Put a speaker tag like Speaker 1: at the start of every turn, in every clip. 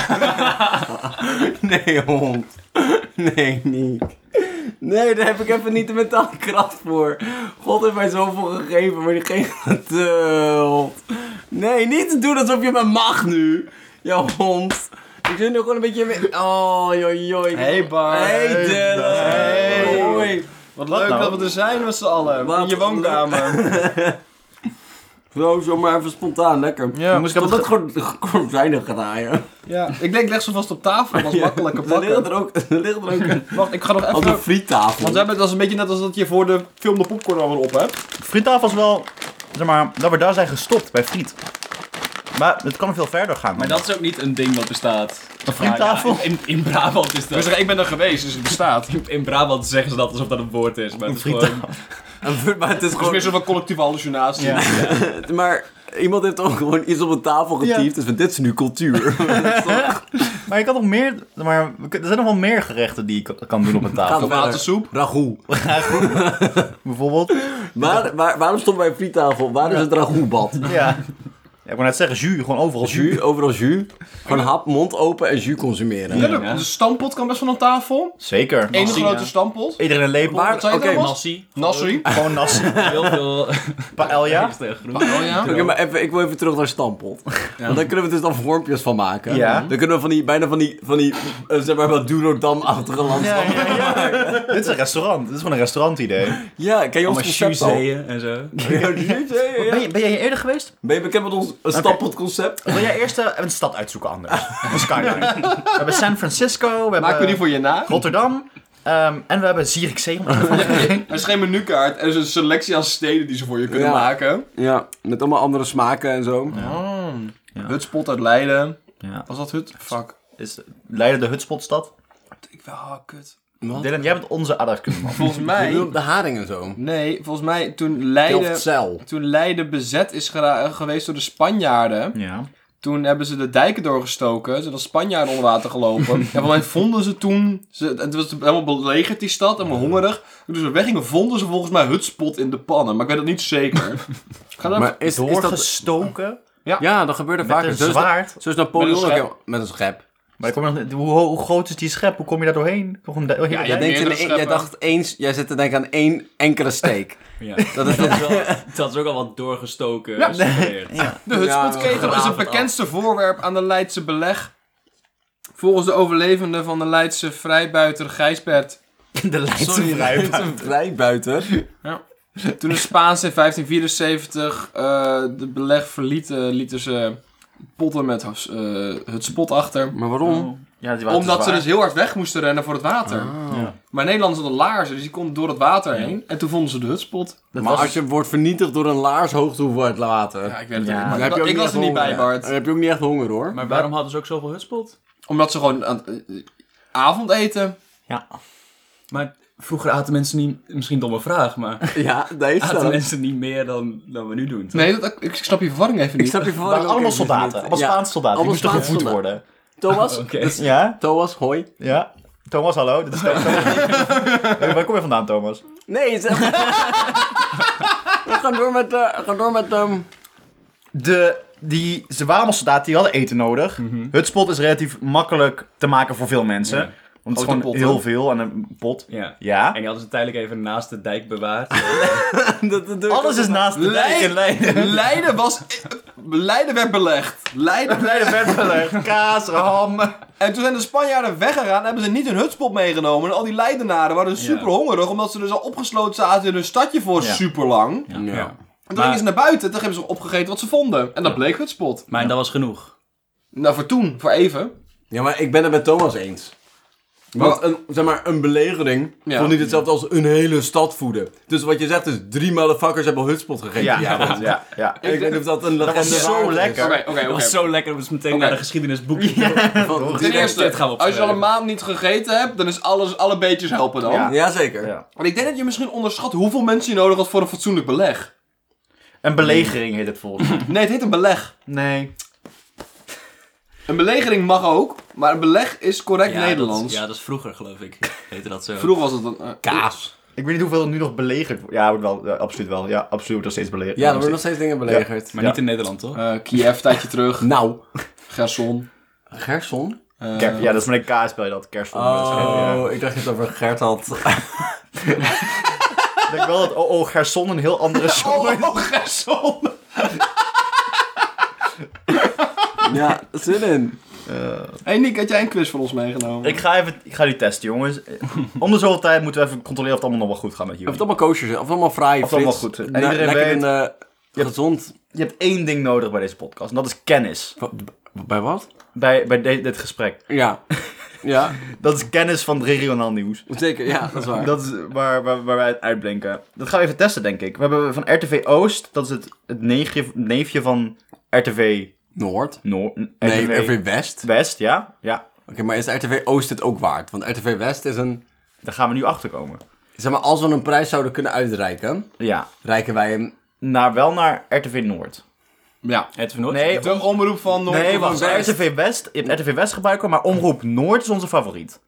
Speaker 1: Nee, hond. Nee, niet. Nee, daar heb ik even niet de mentale kracht voor. God heeft mij zoveel gegeven, maar die geeft me te, hond. Nee, niet doen alsof je me mag nu. Ja, hond. Ik zit nu gewoon een beetje... mee- Oh, joh, joh.
Speaker 2: Hey, Bart.
Speaker 1: Hey, Dylan.
Speaker 2: Hey.
Speaker 1: Hoi.
Speaker 2: Wat leuk
Speaker 3: nou?
Speaker 2: dat we er zijn met z'n allen.
Speaker 1: Wat
Speaker 2: in je woonkamer.
Speaker 1: Zo, zomaar even spontaan, lekker.
Speaker 2: Ja.
Speaker 1: Moest ik dat gewoon kortlijnig draaien.
Speaker 2: ja. Ik denk, leg ze vast op tafel. Dat was makkelijker
Speaker 1: Er ligt
Speaker 2: pakken.
Speaker 1: er ook... Er ligt er ook een-
Speaker 2: Wacht, ik ga nog
Speaker 1: Als
Speaker 2: even...
Speaker 1: een friettafel.
Speaker 2: Want we hebben, dat is een beetje net als dat je voor de film de popcorn alweer op hebt.
Speaker 3: Friettafel was wel, zeg maar, dat we daar zijn gestopt bij friet. Maar het kan veel verder gaan.
Speaker 4: Maar dat is ook niet een ding wat bestaat. Een
Speaker 3: friettafel?
Speaker 4: in, in Brabant is
Speaker 2: Dus
Speaker 4: dat.
Speaker 2: ik ben er geweest, dus het bestaat. Het
Speaker 4: In, in Brabant zeggen ze dat alsof dat een woord is. Maar het is
Speaker 3: friettafel.
Speaker 4: gewoon...
Speaker 1: Maar het is
Speaker 2: is
Speaker 1: gewoon...
Speaker 2: meer zo van collectieve hallucinatie.
Speaker 3: Ja.
Speaker 1: Maar iemand heeft ook gewoon iets op een tafel getiefd. Dus van, dit is nu cultuur.
Speaker 3: Maar ik had nog meer, maar we kun- er zijn nog wel meer gerechten die ik kan- kan doen op een tafel.
Speaker 1: Gaan
Speaker 2: Tomatensoep.
Speaker 1: Ragout.
Speaker 3: Bijvoorbeeld,
Speaker 1: Waar, waar, waarom stond bij een friettafel? Waar is het ragoutbad?
Speaker 3: ja. ja. Ik wou net zeggen, jus, gewoon overal jus.
Speaker 1: Jus, overal jus. Gewoon hap, mond open en jus consumeren.
Speaker 2: Ja, de, de stamppot kan best van een tafel.
Speaker 3: Zeker.
Speaker 2: Eén
Speaker 4: Massie,
Speaker 2: grote
Speaker 4: ja.
Speaker 2: stamppot.
Speaker 3: Iedereen een lepel,
Speaker 1: Waar-
Speaker 2: Wat zei je
Speaker 1: oké,
Speaker 2: nou, Mas?
Speaker 4: Massie.
Speaker 2: Nasri.
Speaker 3: gewoon nas.
Speaker 4: Heel veel...
Speaker 3: Paella.
Speaker 2: Oh ja.
Speaker 1: Oké, maar even, ik wil even terug naar stampot. Want daar kunnen we dus dan vormpjes van maken.
Speaker 3: Ja.
Speaker 1: Dan kunnen we van die, bijna van die, van die eh, zeg maar, wel Dunodam-achtige
Speaker 3: Ja,
Speaker 1: landschap.
Speaker 3: ja, Dit is een restaurant. Dit is gewoon een restaurantidee.
Speaker 1: Ja, ken je ons
Speaker 4: Allemaal
Speaker 1: concept al?
Speaker 4: shoezeeën en zo.
Speaker 1: Ja, juzeeën, ja.
Speaker 3: Ben, je, ben jij hier eerder geweest?
Speaker 1: Ben je bekend met ons stampotconcept?
Speaker 3: Wil jij eerst eh, even een stad uitzoeken anders? Een skyline. We hebben San Francisco, we
Speaker 2: Maken we
Speaker 3: hebben
Speaker 2: die voor je na?
Speaker 3: Rotterdam ehm, en we hebben Zierikzee. Ja.
Speaker 2: Er is geen menukaart, er is een selectie aan steden die ze voor je kunnen
Speaker 1: Ja.
Speaker 2: maken.
Speaker 1: Ja, met allemaal andere smaken en zo.
Speaker 3: Ja.
Speaker 2: Hutspot uit Leiden.
Speaker 3: ja.
Speaker 2: Was dat Hut? Fuck.
Speaker 3: Is Leiden de hutspotstad?
Speaker 2: Ik wel, ah, kut.
Speaker 3: Dylan, jij bent onze aardrijkskundeman.
Speaker 2: Volgens
Speaker 1: Je
Speaker 2: mij...
Speaker 1: bedoelt de haring en zo.
Speaker 2: Nee, volgens mij toen Leiden...
Speaker 1: Delftzijl.
Speaker 2: Toen Leiden bezet is gera- geweest door de Spanjaarden,
Speaker 3: Ja.
Speaker 2: toen hebben ze de dijken doorgestoken. Ze hadden Spanjaarden onder water gelopen. en van mij vonden ze toen, ze, het was helemaal belegerd die stad, helemaal hongerig. Toen ze weggingen, vonden ze volgens mij hutspot in de pannen. Maar ik weet dat niet zeker. Ga dat
Speaker 1: Maar is, is dat...
Speaker 3: Doorgestoken
Speaker 1: Ja, dat gebeurde
Speaker 3: met
Speaker 1: vaker.
Speaker 3: een
Speaker 1: Zo is-
Speaker 3: zwaard.
Speaker 1: Zo is Napoleon
Speaker 2: Met een
Speaker 1: ook
Speaker 2: schep.
Speaker 1: heel- met een schep.
Speaker 3: Maar kom je nog, hoe, ho- hoe groot is die schep? Hoe kom je daar doorheen? Toch een de- oh, hele
Speaker 1: Jij,
Speaker 2: Ja,
Speaker 3: dijk?
Speaker 2: hebt
Speaker 1: denkt in
Speaker 2: meerdere
Speaker 1: één- jij
Speaker 2: scheppen.
Speaker 1: dacht eens, jij zit te denken aan één enkele steek.
Speaker 4: Ja.
Speaker 1: Dat is
Speaker 4: Dat
Speaker 1: dat.
Speaker 4: is, wel, dat is ook al wat doorgestoken.
Speaker 2: Ja.
Speaker 4: gesuggereerd.
Speaker 2: De hutspotkegel is het bekendste voorwerp aan de Leidse beleg. Volgens de overlevende van de Leidse vrijbuiter Gijsbert.
Speaker 3: de Leidse
Speaker 1: Sorry, het is
Speaker 3: vrijbuiten.
Speaker 1: een vrijbuiter.
Speaker 2: Toen de Spaanse in 1574 eh, de beleg verlieten, lieten ze potten met eh, het spot achter.
Speaker 1: Maar waarom?
Speaker 3: Ja, die waren te
Speaker 2: Omdat ze
Speaker 3: zwaar.
Speaker 2: dus heel hard weg moesten rennen voor het water.
Speaker 3: Ja.
Speaker 2: Maar Nederlanders hadden laarzen, dus die konden door het water heen. En toen vonden ze de hutspot.
Speaker 3: Dat
Speaker 1: maar
Speaker 3: was-
Speaker 1: als je wordt vernietigd door een laars hoogte hoeveelheid water.
Speaker 2: Ja, ik weet het
Speaker 3: Ja.
Speaker 2: ook
Speaker 1: dan
Speaker 2: niet.
Speaker 1: heb
Speaker 2: Maar
Speaker 1: je ook
Speaker 2: ik was
Speaker 1: echt
Speaker 2: er niet
Speaker 1: honger,
Speaker 2: bij,
Speaker 1: hè. Dan
Speaker 2: Bart.
Speaker 1: heb je ook niet echt honger hoor.
Speaker 4: Maar waarom hadden ze ook zoveel hutspot?
Speaker 2: Omdat ze gewoon aan eh, eh, avondeten.
Speaker 3: Ja.
Speaker 4: Maar vroeger aten mensen niet... Misschien domme vraag, maar...
Speaker 1: Ja, nee, is
Speaker 4: Aten
Speaker 1: dat.
Speaker 4: mensen Ah, niet meer dan, dan we nu doen, toch?
Speaker 2: Nee, dat, ik snap je verwarring even
Speaker 1: Ik
Speaker 2: niet.
Speaker 1: snap je
Speaker 3: Het
Speaker 1: verwarring
Speaker 3: waren
Speaker 1: ook
Speaker 3: allemaal
Speaker 1: even
Speaker 3: soldaten.
Speaker 1: niet.
Speaker 3: Allemaal
Speaker 1: Ja.
Speaker 3: Spaanse soldaten. Die
Speaker 1: Allemaal
Speaker 3: moesten
Speaker 1: Spaanse
Speaker 3: gevoed
Speaker 1: soldaten.
Speaker 3: worden.
Speaker 1: Thomas?
Speaker 4: Oké.
Speaker 3: Ja?
Speaker 1: Thomas, hoi.
Speaker 3: Ja? Thomas, hallo. Dit is Thomas. Hey, Waar kom je vandaan, Thomas?
Speaker 1: Nee, zeg We gaan door met... eh, we gaan door met ehm,
Speaker 3: De, die, ze waren allemaal soldaten, die hadden eten nodig. Hutspot is relatief makkelijk te maken voor veel mensen.
Speaker 4: Ja.
Speaker 3: Want het is
Speaker 2: Grote
Speaker 3: gewoon
Speaker 2: pot,
Speaker 3: heel
Speaker 2: hè?
Speaker 3: veel en een pot.
Speaker 4: Ja.
Speaker 3: Ja.
Speaker 4: En die hadden ze tijdelijk even naast de dijk bewaard.
Speaker 1: dat- dat doe ik
Speaker 3: Alles
Speaker 1: ook
Speaker 3: is
Speaker 1: wel.
Speaker 3: naast de dijk in Leiden.
Speaker 2: Leiden was. Leiden werd belegd. Leiden.
Speaker 3: Leiden werd belegd. Kaas, ham.
Speaker 2: En toen zijn de Spanjaarden weggegaan en hebben ze niet hun hutspot meegenomen. En al die Leidenaren waren dus
Speaker 4: Ja.
Speaker 2: super hongerig, omdat ze dus al opgesloten zaten in hun stadje voor
Speaker 3: Ja.
Speaker 2: super lang. En
Speaker 1: Ja.
Speaker 2: toen
Speaker 4: Maar-
Speaker 2: gingen ze naar buiten, toen hebben ze opgegeten wat ze vonden. En dat bleek hutspot.
Speaker 4: Maar dat was genoeg.
Speaker 2: Nou, voor toen, voor even.
Speaker 1: Ja, maar ik ben het met Thomas eens. Want een, zeg maar, een belegering
Speaker 2: Ja.
Speaker 1: vond niet hetzelfde als een hele stad voeden. Dus wat je zegt is, drie motherfuckers hebben hutspot gegeten.
Speaker 3: Ja,
Speaker 1: Ja.
Speaker 3: ja, ja. ja.
Speaker 1: Ik weet niet of dat een legende
Speaker 3: was zo
Speaker 1: waard is.
Speaker 3: lekker.
Speaker 2: Oké, oké,
Speaker 4: Dat
Speaker 2: oké.
Speaker 4: was zo lekker, dat is meteen
Speaker 2: Oké.
Speaker 4: naar de geschiedenisboek.
Speaker 1: Van-
Speaker 2: Ten
Speaker 4: Dit gaan
Speaker 2: eerste,
Speaker 4: we eh,
Speaker 2: als je al een
Speaker 4: opschrijven.
Speaker 2: maand niet gegeten hebt, dan is alles, alle beetjes helpen dan.
Speaker 3: Ja.
Speaker 1: Jazeker.
Speaker 3: Ja.
Speaker 2: Want ik denk dat je misschien onderschat hoeveel mensen je nodig had voor een fatsoenlijk beleg.
Speaker 3: Een belegering heet het volgens mij.
Speaker 2: Nee, het heet een beleg.
Speaker 3: Nee.
Speaker 2: Een belegering mag ook, maar een beleg is correct
Speaker 4: dat-
Speaker 2: Nederlands.
Speaker 4: ja, dat is vroeger, geloof ik. Heette dat zo.
Speaker 2: Vroeger was het een... eh,
Speaker 1: Kaas.
Speaker 3: Ik weet niet hoeveel nu nog belegerd wordt. Ja, wordt wel, ja, absoluut wel. Ja, absoluut wordt nog steeds belegerd.
Speaker 1: Ja, er worden nog steeds dingen belegerd.
Speaker 4: Maar
Speaker 3: Ja.
Speaker 4: niet in Nederland, toch?
Speaker 2: eh, Kiev, tijdje terug.
Speaker 1: Nou,
Speaker 2: Gerson.
Speaker 1: Gerson?
Speaker 2: Eh,
Speaker 3: Ker- ja, dat is met een K spel je dat, kerstvonden. dat is geen- ja.
Speaker 1: Oh, ik dacht dat je het over Gert had.
Speaker 3: Ik denk wel dat oh, oh Gerson een heel andere song
Speaker 1: Oh.
Speaker 2: Oh,
Speaker 3: is.
Speaker 1: ja, zin in.
Speaker 2: Hey Nick, had jij een quiz voor ons meegenomen?
Speaker 3: Ik ga even, ik ga die testen, jongens. Om de zoveel tijd moeten we even controleren of het allemaal nog wel goed gaat met
Speaker 1: Of het
Speaker 3: jullie.
Speaker 1: allemaal kosher is, of het allemaal fraai,
Speaker 3: Of het allemaal
Speaker 1: Frits.
Speaker 3: goed is.
Speaker 1: Le-
Speaker 3: Iedereen
Speaker 1: lekker
Speaker 3: weet-
Speaker 1: en, eh, gezond.
Speaker 3: Je hebt één ding nodig bij deze podcast en dat is kennis.
Speaker 1: Wa- Bij wat?
Speaker 3: Bij, bij de- dit gesprek.
Speaker 1: Ja. ja,
Speaker 3: Dat is kennis van het regionaal nieuws.
Speaker 1: zeker. Ja, dat is waar.
Speaker 3: Dat is waar, waar, waar wij het uitblinken. Dat gaan we even testen, denk ik. We hebben van RTV Oost, dat is het, het neefje, neefje van RTV
Speaker 1: Noord?
Speaker 3: Noord.
Speaker 1: Nee,
Speaker 3: RTV
Speaker 1: RTV West. Oké,
Speaker 3: West, ja. ja.
Speaker 1: maar is RTV Oost het ook waard? Want RTV West is een...
Speaker 3: Daar gaan we nu achter komen.
Speaker 1: Zeg maar, als we een prijs zouden kunnen uitreiken,
Speaker 3: Ja.
Speaker 1: reiken wij hem...
Speaker 3: Naar, wel naar RTV Noord.
Speaker 2: Ja.
Speaker 4: Het van Noord?
Speaker 3: Nee,
Speaker 2: De omroep van Noord.
Speaker 3: nee
Speaker 2: van
Speaker 3: wacht. RTV West. Je hebt RTV West gebruiken, maar Omroep Noord is onze favoriet.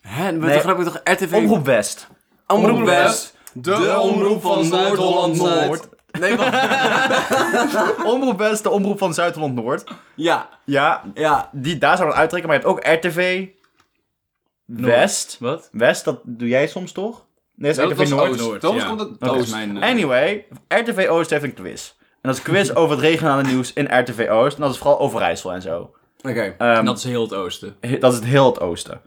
Speaker 1: Hè, dan
Speaker 3: Nee.
Speaker 1: begrijp ik toch RTV...
Speaker 3: Omroep West.
Speaker 1: Omroep West.
Speaker 2: De, omroep van Zuid-Holland Noord.
Speaker 1: Nee, wacht.
Speaker 3: Omroep West, de omroep van Zuid-Holland Noord.
Speaker 1: ja,
Speaker 3: Ja,
Speaker 1: ja.
Speaker 3: die, daar zouden we het uittrekken, maar je hebt ook RTV West.
Speaker 4: Wat?
Speaker 3: West, dat doe jij soms toch? Nee, dat is RTV Noord.
Speaker 4: Oost.
Speaker 2: Dat
Speaker 4: ja.
Speaker 2: komt uit
Speaker 4: Dat
Speaker 2: Oost.
Speaker 4: is mijn... eh,
Speaker 3: Anyway, RTV Oost heeft een quiz. En dat is een quiz over het regionale nieuws in RTV Oost. En dat is vooral Overijssel en zo.
Speaker 1: Oké.
Speaker 3: Ehm,
Speaker 4: en dat is heel het oosten.
Speaker 3: he- dat is het heel het oosten. Ehm,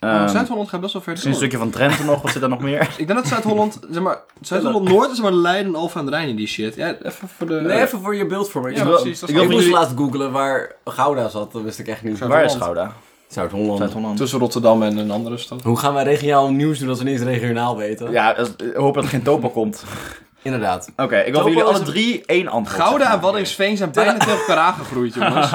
Speaker 2: Maar
Speaker 3: misschien
Speaker 2: Zuid-Holland gaat best wel ver
Speaker 3: een
Speaker 2: door.
Speaker 3: stukje van Drenthe nog, wat zit daar nog meer?
Speaker 2: Ik denk dat Zuid-Holland, zeg maar, Zuid-Holland Noord is maar Leiden, Alphen en Rijn in die shit. Ja, even voor de...
Speaker 1: Nee, even voor je beeldvorming.
Speaker 2: Ja,
Speaker 1: eh, ik
Speaker 2: precies. Dat
Speaker 1: ik
Speaker 2: is
Speaker 1: moest
Speaker 2: jullie-
Speaker 1: laatst googlen waar Gouda zat. Dat wist ik echt niet.
Speaker 3: Waar is Gouda?
Speaker 1: Zuid-Holland.
Speaker 3: Zuid-Holland.
Speaker 2: Tussen Rotterdam en een andere stad.
Speaker 1: Hoe gaan wij regionaal nieuws doen als we niet eens regionaal weten?
Speaker 3: Ja, dus, ik hoop dat er geen topo komt. Oké,
Speaker 1: Inderdaad.
Speaker 3: ik hoop
Speaker 2: Topo
Speaker 3: dat jullie
Speaker 2: is
Speaker 3: alle
Speaker 2: een-
Speaker 3: drie één antwoord
Speaker 2: Gouda en
Speaker 3: zeggen.
Speaker 2: Waddingsveen zijn bijna tegen elkaar aangegroeid, jongens.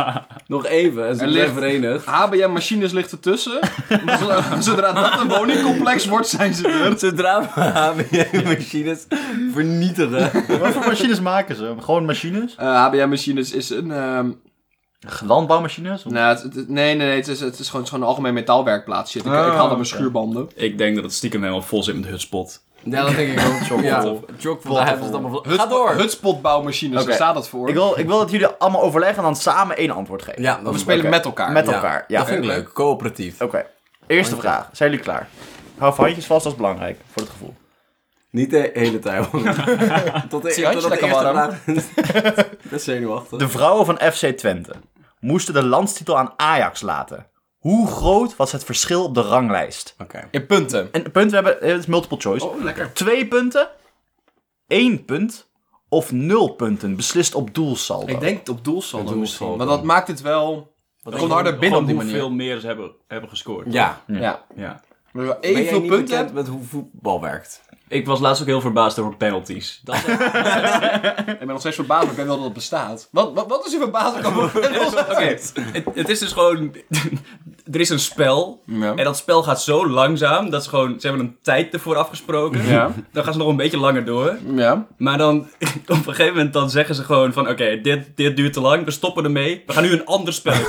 Speaker 1: Nog even, en ze zijn
Speaker 2: Er ligt-
Speaker 1: verenigd.
Speaker 2: HBM-machines ligt ertussen. Zodra- Zodra dat een woningcomplex wordt, zijn ze er.
Speaker 1: Zodra we HBM-machines vernietigen.
Speaker 3: Wat voor machines maken ze? Gewoon machines?
Speaker 2: Eh, HBM-machines is een... ehm,
Speaker 3: Landbouwmachines?
Speaker 2: nou, het- het- nee, nee, nee, het is, het is, gewoon, het is gewoon een algemeen metaalwerkplaats. Shit, ik, ik haal
Speaker 3: Ah,
Speaker 2: dat
Speaker 3: oké.
Speaker 2: mijn schuurbanden.
Speaker 4: Ik denk dat het stiekem helemaal vol zit met hutspot.
Speaker 1: Ja, dat denk ik ook. Chock
Speaker 3: Ja.
Speaker 1: vol. Daar hebben ze het allemaal van. Ga
Speaker 2: Hutspot-
Speaker 1: door.
Speaker 2: Hutspotbouwmachines,
Speaker 3: Oké.
Speaker 2: daar staat dat voor.
Speaker 3: Ik wil, ik wil dat jullie allemaal overleggen en dan samen één antwoord geven.
Speaker 1: Ja, dat
Speaker 2: We spelen
Speaker 1: oké.
Speaker 2: met elkaar.
Speaker 3: Met
Speaker 1: Ja,
Speaker 3: elkaar. Ja.
Speaker 1: Dat vind ik
Speaker 2: Oké.
Speaker 1: leuk. Coöperatief.
Speaker 3: Oké, eerste vraag. Zijn jullie klaar? Hou van handjes vast, dat is belangrijk voor het gevoel.
Speaker 1: Niet de hele tijd. hoor. tot de,
Speaker 2: Zie je
Speaker 1: totdat
Speaker 2: handje
Speaker 1: de
Speaker 2: lekker
Speaker 1: eerste
Speaker 2: warm?
Speaker 1: vraag is. Dat is zenuwachtig.
Speaker 3: De vrouwen van FC Twente moesten de landstitel aan Ajax laten. Hoe groot was het verschil op de ranglijst?
Speaker 1: Oké.
Speaker 2: In punten.
Speaker 3: En punten we hebben, het is multiple choice.
Speaker 2: Oh, lekker.
Speaker 3: Twee punten, één punt of nul punten beslist op doelsaldo.
Speaker 2: Ik denk op doelsaldo
Speaker 1: Doelsaldo.
Speaker 2: misschien. Want dat maakt het wel... Dat komt harder binnen
Speaker 4: Gewoon
Speaker 2: op die manier.
Speaker 4: hoeveel meer ze hebben, hebben gescoord.
Speaker 1: Ja.
Speaker 2: Ja.
Speaker 4: ja.
Speaker 2: Maar wel
Speaker 1: Ben jij
Speaker 2: Evenveel
Speaker 1: niet
Speaker 2: punten
Speaker 1: bekend
Speaker 2: hebben.
Speaker 1: met hoe voetbal werkt?
Speaker 4: Ik was laatst ook heel verbaasd over penalties. Dat
Speaker 2: Ik ben nog steeds verbaasd, maar ik weet wel dat het bestaat. Wat, wat, wat is uw verbazing over?
Speaker 4: Oké, het, het is dus gewoon... er is een spel.
Speaker 2: Ja.
Speaker 4: En dat spel gaat zo langzaam. Dat ze gewoon... Ze hebben een tijd ervoor afgesproken.
Speaker 2: Ja.
Speaker 4: Dan gaan ze nog een beetje langer door.
Speaker 2: Ja.
Speaker 4: Maar dan... op een gegeven moment dan zeggen ze gewoon van... Oké, dit, dit duurt te lang. We stoppen ermee. We gaan nu een ander spel.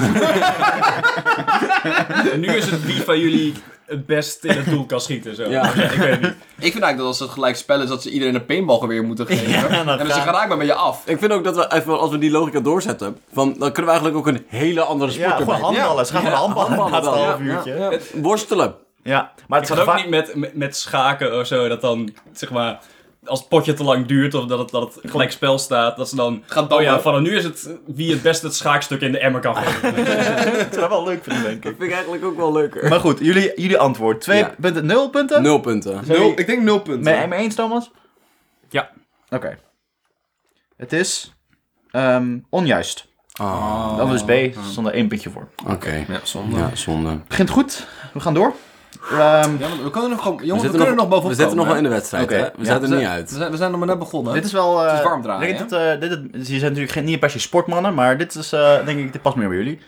Speaker 4: en nu is het wie van jullie het best in het doel kan schieten. Zo.
Speaker 1: Ja.
Speaker 4: ik weet het niet.
Speaker 2: Ik vind eigenlijk dat als het gelijk spel is, dat ze iedereen een peenbalgeweer moeten geven. en dan ze geraakt maar met je af.
Speaker 1: Ik vind ook dat we, even, als we die logica doorzetten, van, dan kunnen we eigenlijk ook een hele andere sport
Speaker 3: ja,
Speaker 1: erbij
Speaker 3: gewoon handballen. Ze gaan gewoon handballen na het
Speaker 1: handballen dan.
Speaker 3: half uurtje. Ja,
Speaker 1: doen. Worstelen.
Speaker 3: maar
Speaker 4: Ik zat
Speaker 3: het gaat
Speaker 4: ook
Speaker 3: vaak...
Speaker 4: niet met, met, met schaken of zo, dat dan, zeg maar, als het potje te lang duurt of dat het, dat het gelijk spel staat, dat ze dan...
Speaker 2: Gaat
Speaker 4: Oh ja,
Speaker 2: dammen.
Speaker 4: vanaf nu is het wie het best het schaakstuk in de emmer kan gooien.
Speaker 3: Het zou wel leuk vinden, denk ik.
Speaker 1: Dat vind ik eigenlijk ook wel leuker.
Speaker 3: Maar goed, jullie, jullie antwoord. Twee
Speaker 1: Ja.
Speaker 3: punten, nul punten?
Speaker 1: Nul punten.
Speaker 3: Zijn jullie-
Speaker 2: Nul, ik denk nul punten.
Speaker 3: Ben je het mee eens, Thomas?
Speaker 4: Ja.
Speaker 3: Oké. Het is ehm, onjuist.
Speaker 1: Ah,
Speaker 3: Dat was B, stond er één puntje voor.
Speaker 1: oké.
Speaker 2: Ja, zonde.
Speaker 1: Ja, zonde.
Speaker 3: Begint goed, we gaan door. Ehm,
Speaker 2: Ja, want we kunnen er nog, gewoon-
Speaker 1: We
Speaker 2: jongens, we,
Speaker 1: zitten
Speaker 2: kunnen er nog bovenop
Speaker 1: We zitten nog wel in de wedstrijd,
Speaker 3: Oké.
Speaker 1: hè? We
Speaker 3: Ja,
Speaker 1: zijn er niet
Speaker 2: We
Speaker 1: uit.
Speaker 2: zijn, we zijn nog maar net begonnen.
Speaker 3: dit is wel... eh,
Speaker 2: Het is warm draaien,
Speaker 3: ik denk dat, eh, dit, is- hier zijn natuurlijk geen, niet per se sportmannen, maar dit is, eh, denk ik, dit past meer bij jullie.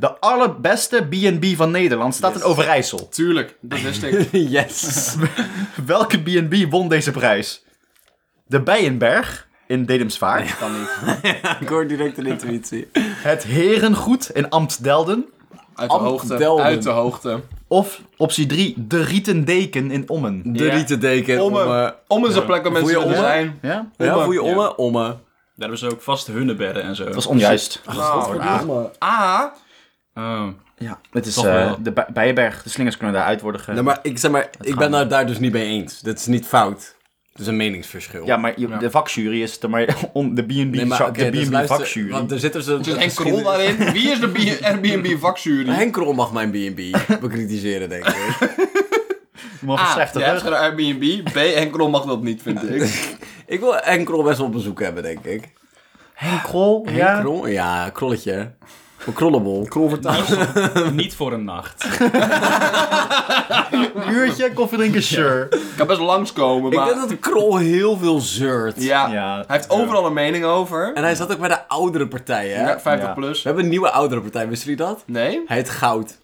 Speaker 3: De allerbeste B&B van Nederland staat in Overijssel.
Speaker 2: Tuurlijk, dat wist ik.
Speaker 1: yes.
Speaker 3: Welke B&B won deze prijs? De Bijenberg in Dedemsvaart.
Speaker 2: kan niet.
Speaker 1: ik hoor direct een intuïtie.
Speaker 3: Het Herengoed in Amstdelden.
Speaker 2: Uit de
Speaker 1: Ambt
Speaker 2: hoogte.
Speaker 1: Delden.
Speaker 2: Uit de hoogte.
Speaker 3: Of optie 3, de Rietendeken in Ommen.
Speaker 1: De
Speaker 2: Ja.
Speaker 1: rietendeken.
Speaker 2: Omme.
Speaker 1: Omme.
Speaker 2: Om eens een plek waar mensen
Speaker 1: Voel je
Speaker 2: willen
Speaker 1: om?
Speaker 2: zijn.
Speaker 3: Ja?
Speaker 1: Ja,
Speaker 2: Omme.
Speaker 1: voel je omme? Omme.
Speaker 4: Daar
Speaker 1: Ah,
Speaker 4: hebben ze ook vast hunnebedden en zo.
Speaker 3: Dat was onjuist.
Speaker 2: Nou,
Speaker 1: Omme.
Speaker 2: A.
Speaker 4: Oh.
Speaker 3: Ja, het is
Speaker 4: Toch
Speaker 3: eh,
Speaker 4: wel.
Speaker 3: de Bi- Bijenberg. De slingers kunnen daaruit worden ge...
Speaker 1: Nee, maar ik, zeg maar, ik ben
Speaker 3: gaan-
Speaker 1: het daar dus niet mee eens. Dat is niet fout. Het is een meningsverschil.
Speaker 3: Ja, maar je- de vakjury is er maar om de B&B
Speaker 1: nee, maar oké,
Speaker 3: de
Speaker 1: dus
Speaker 3: B&B
Speaker 1: luister,
Speaker 3: vakjury.
Speaker 1: Want er zitten ze...
Speaker 2: Dus en krol daarin. Wie is de B- Airbnb vakjury?
Speaker 1: Henk Krol mag mijn B&B bekritiseren, denk ik.
Speaker 3: Je mag een
Speaker 2: A,
Speaker 3: slechte
Speaker 2: jij hebt
Speaker 3: rug.
Speaker 2: geen Airbnb. B, en krol mag dat niet, vind ik.
Speaker 1: ik wil Henk Krol best wel op bezoek hebben, denk ik.
Speaker 3: Henk Krol,
Speaker 1: Henk
Speaker 3: ja.
Speaker 1: Krol? Ja, krolletje. Een krollenbol.
Speaker 2: Krol vertaald.
Speaker 4: Niet voor een nacht.
Speaker 3: Een uurtje, koffie drinken, sure.
Speaker 2: Ik kan best langskomen,
Speaker 1: Ik
Speaker 2: maar...
Speaker 1: denk dat Krol heel veel zeurt.
Speaker 2: Ja,
Speaker 3: Ja.
Speaker 2: hij heeft overal een mening over.
Speaker 1: En hij zat ook bij de oudere partij, hè?
Speaker 2: Ja, 50
Speaker 3: Ja.
Speaker 1: We
Speaker 2: plus.
Speaker 1: hebben een nieuwe oudere partij, wisten jullie dat?
Speaker 2: Nee?
Speaker 1: Hij heet Goud.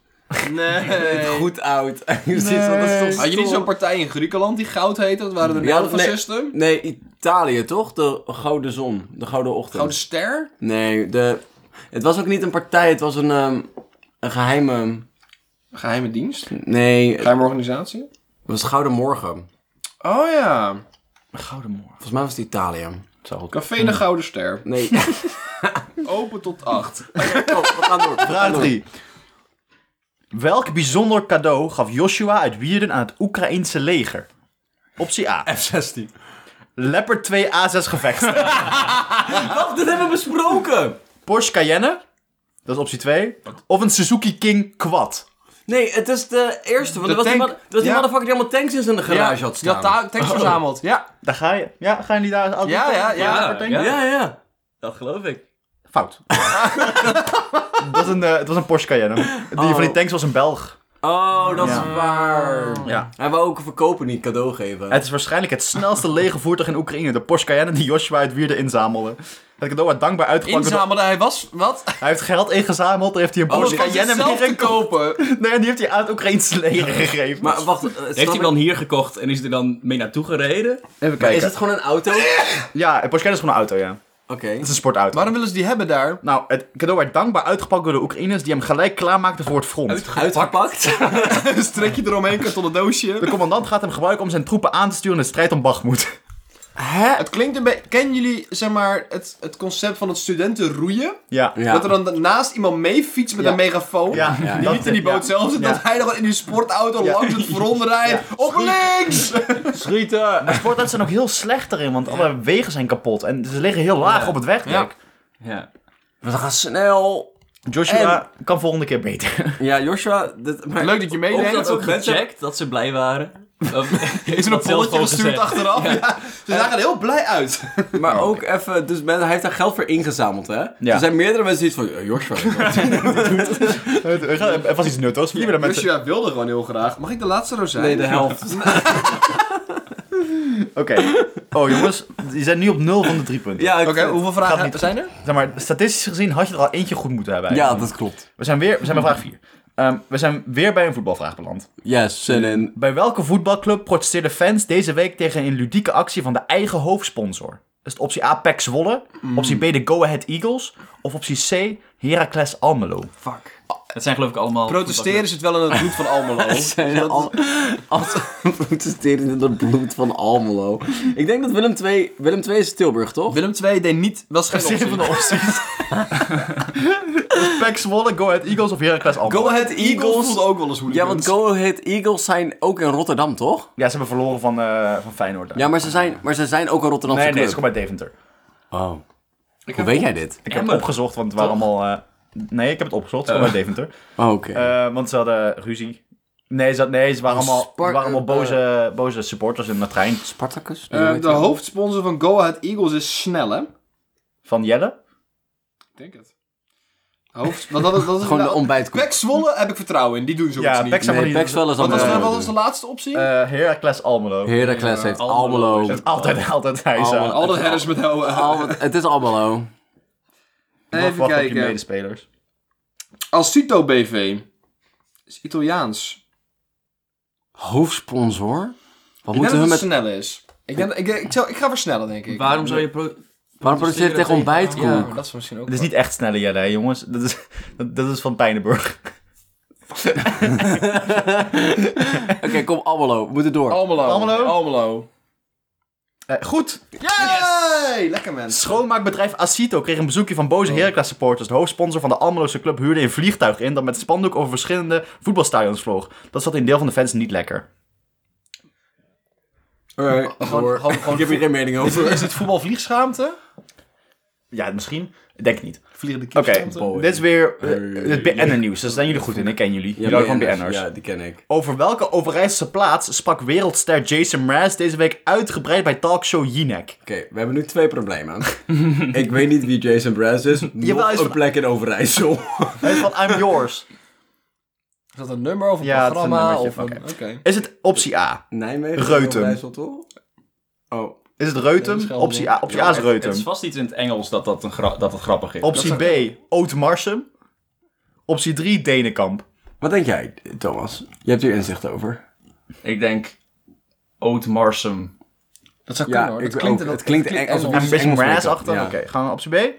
Speaker 2: Nee.
Speaker 1: Het goed oud. Precies, want dat is toch
Speaker 2: Had je niet
Speaker 1: stom.
Speaker 2: zo'n partij in Griekenland die goud heette? Dat waren de
Speaker 1: Ja,
Speaker 2: namen van
Speaker 1: nee.
Speaker 2: fascisten.
Speaker 1: Nee, Italië toch? De Gouden Zon. De Gouden Ochtend.
Speaker 2: Gouden ster?
Speaker 1: Nee, de... het was ook niet een partij, het was een, ehm, een geheime.
Speaker 2: Geheime dienst?
Speaker 1: Nee, het
Speaker 2: Geheime organisatie?
Speaker 1: was Gouden Morgen.
Speaker 2: Oh ja.
Speaker 3: Goudemorgen.
Speaker 1: Volgens mij was het Italië.
Speaker 2: Café de Gouden Ster.
Speaker 1: Nee,
Speaker 2: Open tot 8.
Speaker 1: Kom, we gaan door. we gaan
Speaker 3: Vraag
Speaker 1: door.
Speaker 3: 3. Welk bijzonder cadeau gaf Joshua uit Wierden aan het Oekraïense leger? Optie A.
Speaker 1: F16.
Speaker 3: Leopard 2 A6 gevecht.
Speaker 1: Wacht, dit hebben we besproken!
Speaker 3: Porsche Cayenne. Dat is optie 2. Of een Suzuki King Quad.
Speaker 1: Nee, het is de eerste, want
Speaker 2: De
Speaker 1: dat was, die,
Speaker 2: tank.
Speaker 1: man- dat was die
Speaker 2: Ja.
Speaker 1: motherfucker die allemaal tanks in zijn garage had
Speaker 2: Die
Speaker 1: staan.
Speaker 2: had ta- tekst verzameld. Ja.
Speaker 3: Daar ga je. Ja, ga je niet daar?
Speaker 2: Ja, ja, ja.
Speaker 4: Ja, ja.
Speaker 1: ja, ja.
Speaker 4: Dat geloof ik.
Speaker 3: Fout. dat was een, eh, het was een Porsche Cayenne. Die
Speaker 1: Oh.
Speaker 3: van die tanks was een Belg.
Speaker 1: Oh, dat
Speaker 3: Ja.
Speaker 1: is waar.
Speaker 3: Ja.
Speaker 1: Hij wou ook verkopen, niet cadeau geven.
Speaker 3: Het is waarschijnlijk het snelste legervoertuig in Oekraïne. De Porsche Cayenne die Joshua uit Wierden inzamelde. Het cadeau werd dankbaar uitgepakt. door de-
Speaker 2: Inzamelde hij was... Wat?
Speaker 3: Hij heeft geld ingezameld. Daar heeft hij een
Speaker 2: Oh,
Speaker 3: Porsche
Speaker 2: kan jij
Speaker 3: Cayenne
Speaker 2: zelf te
Speaker 3: meegekomen.
Speaker 2: kopen?
Speaker 3: Nee, die heeft hij aan het Oekraïnse leger gegeven.
Speaker 1: Maar wacht, eh, snap
Speaker 4: Heeft hij
Speaker 1: ik-
Speaker 4: dan hier gekocht en is hij dan mee naartoe gereden?
Speaker 2: Even
Speaker 1: Is het gewoon een auto? Oké.
Speaker 3: Ja, een Porsche Cayenne is gewoon een auto, ja. Het is een sportauto.
Speaker 2: Waarom willen ze die hebben daar?
Speaker 3: Nou, het cadeau werd dankbaar uitgepakt door de Oekraïners die hem gelijk klaarmaakten voor het front.
Speaker 1: Uitgepakt?
Speaker 2: Een strekje eromheen, kartonnen doosje.
Speaker 3: De commandant gaat hem gebruiken om zijn troepen aan te sturen in de strijd om Bakhmut.
Speaker 2: Hè? Het klinkt een beetje... Kennen jullie, zeg maar, het, het concept van het studenten roeien?
Speaker 3: Ja.
Speaker 1: Ja.
Speaker 2: Dat er dan naast iemand mee fietst met
Speaker 3: Ja.
Speaker 2: een megafoon.
Speaker 3: Ja,
Speaker 1: ja,
Speaker 2: Die
Speaker 3: dat-
Speaker 2: niet in die boot
Speaker 3: ja.
Speaker 2: zelf zit.
Speaker 3: Ja.
Speaker 2: Dat hij nog in die sportauto
Speaker 3: Ja.
Speaker 2: langs het front rijdt. Op links!
Speaker 1: Schieten!
Speaker 3: Maar sportauto's zijn ook heel slecht erin, want alle wegen zijn kapot. En ze liggen heel laag
Speaker 4: Ja.
Speaker 3: op het wegdek.
Speaker 4: Ja.
Speaker 1: We gaan snel.
Speaker 3: Joshua kan volgende keer beter.
Speaker 1: Ja, Joshua. Dit, maar-
Speaker 2: Leuk dat je
Speaker 4: Of
Speaker 2: meedeed.
Speaker 4: dat ze ook
Speaker 1: mensen-
Speaker 4: gecheckt, dat ze blij waren. Of-
Speaker 2: Is er een
Speaker 4: Dat zelf
Speaker 2: polletje
Speaker 4: gewoon
Speaker 2: gestuurd
Speaker 4: gezegd.
Speaker 2: achteraf? Ja. Ze zagen er heel blij uit.
Speaker 1: Maar ook even, dus men, hij heeft daar geld voor ingezameld, hè? Er zijn meerdere mensen die iets van, eh, Joshua.
Speaker 3: Het was iets nuttigs. Hier willen mensen.
Speaker 2: Joshua wilde gewoon heel graag. Mag ik de laatste rozijn?
Speaker 1: nee, de helft.
Speaker 3: Oké. Oh jongens, die zijn nu op nul van de drie punten.
Speaker 1: Ja, ik-
Speaker 2: Oké, hoeveel
Speaker 3: Gaat
Speaker 2: vragen
Speaker 3: niet.
Speaker 2: zijn er?
Speaker 3: Zeg maar, statistisch gezien had je er al eentje goed moeten hebben.
Speaker 1: ja,
Speaker 3: eigenlijk.
Speaker 1: dat klopt.
Speaker 3: We zijn weer we zijn bij vraag 4. we zijn weer bij een voetbalvraag beland.
Speaker 1: Yes, zin in.
Speaker 3: Bij welke voetbalclub protesteerden fans deze week tegen een ludieke actie van de eigen hoofdsponsor? Dat is de optie A, PEC Zwolle, optie B, de Go Ahead Eagles, of optie C, Heracles Almelo.
Speaker 4: Fuck. Het zijn geloof ik allemaal...
Speaker 2: Protesteren zit wel in het bloed van Almelo.
Speaker 1: Zijn al, als protesteren in het bloed van Almelo. Ik denk dat Willem 2, Willem 2 is Tilburg, toch?
Speaker 2: Willem II deed niet... Was geen optie.
Speaker 3: opties. PEC Zwolle, Go Ahead Eagles of Heracles Almelo.
Speaker 2: Go Ahead Eagles voelt ook wel eens hoe
Speaker 1: ja, want Go Ahead Eagles zijn ook in Rotterdam, toch?
Speaker 3: Ja, ze hebben verloren van, eh, van Feyenoord. daar.
Speaker 1: Ja, maar ze zijn, maar ze zijn ook een Rotterdamse
Speaker 3: nee, nee, ze
Speaker 1: club.
Speaker 3: komen uit Deventer.
Speaker 1: Oh. Hoe weet jij dit?
Speaker 3: Ik heb het
Speaker 4: Emmen.
Speaker 3: opgezocht, want het waren allemaal... eh, nee, ik heb het opgezocht, ze komen uit Deventer.
Speaker 1: Oh, oké.
Speaker 3: Eh, want ze hadden ruzie. Nee, ze, had- nee, ze waren allemaal,
Speaker 1: Spar-
Speaker 3: ze waren allemaal
Speaker 1: eh,
Speaker 3: boze, boze supporters in de trein
Speaker 1: Spartacus?
Speaker 2: eh, de hoofdsponsor van Go Ahead Eagles is Snelle.
Speaker 3: van Jelle.
Speaker 2: Ik denk het. Hoofd... Want dat, is- dat is
Speaker 1: Gewoon de ontbijtkoek.
Speaker 2: Pek Zwolle heb ik vertrouwen in. Die doen zoiets
Speaker 3: Ja,
Speaker 2: niet.
Speaker 3: Pek-
Speaker 1: Nee, Pax wel eens
Speaker 2: Want dat is- nou,
Speaker 1: Almelo.
Speaker 2: wat is de laatste optie?
Speaker 3: Eh Heracles Almelo.
Speaker 1: Heracles
Speaker 2: Ja,
Speaker 1: heeft
Speaker 4: Almelo.
Speaker 1: Almelo.
Speaker 4: Is het-
Speaker 3: Altijd, altijd hij
Speaker 1: Almelo.
Speaker 3: zo.
Speaker 2: Al dat herres met hou-
Speaker 1: Al- Het is Almelo.
Speaker 2: Even
Speaker 3: Wacht op je
Speaker 2: kijken.
Speaker 3: medespelers.
Speaker 2: Alcito BV. Is Italiaans.
Speaker 1: Hoofdsponsor? Wat
Speaker 2: Ik denk
Speaker 1: moeten
Speaker 2: dat
Speaker 1: we
Speaker 2: het
Speaker 1: met...
Speaker 2: snel is. Ik, denk, ik, ik, zal- ik ga versnellen, denk ik.
Speaker 4: Waarom zou je... Pro
Speaker 1: Waarom produceert tegen ontbijtkoek?
Speaker 4: Ja, maar dat is misschien ook...
Speaker 3: Het is niet echt snelle Jelle, hè, jongens. Dat is, dat, dat is van Pijnenburg.
Speaker 1: Oké, kom Almelo. We moeten door.
Speaker 2: Almelo.
Speaker 3: Almelo?
Speaker 2: Almelo.
Speaker 3: Eh, goed.
Speaker 2: Yes! Lekker mensen.
Speaker 3: Schoonmaakbedrijf Acito kreeg een bezoekje van boze Heracles supporters. De hoofdsponsor van de Almeloze club huurde een vliegtuig in dat met spandoek over verschillende voetbalstadions vloog. Dat zat in deel van de fans niet lekker.
Speaker 1: Alright,
Speaker 2: Gewoon, gewoon, gewoon-
Speaker 1: ik heb hier geen mening
Speaker 2: Is dit-
Speaker 1: over.
Speaker 2: is dit voetbal vliegschaamte?
Speaker 3: Ja, misschien. Ik denk het niet.
Speaker 2: Vliegende
Speaker 3: Oké,
Speaker 2: kiepschaamte?
Speaker 1: Boy.
Speaker 3: dit is weer eh,
Speaker 1: Hey.
Speaker 3: het BN'er-nieuws. dus Daar zijn jullie goed in, ik ken jullie. jullie houden van BN'ers.
Speaker 1: Ja, die ken ik.
Speaker 3: Over welke Overijsselse plaats sprak wereldster Jason Mraz deze week uitgebreid bij talkshow Jinek?
Speaker 1: Oké, we hebben nu twee problemen. ik weet niet wie Jason Brass is.
Speaker 3: Jawel, hij
Speaker 1: Nog
Speaker 3: is
Speaker 1: een
Speaker 3: van-
Speaker 1: plek in Overijssel.
Speaker 3: Hij is van I'm Yours.
Speaker 2: Is dat een nummer of een
Speaker 3: Ja, het is een
Speaker 2: programma?
Speaker 3: nummertje,
Speaker 2: of een...
Speaker 3: oké.
Speaker 2: Oké.
Speaker 3: Is het optie A?
Speaker 1: Nijmegen?
Speaker 3: Reutem.
Speaker 1: Overijssel, toch? Oh,
Speaker 3: Is het
Speaker 2: Nee,
Speaker 3: Reutem?
Speaker 2: Schelden.
Speaker 3: Optie A, optie A
Speaker 4: Het,
Speaker 3: is
Speaker 4: het is
Speaker 3: Reutem.
Speaker 4: vast iets in het Engels dat dat, een gra- dat het grappig is.
Speaker 3: Optie B, Ootmarsum. Optie 3, Denenkamp.
Speaker 1: wat denk jij, Thomas? Je hebt hier inzicht over.
Speaker 4: Ik denk Ootmarsum.
Speaker 2: Dat zou
Speaker 1: Ja,
Speaker 2: kunnen hoor.
Speaker 1: ik
Speaker 2: Dat klinkt,
Speaker 1: ook.
Speaker 2: dat
Speaker 1: Het klinkt eng-
Speaker 2: alsof-
Speaker 1: alsof-
Speaker 3: En
Speaker 1: Optie
Speaker 3: een beetje
Speaker 1: Engels
Speaker 3: Mraz
Speaker 1: weten,
Speaker 3: achter.
Speaker 1: ja.
Speaker 3: Oké, gaan we naar optie B?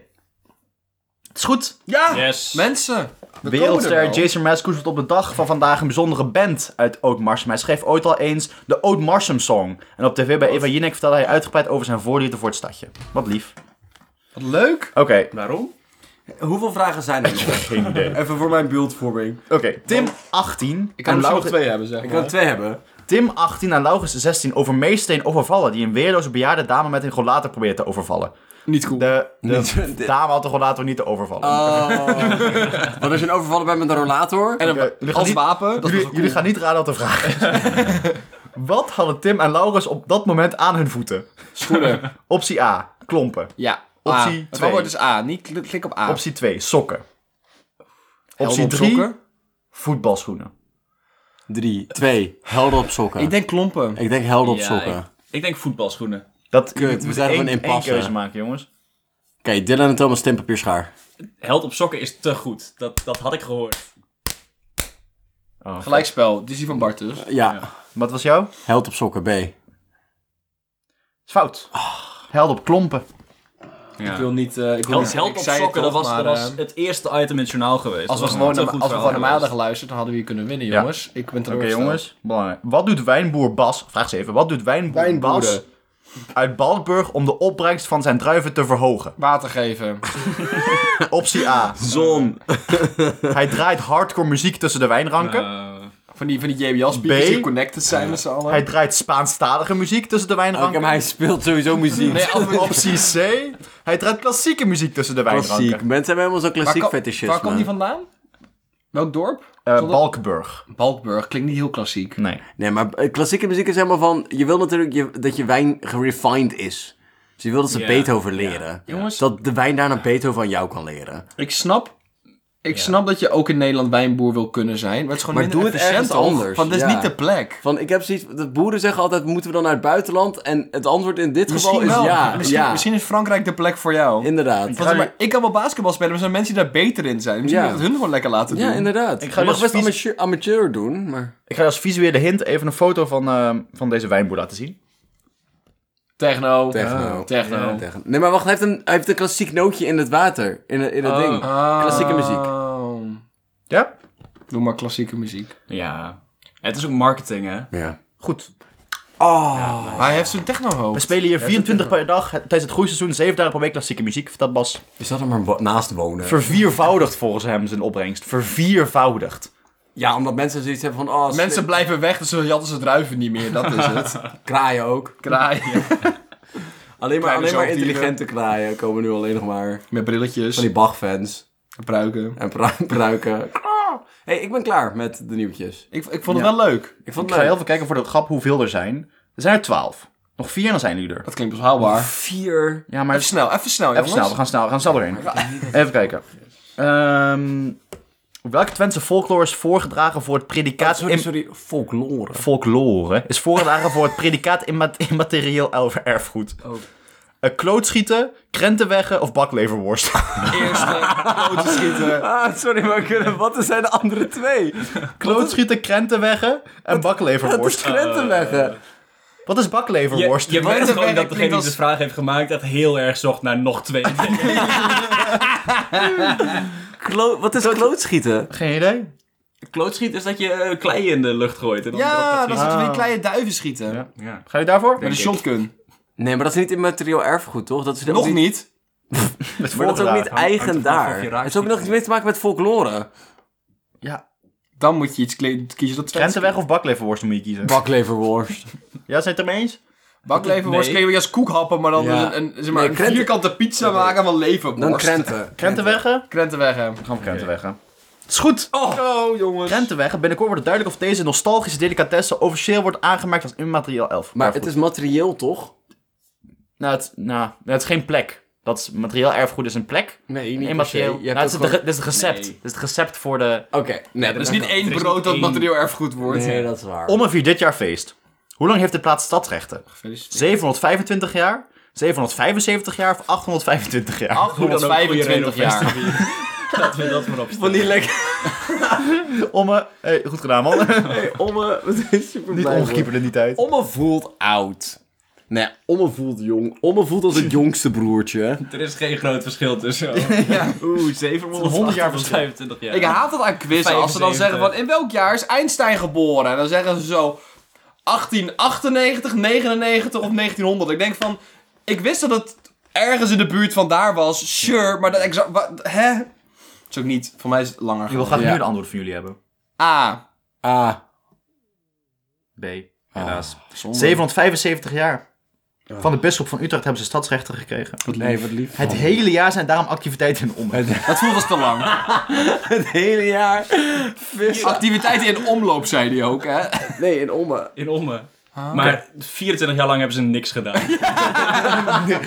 Speaker 3: Het is goed.
Speaker 2: Ja!
Speaker 4: Yes.
Speaker 2: Mensen! we komen
Speaker 3: Wereldster
Speaker 2: er wel.
Speaker 3: Jason Mraz koestert op de dag van vandaag een bijzondere band uit Ootmarsum. Hij schreef ooit al eens de Ootmarsum Song. En op tv bij Eva Jinek vertelde hij uitgebreid over zijn voorliefde voor het stadje. Wat lief.
Speaker 2: Wat leuk!
Speaker 3: Oké,
Speaker 4: Waarom?
Speaker 1: Hoeveel vragen zijn er nog?
Speaker 3: geen idee. Oké,
Speaker 1: Even voor mijn beeldvorming.
Speaker 3: Tim 18.
Speaker 2: Ik kan er
Speaker 3: en
Speaker 2: zo nog
Speaker 3: Laurens-
Speaker 2: twee hebben, zeg
Speaker 1: Ik
Speaker 2: maar.
Speaker 1: kan er twee hebben.
Speaker 3: Tim 18 en Laurens 16 over meesteen overvallen die een weerloze bejaarde dame met een rollator probeert te overvallen.
Speaker 2: Niet cool. Eh,
Speaker 3: De, de
Speaker 1: Niet-
Speaker 3: dame had de rollator niet te overvallen.
Speaker 1: Wat als je een overvallen bent met een rollator?
Speaker 2: En
Speaker 3: Oké, jullie
Speaker 2: een,
Speaker 3: gaan
Speaker 2: als
Speaker 3: niet-
Speaker 2: wapen, dat is
Speaker 3: jullie,
Speaker 2: wel cool.
Speaker 3: jullie gaan niet raden wat de vraag is. wat hadden Tim en Laurens op dat moment aan hun voeten?
Speaker 2: schoenen.
Speaker 3: Optie A, klompen.
Speaker 2: Ja.
Speaker 3: Optie
Speaker 2: A.
Speaker 3: twee.
Speaker 2: Het antwoord is A. Niet klik klik op A.
Speaker 3: Optie 2, sokken.
Speaker 2: Helm
Speaker 3: Optie
Speaker 2: op
Speaker 3: 3,
Speaker 2: sokken.
Speaker 3: voetbalschoenen.
Speaker 1: Drie, twee, helder op sokken.
Speaker 2: Ik denk klompen.
Speaker 1: Ik denk helder op
Speaker 4: Ja,
Speaker 1: sokken.
Speaker 4: ik- Ik denk voetbalschoenen.
Speaker 3: Dat
Speaker 1: Kut, we zijn er
Speaker 3: één,
Speaker 1: van in
Speaker 3: één
Speaker 1: passen.
Speaker 3: keuze maken, jongens.
Speaker 1: Oké, Dylan en Thomas timpapierschaar.
Speaker 4: Held op sokken is te goed. Dat, dat had ik gehoord.
Speaker 3: Oh,
Speaker 2: Gelijkspel. Die is die van Bart dus.
Speaker 1: Ja,
Speaker 3: Wat was jou?
Speaker 1: held op sokken, B.
Speaker 3: Is fout.
Speaker 2: Ah.
Speaker 3: Held op klompen.
Speaker 4: Ja.
Speaker 2: Ik wil niet... eh, ik wil
Speaker 4: Held,
Speaker 2: niet-
Speaker 4: held
Speaker 2: ik
Speaker 4: op
Speaker 2: zei het
Speaker 4: sokken, dat
Speaker 2: toch,
Speaker 4: was,
Speaker 2: maar,
Speaker 4: dat was
Speaker 2: eh,
Speaker 4: het eerste item in het journaal geweest.
Speaker 2: Als we
Speaker 4: Dat was
Speaker 2: gewoon
Speaker 4: een
Speaker 2: naar,
Speaker 4: te goed
Speaker 2: als we gewoon naar
Speaker 4: verhaal
Speaker 2: maandag
Speaker 4: geweest.
Speaker 2: geluisterd, dan hadden we hier kunnen winnen,
Speaker 3: Ja.
Speaker 2: jongens. Ik ben eh,
Speaker 3: Oké,
Speaker 2: teleurgesteld.
Speaker 3: jongens. Belangrijk. Wat doet wijnboer Bas, vraag ze even, wat doet wijnboer
Speaker 2: Wijnboeren.
Speaker 3: Bas uit Balkburg om de opbrengst van zijn druiven te verhogen?
Speaker 2: Water geven.
Speaker 3: Optie A.
Speaker 1: Zon.
Speaker 3: Hij draait hardcore muziek tussen de wijnranken.
Speaker 4: Eh,
Speaker 2: Van die, van die JBL-speakers
Speaker 3: B.
Speaker 2: die connected zijn met z'n allen.
Speaker 3: Hij draait Spaanstalige muziek tussen de
Speaker 1: Oké,
Speaker 3: wijnranken.
Speaker 1: maar hij speelt sowieso muziek.
Speaker 2: Nee, af-
Speaker 3: Optie C. Hij draait klassieke muziek tussen de wijnranken.
Speaker 1: klassiek. Mensen hebben helemaal zo'n klassiek
Speaker 2: kan-
Speaker 1: fetischisme.
Speaker 2: Waar komt die vandaan? Welk dorp?
Speaker 3: Eh,
Speaker 2: Zal dat-
Speaker 3: Balkenburg.
Speaker 2: Balkburg. Klinkt niet heel klassiek.
Speaker 3: Nee.
Speaker 1: Nee, maar eh, klassieke muziek is helemaal van... Je wil natuurlijk je- dat je wijn gerefined is. Dus je wil dat ze
Speaker 4: Ja,
Speaker 1: Beethoven leren.
Speaker 2: Jongens.
Speaker 1: Dat de wijn daarna Beethoven aan jou kan leren.
Speaker 2: Ik snap... Ik snap dat je ook in Nederland wijnboer wil kunnen zijn. Maar het is gewoon
Speaker 1: Maar
Speaker 2: minder
Speaker 1: doe het
Speaker 2: efficiënt,
Speaker 1: ergens
Speaker 2: toch?
Speaker 1: anders,
Speaker 2: Van, dit is
Speaker 1: ja.
Speaker 2: niet de plek.
Speaker 1: Van, ik heb zoiets... De boeren zeggen altijd, moeten we dan naar het buitenland? En het antwoord in dit
Speaker 2: Misschien
Speaker 1: geval is
Speaker 2: wel.
Speaker 1: ja.
Speaker 2: misschien,
Speaker 1: ja,
Speaker 2: misschien is Frankrijk de plek voor jou.
Speaker 1: inderdaad.
Speaker 2: Want, maar, ik kan wel basketbal spelen, maar er zijn mensen die daar beter in zijn. Misschien
Speaker 1: Ja.
Speaker 2: moet je het hun gewoon lekker laten doen.
Speaker 1: Ja, inderdaad. Ik
Speaker 3: Ik ga
Speaker 1: ga je mag
Speaker 3: dus
Speaker 1: best amateur, amateur doen, maar...
Speaker 3: Ik ga je als visuele hint even een foto van, eh, van deze wijnboer laten zien.
Speaker 2: Techno.
Speaker 1: Techno.
Speaker 2: Ah, Techno.
Speaker 1: Ja, tegen- Nee, maar wacht, hij heeft, een, hij heeft een klassiek nootje in het water. In, het- in het
Speaker 4: Oh.
Speaker 1: ding. Klassieke muziek.
Speaker 2: Oh.
Speaker 3: Ja?
Speaker 2: Doe maar klassieke muziek.
Speaker 4: ja. Het is ook marketing, hè?
Speaker 1: Ja. Oh.
Speaker 3: Goed.
Speaker 2: Maar hij heeft zo'n techno
Speaker 3: We spelen hier 24 per dag. het- Tijdens het groeiseizoen 7 dagen per week klassieke muziek. Vertelt Bas.
Speaker 1: Is dat er maar wa- naast wonen?
Speaker 3: Verviervoudigd volgens hem zijn opbrengst. Verviervoudigd.
Speaker 1: Ja, omdat mensen zoiets hebben van, oh, slim.
Speaker 2: Mensen blijven weg, dus ze jatten ze druiven niet meer. Dat is het.
Speaker 1: kraaien ook.
Speaker 2: Kraaien.
Speaker 1: Alleen maar,
Speaker 2: Kleine
Speaker 1: alleen maar
Speaker 2: zoogdieren.
Speaker 1: intelligente kraaien komen nu alleen nog maar.
Speaker 2: Met brilletjes.
Speaker 1: Van die Bach-fans
Speaker 2: pruiken.
Speaker 1: en pru- pruiken. hey, ik ben klaar met de nieuwtjes.
Speaker 2: Ik, ik vond het wel leuk.
Speaker 1: Ik vond
Speaker 3: Ik
Speaker 1: het
Speaker 3: ga
Speaker 1: leuk.
Speaker 3: heel even kijken voor de grap hoeveel er zijn. Er zijn er 12. Nog 4 en dan zijn jullie er.
Speaker 2: Dat klinkt best haalbaar.
Speaker 1: Vier.
Speaker 3: Ja, maar
Speaker 2: Even snel, even snel,
Speaker 3: Even
Speaker 2: jongens.
Speaker 3: snel, we gaan snel, we gaan snel doorheen. Even kijken. Ehm, welke Twentse folklore is voorgedragen voor het predicaat...
Speaker 1: Sorry,
Speaker 3: in-
Speaker 1: sorry. Folklore.
Speaker 3: Folklore is voorgedragen voor het predicaat imma- immaterieel el- erfgoed.
Speaker 1: Oh.
Speaker 3: Eh, klootschieten, krentenweggen of bakleverworst.
Speaker 2: Eerste foto schieten.
Speaker 1: Ah, sorry, maar kunnen, wat zijn de andere twee?
Speaker 3: klootschieten, krentenweggen en
Speaker 1: Dat is
Speaker 3: bakleverworst.
Speaker 4: eh,
Speaker 1: Krentenweggen.
Speaker 3: Wat is
Speaker 4: Je,
Speaker 3: bakleverworst?
Speaker 4: je
Speaker 2: weet
Speaker 4: weet
Speaker 2: het
Speaker 4: gewoon
Speaker 2: werk
Speaker 4: dat degene die
Speaker 2: klinkt als-
Speaker 4: de vraag heeft gemaakt, dat heel erg zocht naar nog twee dingen.
Speaker 1: Klo- wat is klootschieten?
Speaker 3: Geen idee.
Speaker 4: Klootschiet is dat je eh, klei in de lucht gooit. En dan erop
Speaker 2: Ja,
Speaker 4: gaat
Speaker 2: dat is
Speaker 4: schieten.
Speaker 2: van die kleine duiven schieten.
Speaker 3: Ja.
Speaker 4: Ja.
Speaker 3: Ga je daarvoor?
Speaker 2: Met een shotgun.
Speaker 1: Nee, maar dat is niet immaterieel erfgoed, toch? Dat is ook
Speaker 2: Nog niet.
Speaker 1: Maar dat is ook niet
Speaker 3: voordragen.
Speaker 1: eigen
Speaker 4: hangt er vanaf
Speaker 1: daar.
Speaker 4: of je raakt
Speaker 1: Het is ook nog iets mee te maken met folklore.
Speaker 3: Ja,
Speaker 2: Dan moet je iets kle- kiezen dat
Speaker 3: krentenweg of bakleverworst moet je kiezen.
Speaker 1: Bakleverworst.
Speaker 3: ja, zijn het ermee eens?
Speaker 2: Bakleven
Speaker 4: Nee.
Speaker 2: was kleden we als koekhappen, maar dan
Speaker 1: Ja.
Speaker 2: een, een- zeg maar,
Speaker 1: Nee,
Speaker 2: een
Speaker 1: krenten-
Speaker 2: vierkante pizza maken van levenworst.
Speaker 1: Dan krenten.
Speaker 3: Krentenweggen?
Speaker 2: Krentenweggen.
Speaker 3: Gaan we krentenweggen. Het is goed!
Speaker 2: Oh, jongens.
Speaker 3: Krentenweggen. Binnenkort wordt het duidelijk of deze nostalgische delicatesse officieel wordt aangemerkt als immaterieel elf.
Speaker 1: Maar het is materieel, toch?
Speaker 3: Nou, het, nou, het is geen plek. Dat is, materieel erfgoed is een plek.
Speaker 1: Nee, niet
Speaker 3: Immaterieel.
Speaker 1: per se. Je
Speaker 3: Nou,
Speaker 1: hebt
Speaker 3: het
Speaker 1: ook
Speaker 3: is het,
Speaker 1: gewoon-
Speaker 3: dit is het recept.
Speaker 4: Nee.
Speaker 3: Dit is het recept voor de...
Speaker 1: Oké, nee,
Speaker 2: Er is niet één brood dat
Speaker 4: één.
Speaker 2: materieel erfgoed wordt.
Speaker 1: Nee, dat is waar.
Speaker 3: Om en vier dit jaar feest. Hoe lang heeft de plaats stadsrechten? 725 jaar, 775 jaar of 825 jaar?
Speaker 4: Hoe dan ook, goede reden om
Speaker 2: 825
Speaker 4: feest te
Speaker 2: jaar.
Speaker 4: vieren. Laten we dat maar opstellen.
Speaker 1: Van die lekker...
Speaker 3: Omme, hey, goed gedaan man.
Speaker 1: Hey, Omme, we zijn super
Speaker 3: niet
Speaker 1: blij.
Speaker 3: omgekieperd in die tijd.
Speaker 1: Omme voelt oud. Nee, Omme voelt jong. Omme voelt als het jongste broertje.
Speaker 4: Er is geen groot verschil tussen.
Speaker 1: Oeh,
Speaker 3: 100 jaar
Speaker 4: 25 jaar.
Speaker 2: Ik haat dat aan quizzen. Als ze
Speaker 4: 75.
Speaker 2: dan zeggen van in welk jaar is Einstein geboren? En dan zeggen ze zo 1898, 99 of 1900. Ik denk van, ik wist dat het ergens in de buurt van daar was. Sure, maar dat exact... wa- Hè? Dat is ook niet. Voor mij is het langer.
Speaker 3: Ik wil graag
Speaker 1: Ja.
Speaker 3: nu de antwoord van jullie hebben.
Speaker 2: A.
Speaker 1: Ah.
Speaker 3: B, helaas.
Speaker 2: Zonde.
Speaker 3: 775 jaar. Van de bisschop van Utrecht hebben ze stadsrechten gekregen.
Speaker 1: Nee, wat lief.
Speaker 3: Het hele jaar zijn daarom activiteiten in omloop.
Speaker 2: Dat voelt als te lang.
Speaker 1: Het hele jaar vissen.
Speaker 2: Activiteiten in omloop, zei hij ook, hè?
Speaker 1: Nee, in Omme.
Speaker 4: In Ommen. Maar 24 jaar lang hebben ze niks gedaan.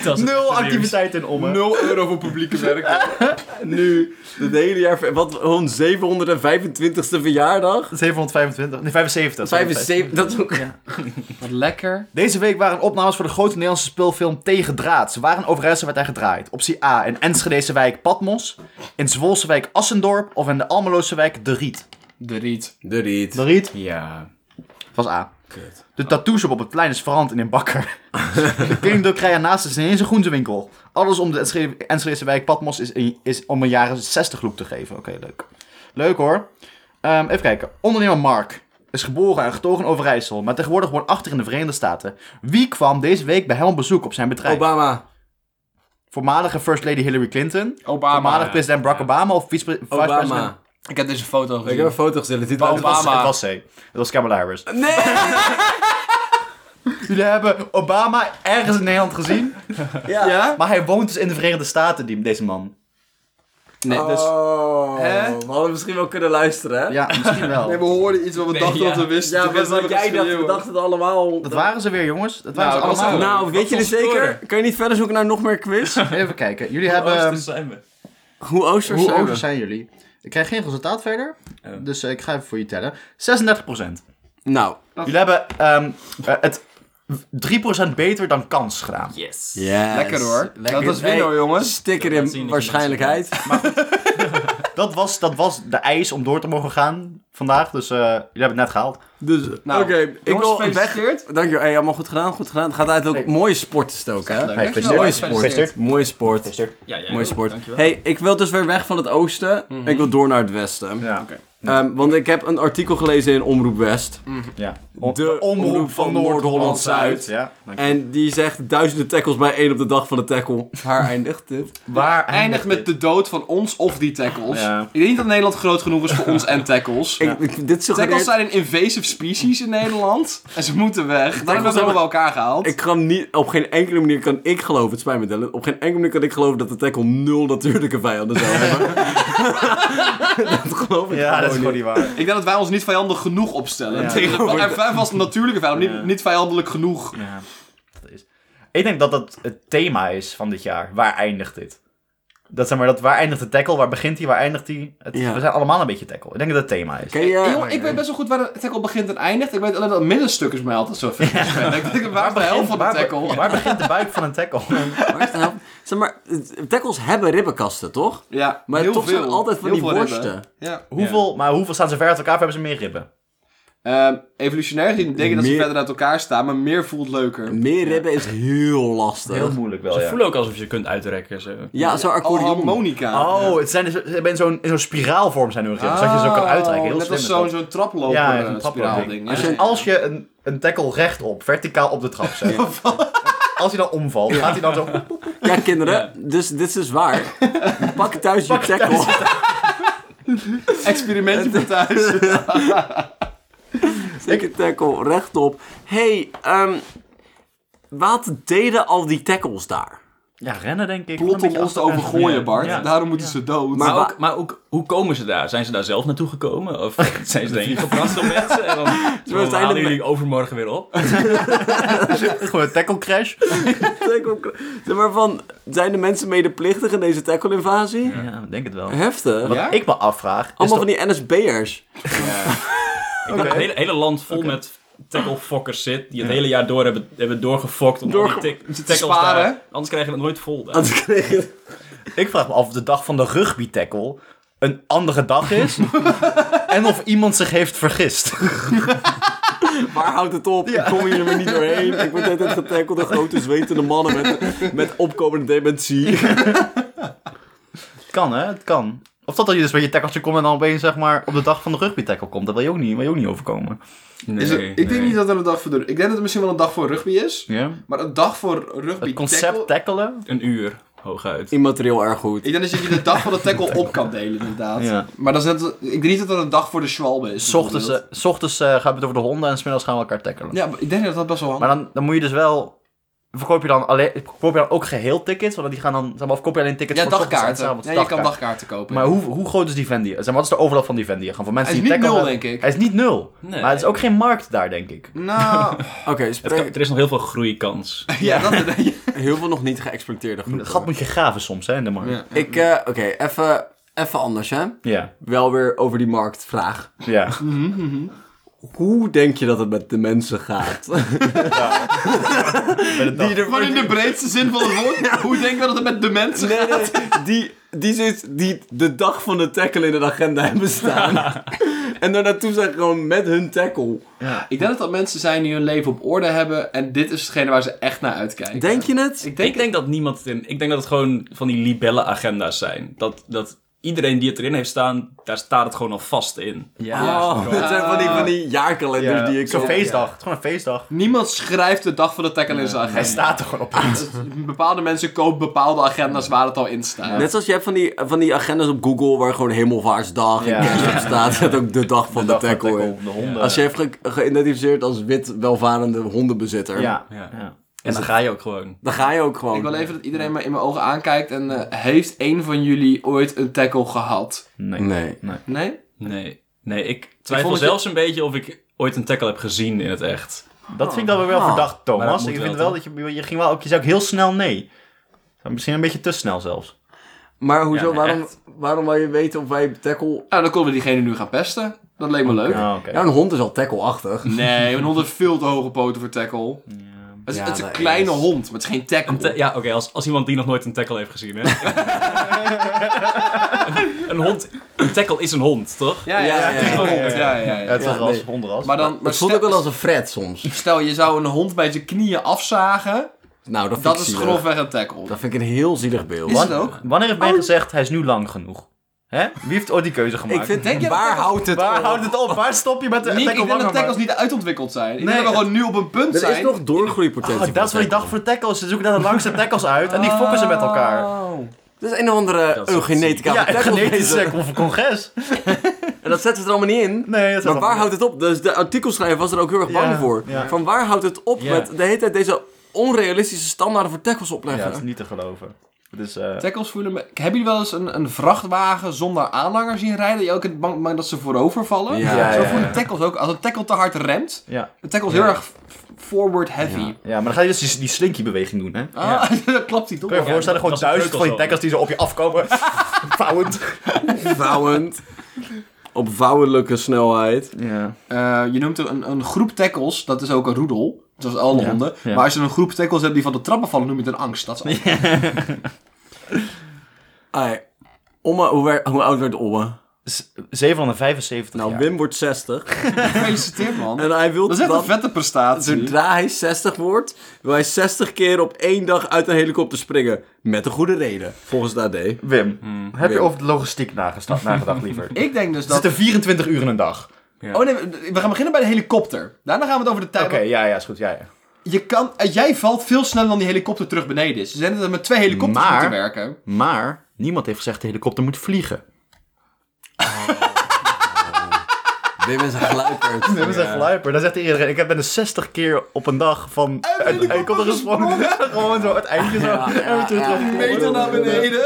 Speaker 4: Dat is
Speaker 3: Nul
Speaker 4: het
Speaker 3: activiteiten in omloop.
Speaker 2: 0 euro voor publieke werk.
Speaker 1: Nu, het hele jaar... Wat, hun 725ste verjaardag?
Speaker 3: 725, nee 75.
Speaker 1: 75, dat is ook...
Speaker 2: Wat lekker.
Speaker 3: Deze week waren opnames voor de grote Nederlandse speelfilm Tegen Draad. Ze waren overijssel werd hij gedraaid. Optie A in Enschedese wijk Patmos, in Zwolse wijk Assendorp of in de Almeloze wijk De Riet.
Speaker 2: De riet.
Speaker 1: De Riet.
Speaker 3: Riet?
Speaker 2: Ja.
Speaker 3: was A. De tattooshop op het plein is veranderd in een bakker. de kringdrukkerij naast is ineens een groentewinkel. Alles om de Enschede- Enschedese wijk Patmos is, is om een jaren 60 look te geven. Oké, leuk. Leuk hoor. Ehm, even kijken. Ondernemer Mark is geboren en getogen in Overijssel, maar tegenwoordig woont achter in de Verenigde Staten. Wie kwam deze week bij hem op bezoek op zijn bedrijf?
Speaker 1: Obama.
Speaker 3: Voormalige First Lady Hillary Clinton?
Speaker 2: Obama.
Speaker 3: Voormalig president Barack Obama of vice- vice-president?
Speaker 1: Ah, Obama.
Speaker 2: Ik heb deze foto
Speaker 1: Ik heb een
Speaker 2: gezien.
Speaker 1: foto gezet. Het ziet
Speaker 3: Het was,
Speaker 2: Obama.
Speaker 3: het was C. Het was Kamala Harris.
Speaker 1: Nee!
Speaker 3: Jullie hebben Obama ergens in Nederland gezien?
Speaker 1: Ja.
Speaker 3: Maar hij woont dus in de Verenigde Staten, die, deze man.
Speaker 2: Nee, dus...
Speaker 1: Oh,
Speaker 2: Hè?
Speaker 1: we hadden misschien wel kunnen luisteren, hè?
Speaker 3: Ja, misschien
Speaker 2: Nee,
Speaker 3: wel.
Speaker 2: we hoorden iets wat we
Speaker 4: Nee,
Speaker 2: dachten
Speaker 4: ja.
Speaker 2: dat we wisten.
Speaker 1: Ja,
Speaker 2: Toen
Speaker 1: wat,
Speaker 2: wisten
Speaker 1: wat
Speaker 2: we
Speaker 1: jij dacht,
Speaker 2: geschreeuwen.
Speaker 1: we dachten het allemaal.
Speaker 3: Dat waren ze weer, jongens. Dat waren
Speaker 2: Nou,
Speaker 3: ze
Speaker 2: dat was
Speaker 3: allemaal.
Speaker 2: het.
Speaker 1: Nou, weet
Speaker 4: Wat
Speaker 1: je het
Speaker 4: voor score?
Speaker 1: zeker? Kan je niet verder zoeken naar nog meer quiz?
Speaker 3: Even kijken. Jullie
Speaker 4: Hoe
Speaker 3: hebben...
Speaker 4: oosters zijn we?
Speaker 1: Hoe oosters
Speaker 3: Hoe
Speaker 1: zijn
Speaker 3: oud
Speaker 1: we?
Speaker 3: zijn jullie? Ik krijg geen resultaat verder.
Speaker 4: Oh.
Speaker 3: Dus eh, ik ga even voor je tellen. 36%.
Speaker 1: Nou.
Speaker 3: Jullie hebben ehm, eh, het 3% beter dan kans gedaan.
Speaker 4: Yes.
Speaker 1: Yes.
Speaker 2: Lekker hoor. Dat was winnen
Speaker 1: Hey,
Speaker 2: hoor, jongens.
Speaker 1: Sticker
Speaker 4: Dat laat zien dat
Speaker 1: in
Speaker 4: je
Speaker 1: waarschijnlijkheid.
Speaker 3: Dat was, dat was de eis om door te mogen gaan vandaag. Dus eh, jullie hebben het net gehaald.
Speaker 1: Dus,
Speaker 2: Nou,
Speaker 1: oké. Ik
Speaker 2: jongens,
Speaker 1: wil weg.
Speaker 2: gefeliciteerd.
Speaker 1: Dankjewel. Hey, allemaal goed gedaan, goed gedaan. Het gaat uit ook mooie sport is het ook, hè?
Speaker 3: Hey,
Speaker 2: Dankjewel.
Speaker 1: Mooie
Speaker 2: Gefeliciteerd.
Speaker 1: sport. Mooie sport.
Speaker 4: Ja, jij
Speaker 1: Mooie
Speaker 4: ook.
Speaker 1: sport.
Speaker 4: Dankjewel.
Speaker 1: Hey, ik wil dus weer weg van het oosten. Ik wil door naar het westen.
Speaker 3: Ja.
Speaker 1: Ehm, want ik heb een artikel gelezen in Omroep West.
Speaker 3: ja.
Speaker 1: De omroep van Noord-Holland-Zuid.
Speaker 3: Ja, dank je.
Speaker 1: En die zegt duizenden tackles bij één op de dag van de tackle. Haar eindigt dit.
Speaker 3: Waar
Speaker 2: Eindig met de dood van ons of die tackles.
Speaker 3: Ja.
Speaker 2: Ik denk niet dat Nederland groot genoeg is voor ons en tackles.
Speaker 1: Ik, ik- dit
Speaker 2: Tackles
Speaker 1: suggereert...
Speaker 2: zijn een invasive species in Nederland. En ze moeten weg. Daarom hebben we
Speaker 1: zijn-
Speaker 2: allemaal bij elkaar gehaald.
Speaker 1: Ik kan niet... Op geen enkele manier kan ik geloven... Het spijt me, Dylan. Op geen enkele manier kan ik geloven dat de tackle nul natuurlijke vijanden zou hebben. dat geloof ik
Speaker 3: Ja, dat is
Speaker 1: gewoon niet.
Speaker 3: gewoon niet waar.
Speaker 2: Ik denk dat wij ons niet vijandig genoeg opstellen.
Speaker 3: Ja.
Speaker 2: Tegen en wij vast een natuurlijke vijand, maar
Speaker 3: Ja.
Speaker 2: niet, niet vijandelijk genoeg.
Speaker 3: Ja, dat is. Ik denk dat dat het thema is van dit jaar. Waar eindigt dit? Dat zeg maar, dat waar eindigt de tackle? Waar begint hij? Waar eindigt hij? Het-
Speaker 1: Ja.
Speaker 3: We zijn allemaal een beetje tackle. Ik denk dat dat het thema is.
Speaker 1: Ken je...
Speaker 2: Hey, jongen, Eh, ik weet best wel goed waar de tackle begint en eindigt. Ik weet alleen dat het middenstuk is mij altijd zo ver. Ik denk, waar is de helft van de
Speaker 3: waar, be-
Speaker 2: tackle?
Speaker 3: waar begint de buik van een tackle?
Speaker 1: Waar is de helft? Zeg maar, tackles hebben ribbenkasten, toch?
Speaker 2: Ja,
Speaker 1: Maar
Speaker 2: heel
Speaker 1: toch
Speaker 2: veel.
Speaker 1: zijn altijd van
Speaker 2: Heel
Speaker 1: die
Speaker 2: veel ribben.
Speaker 1: worsten.
Speaker 2: Ja.
Speaker 3: hoeveel, Maar hoeveel staan ze ver uit elkaar? Of hebben ze meer ribben?
Speaker 2: Ehm, evolutionair gezien denk ik dat ze
Speaker 1: Meer-
Speaker 2: verder uit elkaar staan, maar meer voelt leuker.
Speaker 1: Meer ribben is heel lastig.
Speaker 3: Heel moeilijk wel,
Speaker 4: Ze
Speaker 3: ja.
Speaker 4: voelen ook alsof je ze kunt uitrekken. Zo.
Speaker 1: Ja, zo'n
Speaker 2: Al
Speaker 1: accordeon.
Speaker 2: harmonica.
Speaker 3: Oh, het zijn, ze hebben in zo'n, in zo'n spiraalvorm zijn hun ribben. zodat je ze ook kan uitrekken. Heel
Speaker 2: Oh, Net
Speaker 3: slim
Speaker 2: als
Speaker 3: is
Speaker 2: zo'n
Speaker 3: dat.
Speaker 2: zo'n traploper eh,
Speaker 3: Ja,
Speaker 2: ja,
Speaker 3: een
Speaker 2: spiraalding.
Speaker 3: traploping.
Speaker 2: Ja.
Speaker 3: Als je een, een tackle rechtop, verticaal op de trap zet. Als hij dan omvalt, gaat hij dan zo... poep, poep,
Speaker 1: Ja, kinderen, dus dit is dus waar. Pak thuis je tackle.
Speaker 2: Experimentje van thuis.
Speaker 1: Zet je tackle rechtop. hey, ehm, wat deden al die tackles daar?
Speaker 3: Ja, rennen denk ik.
Speaker 2: Plot om ons te overgooien, Bart.
Speaker 4: Ja.
Speaker 2: Daarom moeten ze dood.
Speaker 1: Maar
Speaker 4: Maar,
Speaker 1: wa-
Speaker 4: ook, maar ook, hoe komen ze daar? Zijn ze daar zelf naartoe gekomen? Of zijn ze daarheen geprast door mensen? En dan, dan
Speaker 1: zijn
Speaker 4: halen
Speaker 1: er-
Speaker 4: jullie overmorgen weer op.
Speaker 3: Gewoon een tackle crash.
Speaker 1: Tackle- Zeg maar van, zijn de mensen medeplichtig in deze tackle-invasie?
Speaker 4: Ja, ik denk het wel.
Speaker 1: Heftig.
Speaker 3: Wat
Speaker 2: Ja?
Speaker 3: ik me afvraag... is
Speaker 1: Allemaal
Speaker 3: toch-
Speaker 1: van die NSB'ers.
Speaker 4: Ik denk dat het hele, hele land vol met tacklefokkers zit. Die het hele jaar door hebben, hebben doorgefokt. Om
Speaker 1: Doorge-
Speaker 4: al die tak- tackles
Speaker 2: sparen.
Speaker 4: daar- Anders krijgen we het nooit vol. daar.
Speaker 1: Anders kreeg je-
Speaker 3: Ik vraag me af of de dag van de rugby tackle een andere dag is. en of iemand zich heeft vergist.
Speaker 1: Waar houdt het op? Ik kom hier weer niet doorheen. Ik word net getackeld door grote zwetende mannen met, met opkomende dementie.
Speaker 3: Het kan, hè? Het kan. Of dat dat je dus bij je tackeltje komt en dan opeens zeg maar, op de dag van de rugby tackle komt. Dat wil je ook niet, wil je ook niet overkomen.
Speaker 2: Is het- Dus ik denk niet dat er een dag voor de... Ik denk dat het misschien wel een dag voor rugby is.
Speaker 3: Ja.
Speaker 2: Maar een dag voor rugby
Speaker 3: Het concept
Speaker 2: tackle...
Speaker 3: tackelen.
Speaker 4: Een uur, hooguit.
Speaker 1: Immaterieel erg goed.
Speaker 2: Ik denk dat je de dag van de tackle op kan delen, inderdaad.
Speaker 3: Ja.
Speaker 2: Maar dat is net, ik denk niet dat dat een dag voor de schwalbe is.
Speaker 3: S ochtends, eh,
Speaker 2: bijvoorbeeld.
Speaker 3: s ochtends eh, gaan we het over de honden en smiddags gaan we elkaar tackelen.
Speaker 2: Ja, maar ik denk dat dat best wel handig
Speaker 3: Maar dan, dan moet je dus wel... Verkoop je dan, alleen, verkoop je dan ook geheel tickets? Want die gaan dan, zeg maar, of koop je alleen tickets
Speaker 2: is. Ja,
Speaker 3: voor 's ochtends en
Speaker 2: dagkaarten.
Speaker 3: s'avonds
Speaker 2: Ja, je kan
Speaker 3: dagkaart.
Speaker 2: dagkaarten kopen.
Speaker 3: Maar hoe, hoe groot is die Venn Zeg maar, wat is de overlap van die Venn Gaan voor mensen
Speaker 2: Hij is
Speaker 3: die
Speaker 2: niet
Speaker 3: tackelen-
Speaker 2: nul, denk ik.
Speaker 3: Hij is niet nul.
Speaker 4: Nee.
Speaker 3: Maar het is ook geen markt daar, denk ik.
Speaker 2: Nou,
Speaker 1: Oké,
Speaker 4: Het kan-
Speaker 1: spreek-
Speaker 4: er is nog heel veel groeikans.
Speaker 2: ja, dat...
Speaker 1: heel veel nog niet geëxploiteerde
Speaker 3: Het gat
Speaker 1: groepen.
Speaker 3: moet je graven soms, hè, in de markt.
Speaker 2: Ja.
Speaker 1: Ik, eh, oké, even, even anders hè.
Speaker 3: Ja.
Speaker 1: Wel weer over die marktvraag.
Speaker 3: ja.
Speaker 1: Hoe denk je dat het met de mensen gaat? die er
Speaker 2: Maar in de breedste zin van het woord, hoe denk je dat het met de mensen
Speaker 1: Nee, nee, die, die, zit, die de dag van de tackle in de agenda hebben staan. en daarnaartoe zijn gewoon met hun tackle.
Speaker 2: Ik denk dat dat mensen zijn die hun leven op orde hebben en dit is hetgene waar ze echt naar uitkijken.
Speaker 1: Denk je het?
Speaker 2: Ik
Speaker 4: Ik
Speaker 2: denk...
Speaker 4: denk dat niemand het in... Ik denk dat het gewoon van die libelle-agenda's zijn. Dat, dat iedereen die het erin heeft staan, daar staat het gewoon al vast in.
Speaker 1: Oh, dat zijn van die, van die jaarkalenders die ik
Speaker 3: Zo'n
Speaker 1: op-
Speaker 3: feestdag. Het is gewoon een feestdag.
Speaker 2: Niemand schrijft de dag van de tackle in zijn
Speaker 3: Hij
Speaker 2: agenda.
Speaker 3: staat er gewoon op.
Speaker 2: Bepaalde mensen kopen bepaalde agenda's waar het al in staat.
Speaker 1: Net zoals je hebt van die, van die agendas op Google waar gewoon hemelvaartsdag
Speaker 3: Ja.
Speaker 1: en kerst op staat, zet ook de dag van de,
Speaker 3: dag van
Speaker 1: tackle in.
Speaker 3: De honden.
Speaker 1: Als je hebt ge- geïdentificeerd als wit welvarende hondenbezitter,
Speaker 3: Ja.
Speaker 4: Ja.
Speaker 3: Ja.
Speaker 4: En dan ga je ook gewoon.
Speaker 1: dan ga je ook gewoon.
Speaker 2: Ik wil even dat iedereen me in mijn ogen aankijkt en eh, heeft één van jullie ooit een tackle gehad?
Speaker 3: Nee.
Speaker 1: Nee.
Speaker 2: Nee?
Speaker 4: Nee. Nee, ik twijfel
Speaker 2: vond het-
Speaker 4: zelfs een beetje of ik ooit een tackle heb gezien in het echt.
Speaker 3: Dat vind ik dan weer wel
Speaker 2: Ah.
Speaker 1: Oh.
Speaker 3: verdacht,
Speaker 4: Maar dat
Speaker 3: Thomas.
Speaker 4: moet
Speaker 3: Ik vind
Speaker 4: wel,
Speaker 3: wel dat je, je ging wel ook, je zei ook heel snel nee. Misschien een beetje te snel zelfs.
Speaker 1: Maar hoezo,
Speaker 4: Ja, nee,
Speaker 1: waarom,
Speaker 4: echt.
Speaker 1: waarom wil je weten of wij tackle...
Speaker 2: Nou, dan konden we diegene nu gaan pesten. Dat leek me leuk.
Speaker 3: Ja, Ah, oké.
Speaker 1: Ja, een hond is al tackle-achtig.
Speaker 2: Nee, een hond heeft veel te hoge poten voor tackle.
Speaker 3: Ja.
Speaker 2: Het is,
Speaker 1: Ja,
Speaker 2: het is een
Speaker 1: dat
Speaker 2: kleine
Speaker 1: is-
Speaker 2: hond, maar het is geen tackle.
Speaker 4: Een ta- ja, oké, als, als iemand die nog nooit een tackle heeft gezien, hè. een hond... Een tackle is een hond, toch?
Speaker 2: Ja, ja, ja.
Speaker 1: Ja,
Speaker 2: het is een
Speaker 1: ja, ja,
Speaker 2: hond, ja, ja,
Speaker 3: Ja,
Speaker 2: ja.
Speaker 3: het is
Speaker 1: Ja,
Speaker 3: een ras,
Speaker 1: nee.
Speaker 3: hondenras.
Speaker 2: Maar dan... Maar
Speaker 1: Het voelt ook
Speaker 2: stel-
Speaker 1: wel als een fret soms.
Speaker 2: Stel, je zou een hond bij zijn knieën afzagen.
Speaker 1: Nou, dat vind
Speaker 2: Dat
Speaker 1: ik
Speaker 2: is
Speaker 1: zielig.
Speaker 2: grofweg een tackle.
Speaker 1: Dat vind ik een heel zielig beeld.
Speaker 2: Is
Speaker 3: Wan-
Speaker 2: het ook?
Speaker 3: Wanneer heeft men gezegd, hij is nu lang genoeg? Hè? Wie heeft ooit die keuze gemaakt?
Speaker 1: Ik vind,
Speaker 2: Denk je dat
Speaker 1: waar
Speaker 2: tackles-
Speaker 1: houdt het
Speaker 3: Waar
Speaker 1: op?
Speaker 3: houdt het op? Waar stop je met de
Speaker 2: Niet- ik denk dat
Speaker 3: tackle
Speaker 2: tackles niet uitontwikkeld zijn. Ik
Speaker 3: Nee,
Speaker 2: denk dat we
Speaker 3: het-
Speaker 2: gewoon nu op een punt
Speaker 1: Er
Speaker 2: zijn.
Speaker 1: is nog doorgroeipotentie.
Speaker 3: Oh,
Speaker 1: voor
Speaker 3: dat is wel die
Speaker 1: tackle.
Speaker 3: dag voor tackles. Ze zoeken naar de langste tackles uit en die fokken ze met elkaar.
Speaker 1: Dat is een of andere eh,
Speaker 4: Dat is echt
Speaker 1: eugenetica.
Speaker 3: Ja,
Speaker 1: van
Speaker 3: een
Speaker 1: tackle
Speaker 3: genetisch
Speaker 1: bezig.
Speaker 3: eh, con- congres.
Speaker 1: En dat zetten ze er allemaal niet in.
Speaker 3: Nee, dat is
Speaker 1: maar waar houdt het op? Dus de artikelschrijver was er ook heel erg bang
Speaker 3: Ja,
Speaker 1: voor.
Speaker 3: ja.
Speaker 1: Van waar houdt het op
Speaker 4: Ja.
Speaker 1: met de hele tijd deze onrealistische standaarden voor tackles
Speaker 3: Ja,
Speaker 1: opleggen?
Speaker 3: dat is niet te geloven. Het is, eh,
Speaker 2: Tackles voelen me... Hebben jullie wel eens een, een vrachtwagen zonder aanhanger zien rijden? Die ook in bang bang dat ze voorover vallen?
Speaker 1: Ja,
Speaker 3: ja,
Speaker 2: Zo
Speaker 3: ja,
Speaker 2: voelen
Speaker 3: ja.
Speaker 2: tackles ook. Als een tackle te hard remt,
Speaker 3: ja.
Speaker 2: een tackle is
Speaker 1: Ja.
Speaker 2: heel erg f- forward heavy.
Speaker 1: Ja.
Speaker 3: ja, maar dan ga je dus die, die slinky-beweging doen, hè?
Speaker 2: Ah, dan klapt hij toch?
Speaker 3: Kun je je
Speaker 4: Ja,
Speaker 3: voorstellen, gewoon
Speaker 4: dat is een
Speaker 3: duizend van die
Speaker 4: kleuterschool.
Speaker 3: tackles die zo op je afkomen. Vouwend.
Speaker 1: Vouwend. Op vouwelijke snelheid.
Speaker 3: Ja.
Speaker 2: Eh, je noemt een, een groep tackles, dat is ook een roedel. Zoals alle
Speaker 3: Ja,
Speaker 2: honden.
Speaker 3: ja.
Speaker 2: Maar als je een groep tackles hebt die van de trappen vallen, noem je het een angst. Dat is al-
Speaker 1: Ai, Omme, hoe, wer- hoe oud werd Omme?
Speaker 3: 775
Speaker 1: Nou,
Speaker 3: jaar.
Speaker 1: Wim wordt 60.
Speaker 2: Gefeliciteerd, man.
Speaker 1: En hij wil
Speaker 2: Dat is echt
Speaker 1: dan,
Speaker 2: een vette prestatie.
Speaker 1: zodra hij 60 wordt, wil hij 60 keer op één dag uit een helikopter springen. Met een goede reden, volgens de AD.
Speaker 3: Wim, heb je
Speaker 1: Wim.
Speaker 3: over de logistiek nagesta- nagedacht, liever? Er
Speaker 2: Ik denk dus dat...
Speaker 3: zitten 24 uur in een dag.
Speaker 2: Oh nee, we gaan beginnen bij de helikopter. Daarna gaan we het over de tijd...
Speaker 3: Oké, ja, ja, is goed. Ja, ja.
Speaker 2: je kan, eh, jij valt veel sneller dan die helikopter terug beneden is. Ze zijn er met twee helikopters
Speaker 3: Maar-
Speaker 2: moeten werken.
Speaker 3: Maar niemand heeft gezegd de helikopter moet vliegen.
Speaker 1: Wim is een gluiperd.
Speaker 3: Dat is echt luiper. Dan zegt iedereen, ik heb ben er 60 keer op een dag van uit de helikopter gesprongen. Gewoon zo het eindje zo. en weer terug terug.
Speaker 2: Meter naar beneden.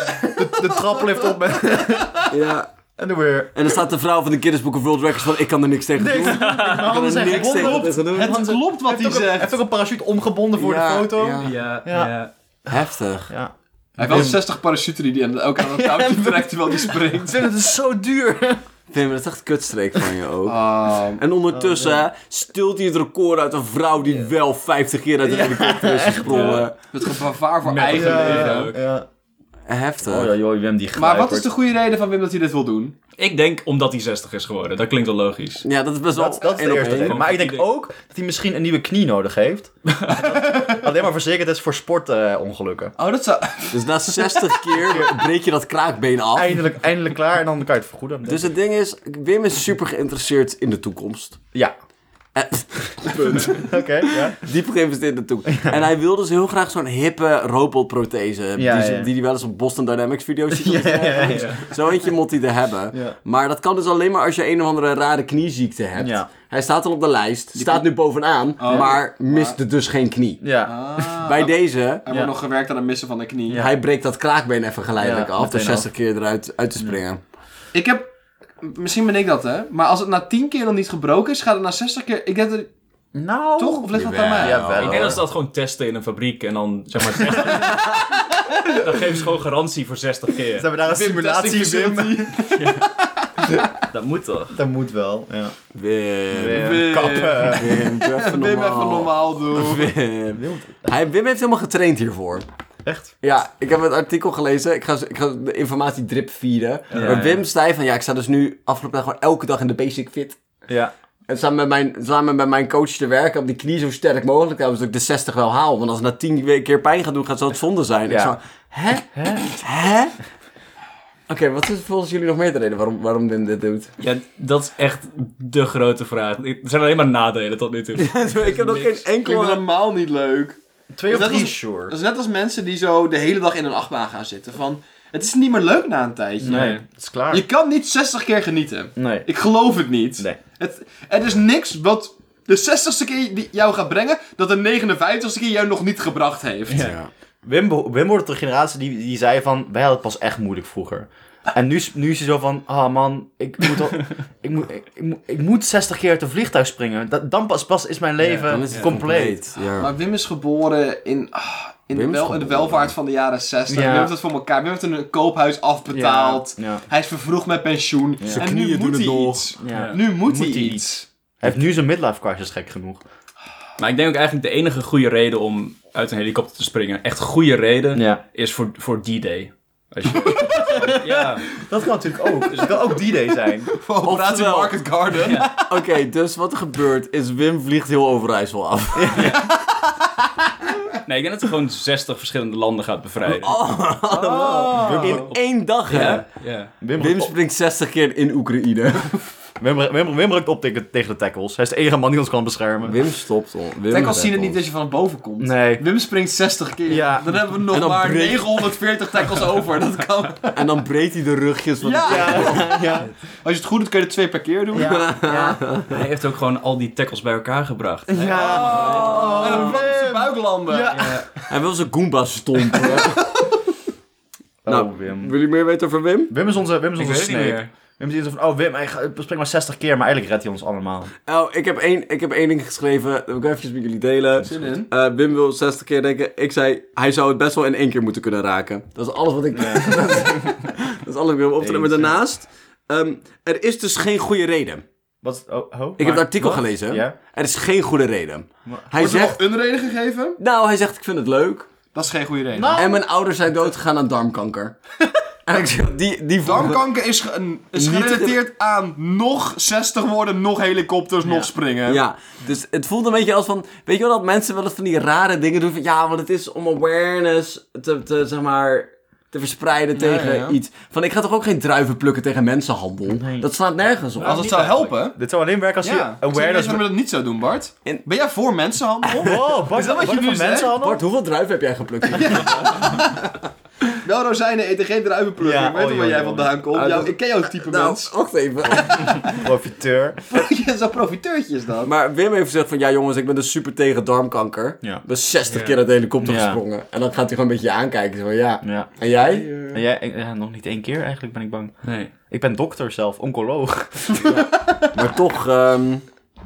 Speaker 3: De traplift op met...
Speaker 1: Ja.
Speaker 3: En dan weer...
Speaker 1: En dan staat de vrouw van de Guinness Book of World Records van... Ik kan er niks tegen doen. Ik
Speaker 3: Mijn
Speaker 1: kan
Speaker 3: handen
Speaker 1: er
Speaker 3: zijn gek.
Speaker 1: niks tegen
Speaker 2: klopt.
Speaker 1: tegen doen.
Speaker 2: Het klopt
Speaker 3: Hij
Speaker 2: wat hij
Speaker 3: heeft ook een-
Speaker 2: zegt.
Speaker 3: heeft ook een parachute omgebonden voor
Speaker 1: Ja,
Speaker 3: de foto.
Speaker 1: ja.
Speaker 4: Ja,
Speaker 3: Ja.
Speaker 4: ja.
Speaker 1: Heftig.
Speaker 3: Ja.
Speaker 2: Hij heeft wel 60 parachuten die hij ook aan het touwtje trekt terwijl hij springt.
Speaker 3: Tim, het is zo duur. Oh.
Speaker 1: Wim, dat is echt een kutstreek van je ook.
Speaker 2: Ah,
Speaker 1: En ondertussen hè, stilt hij het record uit een vrouw die wel 50 keer uit de helikopter is gesprongen.
Speaker 2: het gevaar voor eigen leven.
Speaker 3: Ja, ja.
Speaker 1: Eh, Heftig.
Speaker 5: Oh, joh, Wim die
Speaker 2: Maar wat
Speaker 5: gluipert.
Speaker 2: is de goede reden van Wim dat hij dit wil doen?
Speaker 4: Ik denk omdat hij 60 is geworden. Dat klinkt wel logisch.
Speaker 1: Ja, dat is best wel
Speaker 3: Dat, dat is
Speaker 1: één
Speaker 3: de
Speaker 1: op
Speaker 3: eerste
Speaker 1: één.
Speaker 3: reden. Maar ik denk ook dat hij misschien een nieuwe knie nodig heeft. Dat alleen maar verzekerd is voor sportongelukken.
Speaker 2: Oh, dat zou...
Speaker 1: Dus na 60 keer breek je dat kraakbeen af.
Speaker 3: eindelijk, eindelijk klaar en dan kan je het vergoeden.
Speaker 1: Dus het ding is, Wim is super geïnteresseerd in de toekomst.
Speaker 3: Ja,
Speaker 1: Eh,
Speaker 3: oké. ja.
Speaker 1: Diep geïnvesteerd in de toekomst. En hij wil dus heel graag zo'n hippe robotprothese.
Speaker 3: Ja,
Speaker 1: die, ze-
Speaker 3: ja.
Speaker 1: die hij wel eens op Boston Dynamics video's ziet.
Speaker 3: Ja, ja, ja, ja.
Speaker 1: Zo eentje moet hij er hebben.
Speaker 3: Ja.
Speaker 1: Maar dat kan dus alleen maar als je een of andere rare knieziekte hebt.
Speaker 3: Ja. Oh.
Speaker 1: Hij staat al op de lijst, staat nu bovenaan, maar miste dus geen knie.
Speaker 3: Ja.
Speaker 2: Ah,
Speaker 1: Bij deze,
Speaker 2: Er
Speaker 3: Ja.
Speaker 2: wordt nog gewerkt aan het missen van de knie.
Speaker 3: Ja.
Speaker 1: hij breekt dat kraakbeen even geleidelijk
Speaker 3: Ja,
Speaker 1: af. Dus
Speaker 3: meteen
Speaker 1: 60 keer eruit uit te springen.
Speaker 2: Ik heb... Misschien ben ik dat, hè? Maar als het na 10 keer dan niet gebroken is, gaat het na 60 keer... Ik denk dat...
Speaker 3: Nou.
Speaker 2: Toch? Of ligt dat aan mij?
Speaker 3: Ja, wel.
Speaker 4: Ik denk dat ze dat gewoon testen in een fabriek en dan zeg maar. testen. dan geven ze gewoon garantie voor 60
Speaker 3: Ze
Speaker 4: keer.
Speaker 3: hebben daar een simulatie
Speaker 2: testing
Speaker 3: Wim.
Speaker 4: Dat moet toch?
Speaker 3: Dat moet wel, ja. Ehm,
Speaker 1: Wim,
Speaker 2: Wim.
Speaker 3: Kappen.
Speaker 1: Wim, doe even
Speaker 2: Wim even
Speaker 1: normaal.
Speaker 2: normaal doen.
Speaker 1: Wim. Eh, Hij, Wim heeft helemaal getraind hiervoor.
Speaker 3: Echt?
Speaker 1: Ja, ik heb het artikel gelezen. Ik ga, ik ga de informatie drip vieren. maar
Speaker 4: ja.
Speaker 1: Wim zei van, ja, ik sta dus nu afgelopen dag gewoon elke dag in de basic fit.
Speaker 3: Ja.
Speaker 1: En samen met mijn, samen met mijn coach te werken om die knie zo sterk mogelijk te houden, zodat ik de 60 wel haal. Want als het na 10 we- keer pijn gaat doen, gaat het zonde zijn. Ik
Speaker 3: Ja.
Speaker 1: zo, hè? Hè? Oké, wat is volgens jullie nog meer de reden waarom, waarom Wim dit doet?
Speaker 4: Ja, dat is echt de grote vraag. Er zijn alleen maar nadelen tot nu toe.
Speaker 1: ik heb nog geen
Speaker 2: Klinkt
Speaker 1: enkel...
Speaker 2: helemaal niet leuk.
Speaker 3: Twee of
Speaker 2: Dat
Speaker 3: drie,
Speaker 2: was- Dat
Speaker 3: sure.
Speaker 2: is net als mensen die zo de hele dag in een achtbaan gaan zitten. Van, het is niet meer leuk na een tijdje.
Speaker 3: Nee, het is klaar.
Speaker 2: Je kan niet 60 keer genieten.
Speaker 3: Nee.
Speaker 2: Ik geloof het niet.
Speaker 3: Nee.
Speaker 2: Het, er is niks wat de 60ste keer die jou gaat brengen, dat de 59ste keer jou nog niet gebracht heeft.
Speaker 3: Wim, beho- Wim wordt de generatie die, die zei van, wij hadden het pas echt moeilijk vroeger. En nu, is- nu is hij zo van, ah man, ik moet, al, ik, moet, ik, ik moet, ik moet 60 keer uit een vliegtuig springen. Dat, dan pas, pas is mijn leven
Speaker 1: Dan is het
Speaker 3: compleet.
Speaker 1: Ja.
Speaker 2: Maar Wim is geboren in, ah, in, de,
Speaker 1: Wim is
Speaker 2: wel, in de
Speaker 1: geboren.
Speaker 2: welvaart van de jaren 60.
Speaker 3: Ja.
Speaker 2: Wim heeft dat voor elkaar. Wim heeft een koophuis afbetaald.
Speaker 3: Ja. Ja.
Speaker 2: Hij is vervroegd met pensioen.
Speaker 3: Zijn
Speaker 2: En nu
Speaker 1: knieën doen
Speaker 2: moet
Speaker 1: het
Speaker 2: hij
Speaker 1: nog.
Speaker 2: iets.
Speaker 3: Ja.
Speaker 2: Nu moet, hij
Speaker 3: hij
Speaker 2: iets.
Speaker 3: Hij heeft nu zijn midlife crisis gek genoeg.
Speaker 4: Maar ik denk ook eigenlijk de enige goede reden om uit een helikopter te springen, echt goede reden,
Speaker 3: Ja.
Speaker 4: is voor, voor D-Day. Als je- ja,
Speaker 3: Dat kan natuurlijk ook. Dus het kan ook D-Day zijn.
Speaker 2: Voor operatie
Speaker 1: Oftewel.
Speaker 2: Market Garden.
Speaker 1: Oké, dus wat er gebeurt is Wim vliegt heel Overijssel af.
Speaker 4: nee, ik denk dat hij gewoon 60 verschillende landen gaat bevrijden.
Speaker 3: Oh.
Speaker 1: In één dag, hè?
Speaker 4: Ja.
Speaker 3: Wim,
Speaker 1: Wim
Speaker 3: Wim,
Speaker 1: springt 60 keer in Oekraïne.
Speaker 3: Wim, Wim, Wim rukt op tegen, tegen de tackles. Hij is de enige man die ons kan beschermen.
Speaker 1: Wim stopt. al. Wim
Speaker 2: Tackles zien het
Speaker 1: redt
Speaker 2: niet als je van boven komt.
Speaker 3: Nee.
Speaker 2: Wim springt 60 keer.
Speaker 3: Ja.
Speaker 2: Dan hebben we
Speaker 1: En
Speaker 2: nog
Speaker 1: dan
Speaker 2: maar
Speaker 1: breekt-
Speaker 2: 940 tackles over. Dat kan.
Speaker 1: ons. En dan breekt hij de rugjes van
Speaker 2: Ja.
Speaker 3: Ja.
Speaker 2: Als je het goed doet, kun je er twee per keer doen. Oh.
Speaker 4: Hij heeft ook gewoon al die tackles bij elkaar gebracht.
Speaker 2: Oh,
Speaker 3: ja.
Speaker 2: En dan op zijn buik landen.
Speaker 1: Hij wil zijn Goomba stompen.
Speaker 3: Nou, Wim.
Speaker 1: Wil je meer weten over Wim?
Speaker 3: Wim is onze, Wim is
Speaker 4: Ik
Speaker 3: onze
Speaker 4: weet het niet
Speaker 3: snake.
Speaker 4: meer.
Speaker 3: Wim is zo van, oh Wim, hij gaat- springt maar 60 keer, maar eigenlijk redt hij ons allemaal.
Speaker 1: Oh, ik heb één, ik heb één ding geschreven. Dat wil ik even met jullie delen.
Speaker 2: Zin in.
Speaker 1: Eh, Wim wil 60 keer denken. Ik zei, hij zou het best wel in één keer moeten kunnen raken. Dat is alles wat ik... dat is alles wat ik wil optreden. Maar daarnaast... ehm, er is dus geen goede reden.
Speaker 3: Wat? Oh, oh,
Speaker 1: ik heb het artikel gelezen.
Speaker 3: Ja.
Speaker 1: Er is geen goede reden. Hij
Speaker 2: Wordt er nog
Speaker 1: zegt...
Speaker 2: een reden gegeven?
Speaker 1: Nou, hij zegt, ik vind het leuk.
Speaker 2: Dat is geen goede reden.
Speaker 3: Nou.
Speaker 1: En mijn ouders zijn doodgegaan aan darmkanker. en ik zeg, die, die
Speaker 2: Darmkanker is, ge- een- is
Speaker 1: Niet-
Speaker 2: gerelateerd aan nog 60 worden, nog helikopters, nog springen.
Speaker 1: Ja, dus het voelt een beetje als van... Weet je wel dat mensen wel eens van die rare dingen doen? Van, ja, want het is om awareness te, te zeg maar... te verspreiden tegen
Speaker 2: ja.
Speaker 1: iets. Van, ik ga toch ook geen druiven plukken tegen mensenhandel?
Speaker 3: Nee.
Speaker 1: Dat slaat nergens op.
Speaker 2: Als het zou helpen.
Speaker 3: Dit zou alleen werken als
Speaker 2: Ja.
Speaker 3: je awareness... Oh,
Speaker 2: waarom we dat niet zou doen, Bart.
Speaker 1: En-
Speaker 2: Ben jij voor mensenhandel?
Speaker 3: Wow, Bart,
Speaker 2: Is dat wat je
Speaker 3: Bart
Speaker 2: nu
Speaker 3: van
Speaker 2: zegt?
Speaker 3: mensenhandel?
Speaker 1: Bart, hoeveel druiven heb jij geplukt?
Speaker 2: Wel rozijnen eten geen druivenplukken.
Speaker 3: Ja,
Speaker 2: ik weet
Speaker 3: oh,
Speaker 2: toch waar
Speaker 3: joh,
Speaker 2: jij
Speaker 3: joh.
Speaker 2: vandaan komt.
Speaker 1: Ah,
Speaker 2: Jou-
Speaker 1: dat-
Speaker 2: ik ken jouw type
Speaker 1: nou,
Speaker 2: mens.
Speaker 1: wacht even.
Speaker 3: Profiteur.
Speaker 2: Je Zo'n profiteurtje is dat.
Speaker 1: Maar Wim heeft gezegd van, ja jongens, ik ben dus super tegen darmkanker.
Speaker 3: Ja.
Speaker 1: Ben 60 keer uit de helikopter
Speaker 3: Ja.
Speaker 1: gesprongen. En dan gaat hij gewoon een beetje aankijken. Zo, ja.
Speaker 3: Ja.
Speaker 1: En jij?
Speaker 3: En jij, ik- ja, nog niet één keer eigenlijk ben ik bang.
Speaker 4: Nee.
Speaker 3: Ik ben dokter zelf, oncoloog.
Speaker 1: Maar toch, ehm,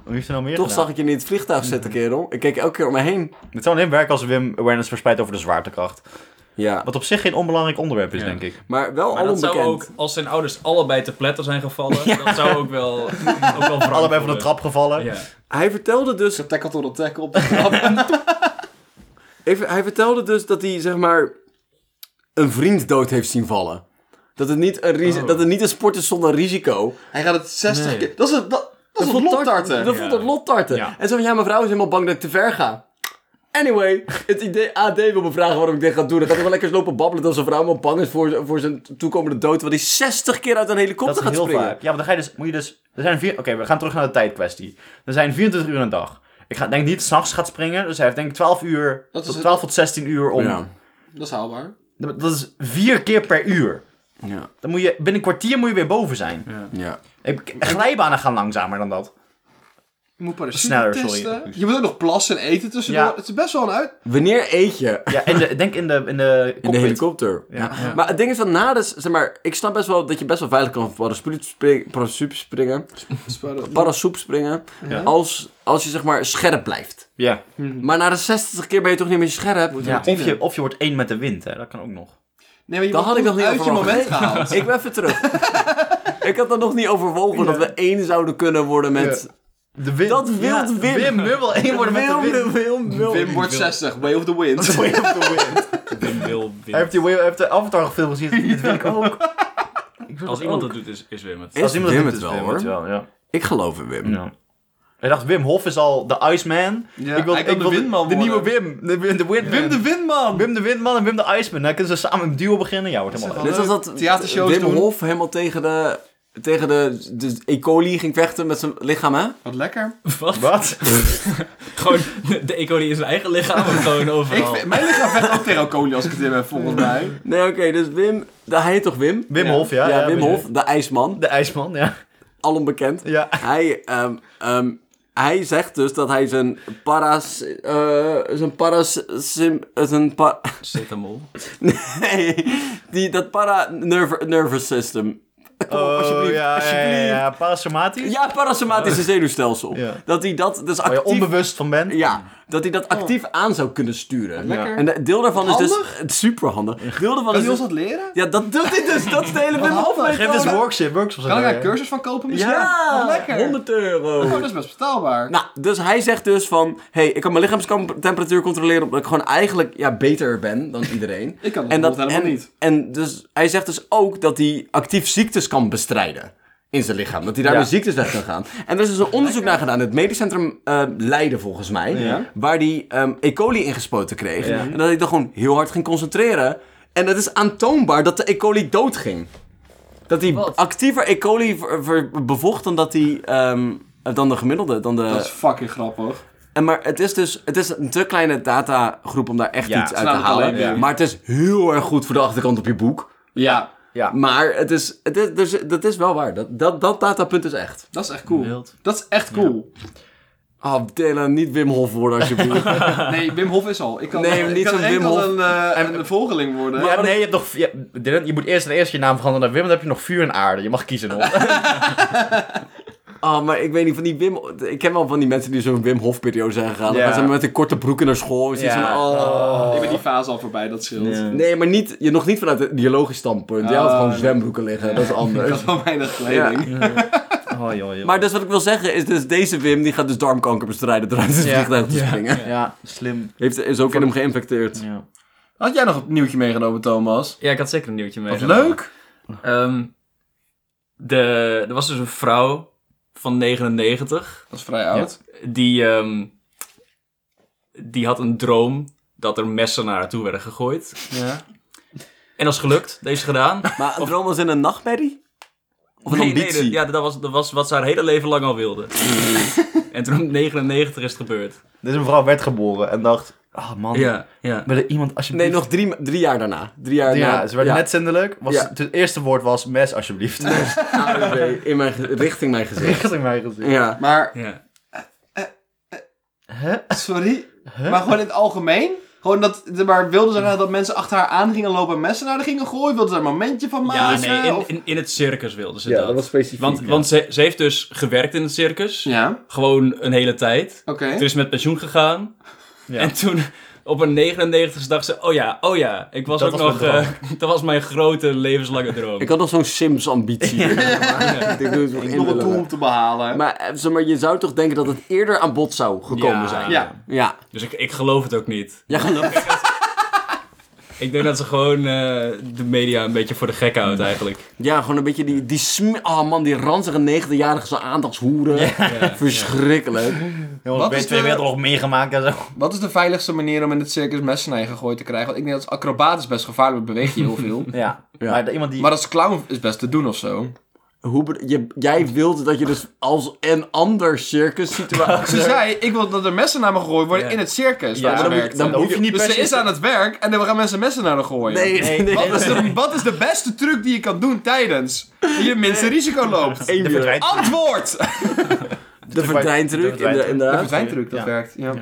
Speaker 3: Wie heeft er nou meer
Speaker 1: toch
Speaker 3: gedaan?
Speaker 1: zag ik je niet in het vliegtuig zitten, kerel. Ik keek elke keer om me heen.
Speaker 3: Dit zou alleen werken als Wim awareness verspreidt over de zwaartekracht.
Speaker 1: Ja.
Speaker 3: Wat op zich geen onbelangrijk onderwerp is,
Speaker 4: Ja.
Speaker 3: denk ik.
Speaker 1: Maar wel
Speaker 4: Maar
Speaker 1: al
Speaker 4: dat zou
Speaker 1: onbekend.
Speaker 4: ook, als zijn ouders allebei te pletter zijn gevallen, dat zou ook wel, ook wel wrang
Speaker 3: Allebei van de
Speaker 4: worden.
Speaker 3: trap gevallen.
Speaker 4: Ja.
Speaker 1: Hij vertelde dus
Speaker 2: Zo'n tackle tot tackle op de trap.
Speaker 1: Even, hij vertelde dus dat hij, zeg maar, een vriend dood heeft zien vallen. Dat het niet een, ris-
Speaker 4: Oh.
Speaker 1: dat het niet een sport is zonder risico.
Speaker 2: Hij gaat het 60
Speaker 4: Nee.
Speaker 2: keer... Dat is een, dat, dat is een lottarten.
Speaker 1: Dat
Speaker 4: Ja.
Speaker 1: voelt dat lottarten.
Speaker 3: Ja.
Speaker 1: En zo van, ja, mijn vrouw is helemaal bang dat ik te ver ga. Anyway, het idee AD wil me vragen waarom ik dit ga doen. Dan gaat hij wel lekker eens lopen babbelen dat zijn vrouw helemaal bang is voor, voor zijn toekomende dood. Terwijl hij 60 keer uit een helikopter
Speaker 3: Dat is
Speaker 1: gaat
Speaker 3: heel
Speaker 1: springen.
Speaker 3: vaak. Ja, maar dan ga je dus, moet je dus... Er zijn vier... Oké, we gaan terug naar de tijdkwestie. Er zijn 24 uur een dag. Ik ga, denk niet dat 's nachts gaat springen. Dus hij heeft denk ik 12 uur...
Speaker 2: Dat is
Speaker 3: tot
Speaker 2: het.
Speaker 3: 12 tot 16 uur om...
Speaker 1: Ja.
Speaker 2: Dat is haalbaar.
Speaker 3: Dat dat is vier keer per uur.
Speaker 1: Ja.
Speaker 3: Dan moet je, binnen een kwartier moet je weer boven zijn.
Speaker 1: ja.
Speaker 3: Ik- Glijbanen gaan langzamer dan dat.
Speaker 2: Je moet parasieten
Speaker 3: Sneller, sorry.
Speaker 2: testen. Je moet ook nog plassen en eten tussendoor.
Speaker 3: Ja.
Speaker 2: Het is best wel een uit...
Speaker 1: Wanneer eet je?
Speaker 3: Ja, in de, denk in de, in de
Speaker 1: In de
Speaker 3: cockpit.
Speaker 1: helikopter.
Speaker 3: Ja.
Speaker 1: Maar het ding is van na de, zeg maar, ik snap best wel dat je best wel veilig kan van parachute spring- parachute springen. parachute springen.
Speaker 2: Ja.
Speaker 1: Als, als je zeg maar scherp blijft.
Speaker 3: Ja.
Speaker 1: Maar na de 60 keer ben je toch niet meer scherp?
Speaker 3: Ja, of, je, of je wordt één met de wind, hè. dat kan ook nog.
Speaker 2: Nee, maar je
Speaker 1: Dat
Speaker 2: wordt
Speaker 1: had ik nog niet
Speaker 2: uit je
Speaker 1: overwogen.
Speaker 2: moment gehaald.
Speaker 1: Ik ben even terug. ik had dat nog niet overwogen dat we één zouden kunnen worden met...
Speaker 3: De wind.
Speaker 1: Dat wil
Speaker 3: Ja,
Speaker 1: Wim.
Speaker 3: Wim wil één worden met de wind.
Speaker 1: Wil, wil, wil.
Speaker 2: Wim wordt 60. Way of the wind.
Speaker 4: Wim wil
Speaker 3: Hij
Speaker 4: winnen.
Speaker 3: heeft, die, hij heeft de Avatar film gezien, dit wil ik ook. Ik wil
Speaker 4: Als
Speaker 3: dat
Speaker 4: iemand
Speaker 3: ook.
Speaker 4: dat doet, is, is Wim het.
Speaker 1: Is Wim
Speaker 3: doet,
Speaker 1: het
Speaker 3: is
Speaker 1: wel,
Speaker 3: het
Speaker 1: hoor.
Speaker 3: wel, ja.
Speaker 1: Ik geloof in Wim.
Speaker 3: ja. Hij dacht, Wim Hof is al de Iceman.
Speaker 2: Ja,
Speaker 3: ik wil,
Speaker 2: hij kan
Speaker 3: ik
Speaker 2: de
Speaker 3: wil
Speaker 2: windman
Speaker 3: De nieuwe
Speaker 2: worden.
Speaker 3: Wim. De, Wim- de windman. Wim, de,
Speaker 2: Windman.
Speaker 3: Wim de Windman en Wim de Iceman. Dan kunnen ze samen een duo beginnen. Ja, wordt helemaal
Speaker 2: Dat
Speaker 3: leuk.
Speaker 1: Net als dat
Speaker 2: Theatershows
Speaker 1: Wim
Speaker 2: doen.
Speaker 1: Hof helemaal tegen de... Tegen de, de E. coli ging vechten met zijn lichaam, hè?
Speaker 2: Wat lekker.
Speaker 4: Wat?
Speaker 3: Wat?
Speaker 4: Gewoon, de econie in zijn eigen lichaam, maar gewoon
Speaker 2: Ik,
Speaker 4: overal.
Speaker 2: vind- mijn lichaam vecht ook tegen kolie als ik het in heb, volgens mij.
Speaker 1: Nee, oké, dus Wim... de- Hij heet toch Wim?
Speaker 3: Wim
Speaker 2: Ja.
Speaker 3: Hof, ja.
Speaker 1: Ja, Wim
Speaker 3: weet je.
Speaker 1: Hof, de ijsman.
Speaker 3: De IJsman, ja.
Speaker 1: Al onbekend.
Speaker 3: Ja.
Speaker 1: Hij, ehm, ehm, hij zegt dus dat hij zijn paras... eh, zijn paras... Sim, zijn pa,
Speaker 4: Cetamol.
Speaker 1: nee, die, dat para-nervous system. Kom op, Oh, alsjeblieft.
Speaker 3: Oh, ja, ja,
Speaker 1: alsjeblieft.
Speaker 3: ja,
Speaker 1: Ja,
Speaker 3: ja. Parasomatisch? Oh,
Speaker 1: parasomatische zenuwstelsel.
Speaker 3: Ja.
Speaker 1: Dat hij dat dus
Speaker 3: Waar je
Speaker 1: actief...
Speaker 3: onbewust van bent.
Speaker 1: Ja, dat hij dat actief aan zou kunnen sturen.
Speaker 2: Lekker.
Speaker 1: En de- deel daarvan is dus...
Speaker 2: Handig?
Speaker 1: Het is superhandig. Deel daarvan
Speaker 2: Kan
Speaker 1: is
Speaker 2: je ons
Speaker 1: dus...
Speaker 2: dat leren?
Speaker 1: Ja, dat doet hij dus. Dat is de hele Wim Hof
Speaker 3: Geef eens
Speaker 1: methode.
Speaker 3: workshops. workshops
Speaker 2: Kan ik daar
Speaker 3: ja.
Speaker 2: een cursus van kopen misschien?
Speaker 1: Ja,
Speaker 2: Wat lekker.
Speaker 1: 100 euro.
Speaker 2: Oh, dat is best betaalbaar.
Speaker 1: Nou, dus hij zegt dus van... hey, ik kan mijn lichaamstemperatuur controleren... omdat ik gewoon eigenlijk ja, beter ben dan iedereen.
Speaker 2: Ik kan dat bijvoorbeeld
Speaker 1: en,
Speaker 2: helemaal
Speaker 1: En dus, hij zegt dus ook dat hij actief ziektes kan bestrijden. In zijn lichaam. Dat hij daarmee
Speaker 3: Ja.
Speaker 1: ziektes weg kan gaan. En er is dus een onderzoek naar gedaan. in Het medisch centrum eh, Leiden volgens mij.
Speaker 2: Ja.
Speaker 1: Waar hij ehm E. coli ingespoten kreeg.
Speaker 3: Ja.
Speaker 1: En dat hij dan gewoon heel hard ging concentreren. En het is aantoonbaar dat de E. coli doodging. Dat hij actiever E. coli ver- ver- bevocht dan dat hij... ehm, dan de gemiddelde, dan de...
Speaker 2: Dat is fucking grappig.
Speaker 1: En maar het is dus het is een te kleine datagroep om daar echt
Speaker 3: Ja,
Speaker 1: iets
Speaker 3: het
Speaker 1: uit te
Speaker 2: slaat het
Speaker 1: halen.
Speaker 2: alleen weer.
Speaker 1: Maar het is heel erg goed voor de achterkant op je boek.
Speaker 2: Ja,
Speaker 3: Ja.
Speaker 1: Maar het is, het is, dus, dat is wel waar. Dat, dat, dat datapunt is echt.
Speaker 2: dat is echt cool.
Speaker 4: Wild.
Speaker 2: Dat is echt cool.
Speaker 1: Oh, Dylan, niet Wim Hof worden alsjeblieft.
Speaker 2: Nee, Wim Hof is al. Ik kan,
Speaker 1: Nee,
Speaker 2: ik
Speaker 1: niet
Speaker 2: kan
Speaker 1: zo'n
Speaker 2: enkel
Speaker 1: Wim Hof.
Speaker 2: Een, eh, een volgeling worden.
Speaker 3: Ja, nee, je hebt nog... Je, Dylan, je moet eerst en eerst je naam veranderen naar Wim, dan heb je nog vuur en aarde. Je mag kiezen hoor.
Speaker 1: oh, maar ik weet niet, van die Wim... Ik ken wel van die mensen die zo'n Wim Hof periode zijn gegaan. Dan
Speaker 3: Ja.
Speaker 1: gaan ze met een korte broeken naar school. en ze
Speaker 3: Ja.
Speaker 1: Van, oh.
Speaker 2: Ik ben die fase al voorbij, dat scheelt.
Speaker 1: Nee, maar niet, je, nog niet vanuit het ideologisch standpunt. Jij had
Speaker 2: Oh,
Speaker 1: gewoon
Speaker 2: nee.
Speaker 1: zwembroeken liggen, dat is
Speaker 2: Ik
Speaker 1: anders.
Speaker 2: had wel weinig kleding.
Speaker 3: Oh, joh, joh.
Speaker 1: Maar dus wat ik wil zeggen is, dus deze Wim die gaat dus darmkanker bestrijden door uit het
Speaker 3: Ja.
Speaker 1: vliegtuig te springen.
Speaker 3: Ja, slim.
Speaker 1: Heeft, is ook in hem geïnfecteerd.
Speaker 3: Ja.
Speaker 2: Had jij nog een nieuwtje meegenomen, Thomas?
Speaker 4: Ja, ik had zeker een nieuwtje mee. Ehm,
Speaker 2: Wat leuk.
Speaker 4: de, er was dus een vrouw van 99.
Speaker 2: Dat is vrij oud.
Speaker 4: die, ehm, die had een droom dat er messen naar haar toe werden gegooid.
Speaker 2: Ja.
Speaker 4: En dat is gelukt. Deze is gedaan.
Speaker 1: Maar een droom was in een nachtmerrie? Of een
Speaker 4: Nee, nee,
Speaker 1: ambitie?
Speaker 4: dat- ja, dat was, dat was wat ze haar hele leven lang al wilde. en toen op 99 is het gebeurd.
Speaker 3: Deze mevrouw werd geboren en dacht... Ah man,
Speaker 4: Ja, ja.
Speaker 3: wil er iemand alsjeblieft...
Speaker 1: Nee, nog drie, drie jaar daarna. Drie jaar
Speaker 3: Ja,
Speaker 1: na.
Speaker 3: ze werd
Speaker 1: eh, ja.
Speaker 3: net zindelijk. Was,
Speaker 1: Ja.
Speaker 3: Het eerste woord was mes alsjeblieft.
Speaker 1: AWB in mijn, ge- richting mijn gezicht.
Speaker 3: Richting mij gezien.
Speaker 1: Ja.
Speaker 2: Maar,
Speaker 4: ja.
Speaker 3: Hè?
Speaker 2: sorry. Maar gewoon in het algemeen. Gewoon dat, maar wilden ze nou dat mensen achter haar aan gingen lopen en messen naar haar gingen gooien? Wilden ze daar een momentje van
Speaker 4: Ja,
Speaker 2: maken?
Speaker 4: nee, in,
Speaker 2: Of-
Speaker 4: in, in het circus wilde ze
Speaker 1: Ja,
Speaker 4: dat.
Speaker 1: dat was specifiek,
Speaker 4: Want,
Speaker 1: ja.
Speaker 4: want ze, ze heeft dus gewerkt in het circus.
Speaker 2: Ja,
Speaker 4: Gewoon een hele tijd.
Speaker 2: oké.
Speaker 4: Toen is ze met pensioen gegaan.
Speaker 3: Ja.
Speaker 4: En toen op een 99ste dacht ze... Oh ja, oh ja. Ik was
Speaker 3: Dat
Speaker 4: ook
Speaker 3: was
Speaker 4: nog...
Speaker 3: mijn
Speaker 4: eh, dat was mijn grote levenslange droom.
Speaker 1: Ik had nog zo'n Sims-ambitie. Ik denk, doe het nog in
Speaker 2: Ik heb nog een
Speaker 1: willen.
Speaker 2: doel om te behalen.
Speaker 1: Maar, eh, zeg maar je zou toch denken dat het eerder aan bod zou gekomen
Speaker 4: Ja.
Speaker 1: zijn?
Speaker 2: ja,
Speaker 1: Ja.
Speaker 4: Dus ik, ik geloof het ook niet.
Speaker 1: Ja, geloof
Speaker 4: Ik denk dat ze gewoon eh, de media een beetje voor de gek houdt eigenlijk.
Speaker 1: Ja, gewoon een beetje die... die sm oh man, die ranzige negendejarige zo aandachtshoeren. Verschrikkelijk.
Speaker 3: Jongens, ben
Speaker 2: Wat
Speaker 3: je
Speaker 2: is
Speaker 3: twee
Speaker 2: de-
Speaker 3: wereldoorlog meegemaakt en zo.
Speaker 2: wat is de veiligste manier om in het circus messen naar je gegooid te krijgen? Want ik denk dat als acrobaat is best gevaarlijk, want beweeg je heel veel.
Speaker 3: Ja,
Speaker 1: Ja.
Speaker 3: maar iemand die...
Speaker 2: maar als clown is best te doen of zo.
Speaker 1: Hoe be- je, jij wilde dat je dus als een ander circus situatie...
Speaker 2: Ze zei, ik wil dat er messen naar me gegooid worden
Speaker 4: Ja.
Speaker 2: in het circus
Speaker 3: Ja,
Speaker 2: waar ze
Speaker 3: dan
Speaker 1: moet-
Speaker 2: werkt.
Speaker 1: dan moet je
Speaker 3: niet
Speaker 2: dus
Speaker 3: per
Speaker 2: ze
Speaker 3: se-
Speaker 2: is aan het werk en dan gaan mensen messen naar haar gooien.
Speaker 1: Nee, nee, nee.
Speaker 2: Wat is, de, wat is de beste truc die je kan doen tijdens? Die je minste risico loopt.
Speaker 1: Eén
Speaker 3: de
Speaker 1: uur.
Speaker 3: verdwijnt.
Speaker 2: Antwoord!
Speaker 1: De verdwijntruc,
Speaker 3: De verdwijntruc.
Speaker 2: De
Speaker 1: inderdaad.
Speaker 2: verdwijntruc, dat
Speaker 3: Ja.
Speaker 2: werkt. Ja.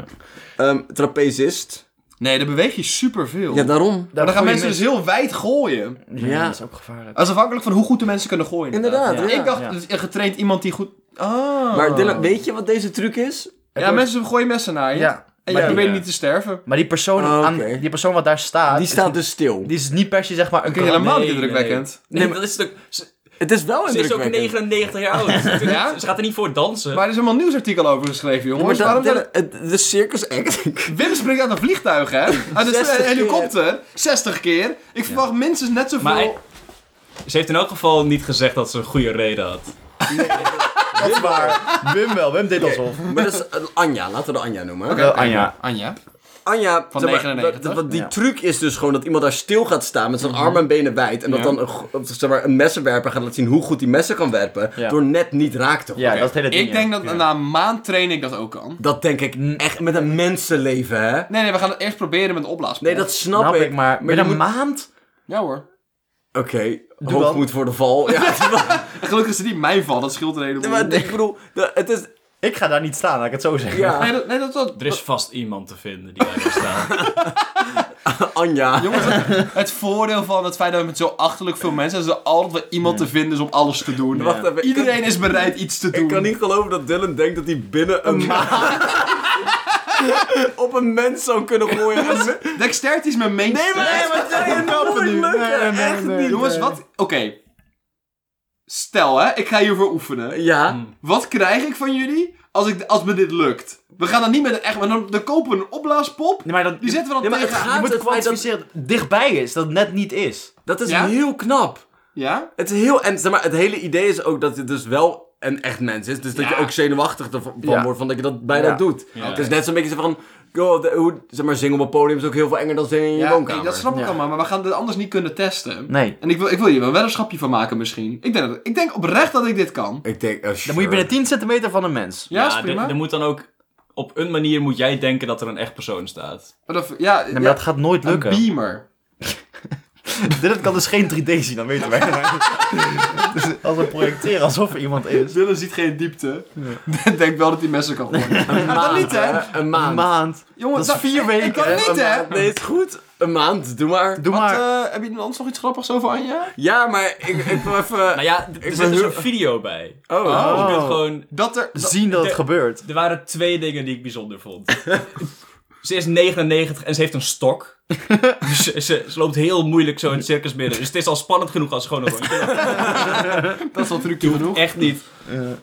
Speaker 1: Ehm, trapezist.
Speaker 2: Nee, dan beweeg je superveel.
Speaker 1: Ja, daarom.
Speaker 2: maar dan gaan mensen
Speaker 3: Goeie
Speaker 2: dus heel wijd gooien.
Speaker 3: mensen.
Speaker 1: Ja.
Speaker 3: Ja, dat is ook gevaarlijk.
Speaker 2: Dat is afhankelijk van hoe goed de mensen kunnen gooien.
Speaker 1: Inderdaad, ja.
Speaker 2: Ik dacht,
Speaker 3: Ja.
Speaker 2: dus, eh, getraind iemand die goed... Ah.
Speaker 1: Maar Dylan, weet je wat deze truc is?
Speaker 2: Ja, mensen gooien messen naar je.
Speaker 3: Ja.
Speaker 2: En je
Speaker 3: Maar die- eh,
Speaker 2: probeert
Speaker 4: ja.
Speaker 2: niet te sterven.
Speaker 3: Maar die persoon,
Speaker 1: Oh, oké.
Speaker 3: aan, die persoon wat daar staat...
Speaker 1: Die
Speaker 3: is
Speaker 1: staat
Speaker 3: niet-
Speaker 1: dus stil.
Speaker 3: Die is niet per se, zeg maar, een
Speaker 2: Dat is helemaal niet
Speaker 4: Nee,
Speaker 2: indrukwekkend.
Speaker 4: Nee, maar dat is natuurlijk... Ze,
Speaker 1: Het is wel
Speaker 4: ze is ook
Speaker 1: indrukwekkend.
Speaker 4: 99 jaar oud. Ze-
Speaker 2: Ja?
Speaker 4: Ze gaat er niet voor dansen.
Speaker 2: Maar er is helemaal een nieuwsartikel over geschreven,
Speaker 1: Ja, maar
Speaker 2: jongens.
Speaker 1: dat,
Speaker 2: Waarom
Speaker 1: Dylan,
Speaker 2: zijn-
Speaker 1: het- de circus act.
Speaker 2: Wim springt uit een vliegtuig, hè? Uit een
Speaker 1: 60
Speaker 2: s-
Speaker 1: keer.
Speaker 2: helikopter. 60 keer. Ik verwacht minstens net zoveel...
Speaker 4: Maar
Speaker 3: eh,
Speaker 4: hij- Ze heeft in elk geval niet gezegd dat ze een goede reden had.
Speaker 3: Dat is waar. Wim wel, Wim deed alsof.
Speaker 1: maar dat is eh, Anja, laten we de Anja noemen.
Speaker 3: Wel, Anja.
Speaker 2: Anja?
Speaker 1: Anja,
Speaker 2: Van
Speaker 1: zeg maar,
Speaker 2: 99.
Speaker 1: dat- want die
Speaker 3: Ja.
Speaker 1: truc is dus gewoon dat iemand daar stil gaat staan met zijn armen en benen wijd. En dat
Speaker 2: Ja.
Speaker 1: dan een, go- of, zeg maar, een messenwerper gaat laten zien hoe goed die messen kan werpen.
Speaker 3: Ja.
Speaker 1: Door net niet raak te
Speaker 3: Ja,
Speaker 1: gooien.
Speaker 3: dat is het hele ding. ja.
Speaker 2: Ik denk dat
Speaker 3: Ja.
Speaker 2: na een maand training dat ook kan.
Speaker 1: Dat denk ik echt met een mensenleven, hè?
Speaker 2: Nee, nee, we gaan het eerst proberen met opblaaspoel.
Speaker 1: Nee, dat snap,
Speaker 3: Snap
Speaker 1: ik.
Speaker 3: ik, maar
Speaker 1: maar
Speaker 3: met
Speaker 1: je
Speaker 3: een
Speaker 1: moet-
Speaker 3: maand?
Speaker 2: Ja hoor.
Speaker 1: Oké,
Speaker 3: Doe
Speaker 1: hoog
Speaker 3: dan.
Speaker 1: moet voor de val. Ja,
Speaker 2: En gelukkig is het niet mijn val, dat scheelt een heleboel.
Speaker 1: maar ik bedoel, de- het is...
Speaker 3: Ik ga daar niet staan, laat ik het zo zeggen.
Speaker 2: Nee,
Speaker 1: Ja,
Speaker 2: dat... Nee, dat, dat-
Speaker 4: Er is vast iemand te vinden die daar wil staan.
Speaker 1: Anja.
Speaker 2: Jongens, het- het voordeel van het feit dat we met zo achterlijk veel mensen zijn, is er altijd wel iemand te vinden is om alles te doen.
Speaker 1: Wacht even, ik-
Speaker 2: Iedereen is bereid iets te doen.
Speaker 1: Ik kan niet geloven dat Dylan denkt dat hij binnen een maand... op een mens zou kunnen gooien.
Speaker 2: Dexterity is mijn main
Speaker 1: Nee,
Speaker 2: strength.
Speaker 1: maar, nee, maar dat zou je nou nooit lukken.
Speaker 3: nee, nee,
Speaker 1: echt
Speaker 3: nee.
Speaker 1: niet. eh.
Speaker 2: Jongens, wat... Oké. Stel hè, ik ga hiervoor oefenen.
Speaker 1: Ja,
Speaker 3: Hmm.
Speaker 2: Wat krijg ik van jullie als, ik, als me dit lukt? We gaan dan niet met een echt... Maar dan, dan kopen we een opblaaspop.
Speaker 3: Nee, maar dan,
Speaker 2: Die
Speaker 3: je
Speaker 2: zetten we dan
Speaker 1: Nee, maar het
Speaker 2: tegen...
Speaker 1: gaat-
Speaker 3: moet
Speaker 1: het feit dat-
Speaker 3: kwantificeren dat... dichtbij is, dat het net niet is.
Speaker 1: dat is
Speaker 2: Ja?
Speaker 1: heel knap.
Speaker 2: Ja?
Speaker 1: Het is heel... En zeg maar, het hele idee is ook dat het dus wel een echt mens is. Dus dat je
Speaker 2: Ja.
Speaker 1: ook zenuwachtig ervan
Speaker 3: Ja.
Speaker 1: wordt van dat je dat bijna
Speaker 3: Ja.
Speaker 1: doet. Het is net zo'n beetje zo van... Yo, de- hoe, zeg maar, zingen op een podium is ook heel veel enger dan zingen in je
Speaker 2: Ja,
Speaker 1: woonkamer.
Speaker 2: oké, dat snap ik
Speaker 3: Ja.
Speaker 2: allemaal, maar we gaan dit anders niet kunnen testen.
Speaker 3: Nee.
Speaker 2: En ik wil, ik wil hier wel een weddenschapje van maken misschien. Ik denk, dat, ik denk oprecht dat ik dit kan.
Speaker 1: Ik denk, oh,
Speaker 3: Dan moet je binnen 10 centimeter van een mens.
Speaker 2: Ja, is
Speaker 4: er-
Speaker 2: prima.
Speaker 4: er moet dan ook... Op een manier moet jij denken dat er een echt persoon staat.
Speaker 2: Maar dat- ja,
Speaker 3: Nee, maar
Speaker 2: ja,
Speaker 3: dat gaat nooit
Speaker 2: een
Speaker 3: lukken.
Speaker 2: beamer.
Speaker 3: Dit kan dus geen 3D zien, dan weten wij. Dus als we projecteren alsof er iemand is.
Speaker 2: Dylan ziet geen diepte. Ik denk wel dat hij messen kan gooien.
Speaker 1: een maand,
Speaker 2: niet, hè?
Speaker 1: Een
Speaker 3: Een
Speaker 1: maand.
Speaker 3: maand.
Speaker 2: Jongens,
Speaker 3: Dat is vier
Speaker 2: ik- Ik
Speaker 3: weken,
Speaker 2: kan
Speaker 3: hè?
Speaker 2: niet,
Speaker 1: Een
Speaker 2: hè?
Speaker 1: maand. Nee, het is goed. Een maand, doe maar.
Speaker 3: Doe
Speaker 2: Wat,
Speaker 3: maar.
Speaker 2: eh, heb je anders nog iets grappigs over Anja?
Speaker 1: Ja, maar ik, ik wil even...
Speaker 4: Nou ja, d- er
Speaker 1: ben
Speaker 4: zit dus
Speaker 1: heel-
Speaker 4: een video bij.
Speaker 1: Oh,
Speaker 4: Dus je
Speaker 3: Oh.
Speaker 4: kunt gewoon...
Speaker 2: Dat er... dat-
Speaker 3: zien dat het
Speaker 4: de-
Speaker 3: gebeurt.
Speaker 4: Er waren twee dingen die ik bijzonder vond. ze is 99 en ze heeft een stok. dus ze, ze, ze loopt heel moeilijk zo in het circus binnen. Dus het is al spannend genoeg als ze gewoon een rondje loopt.
Speaker 2: dat is al trucje genoeg.
Speaker 4: Echt niet.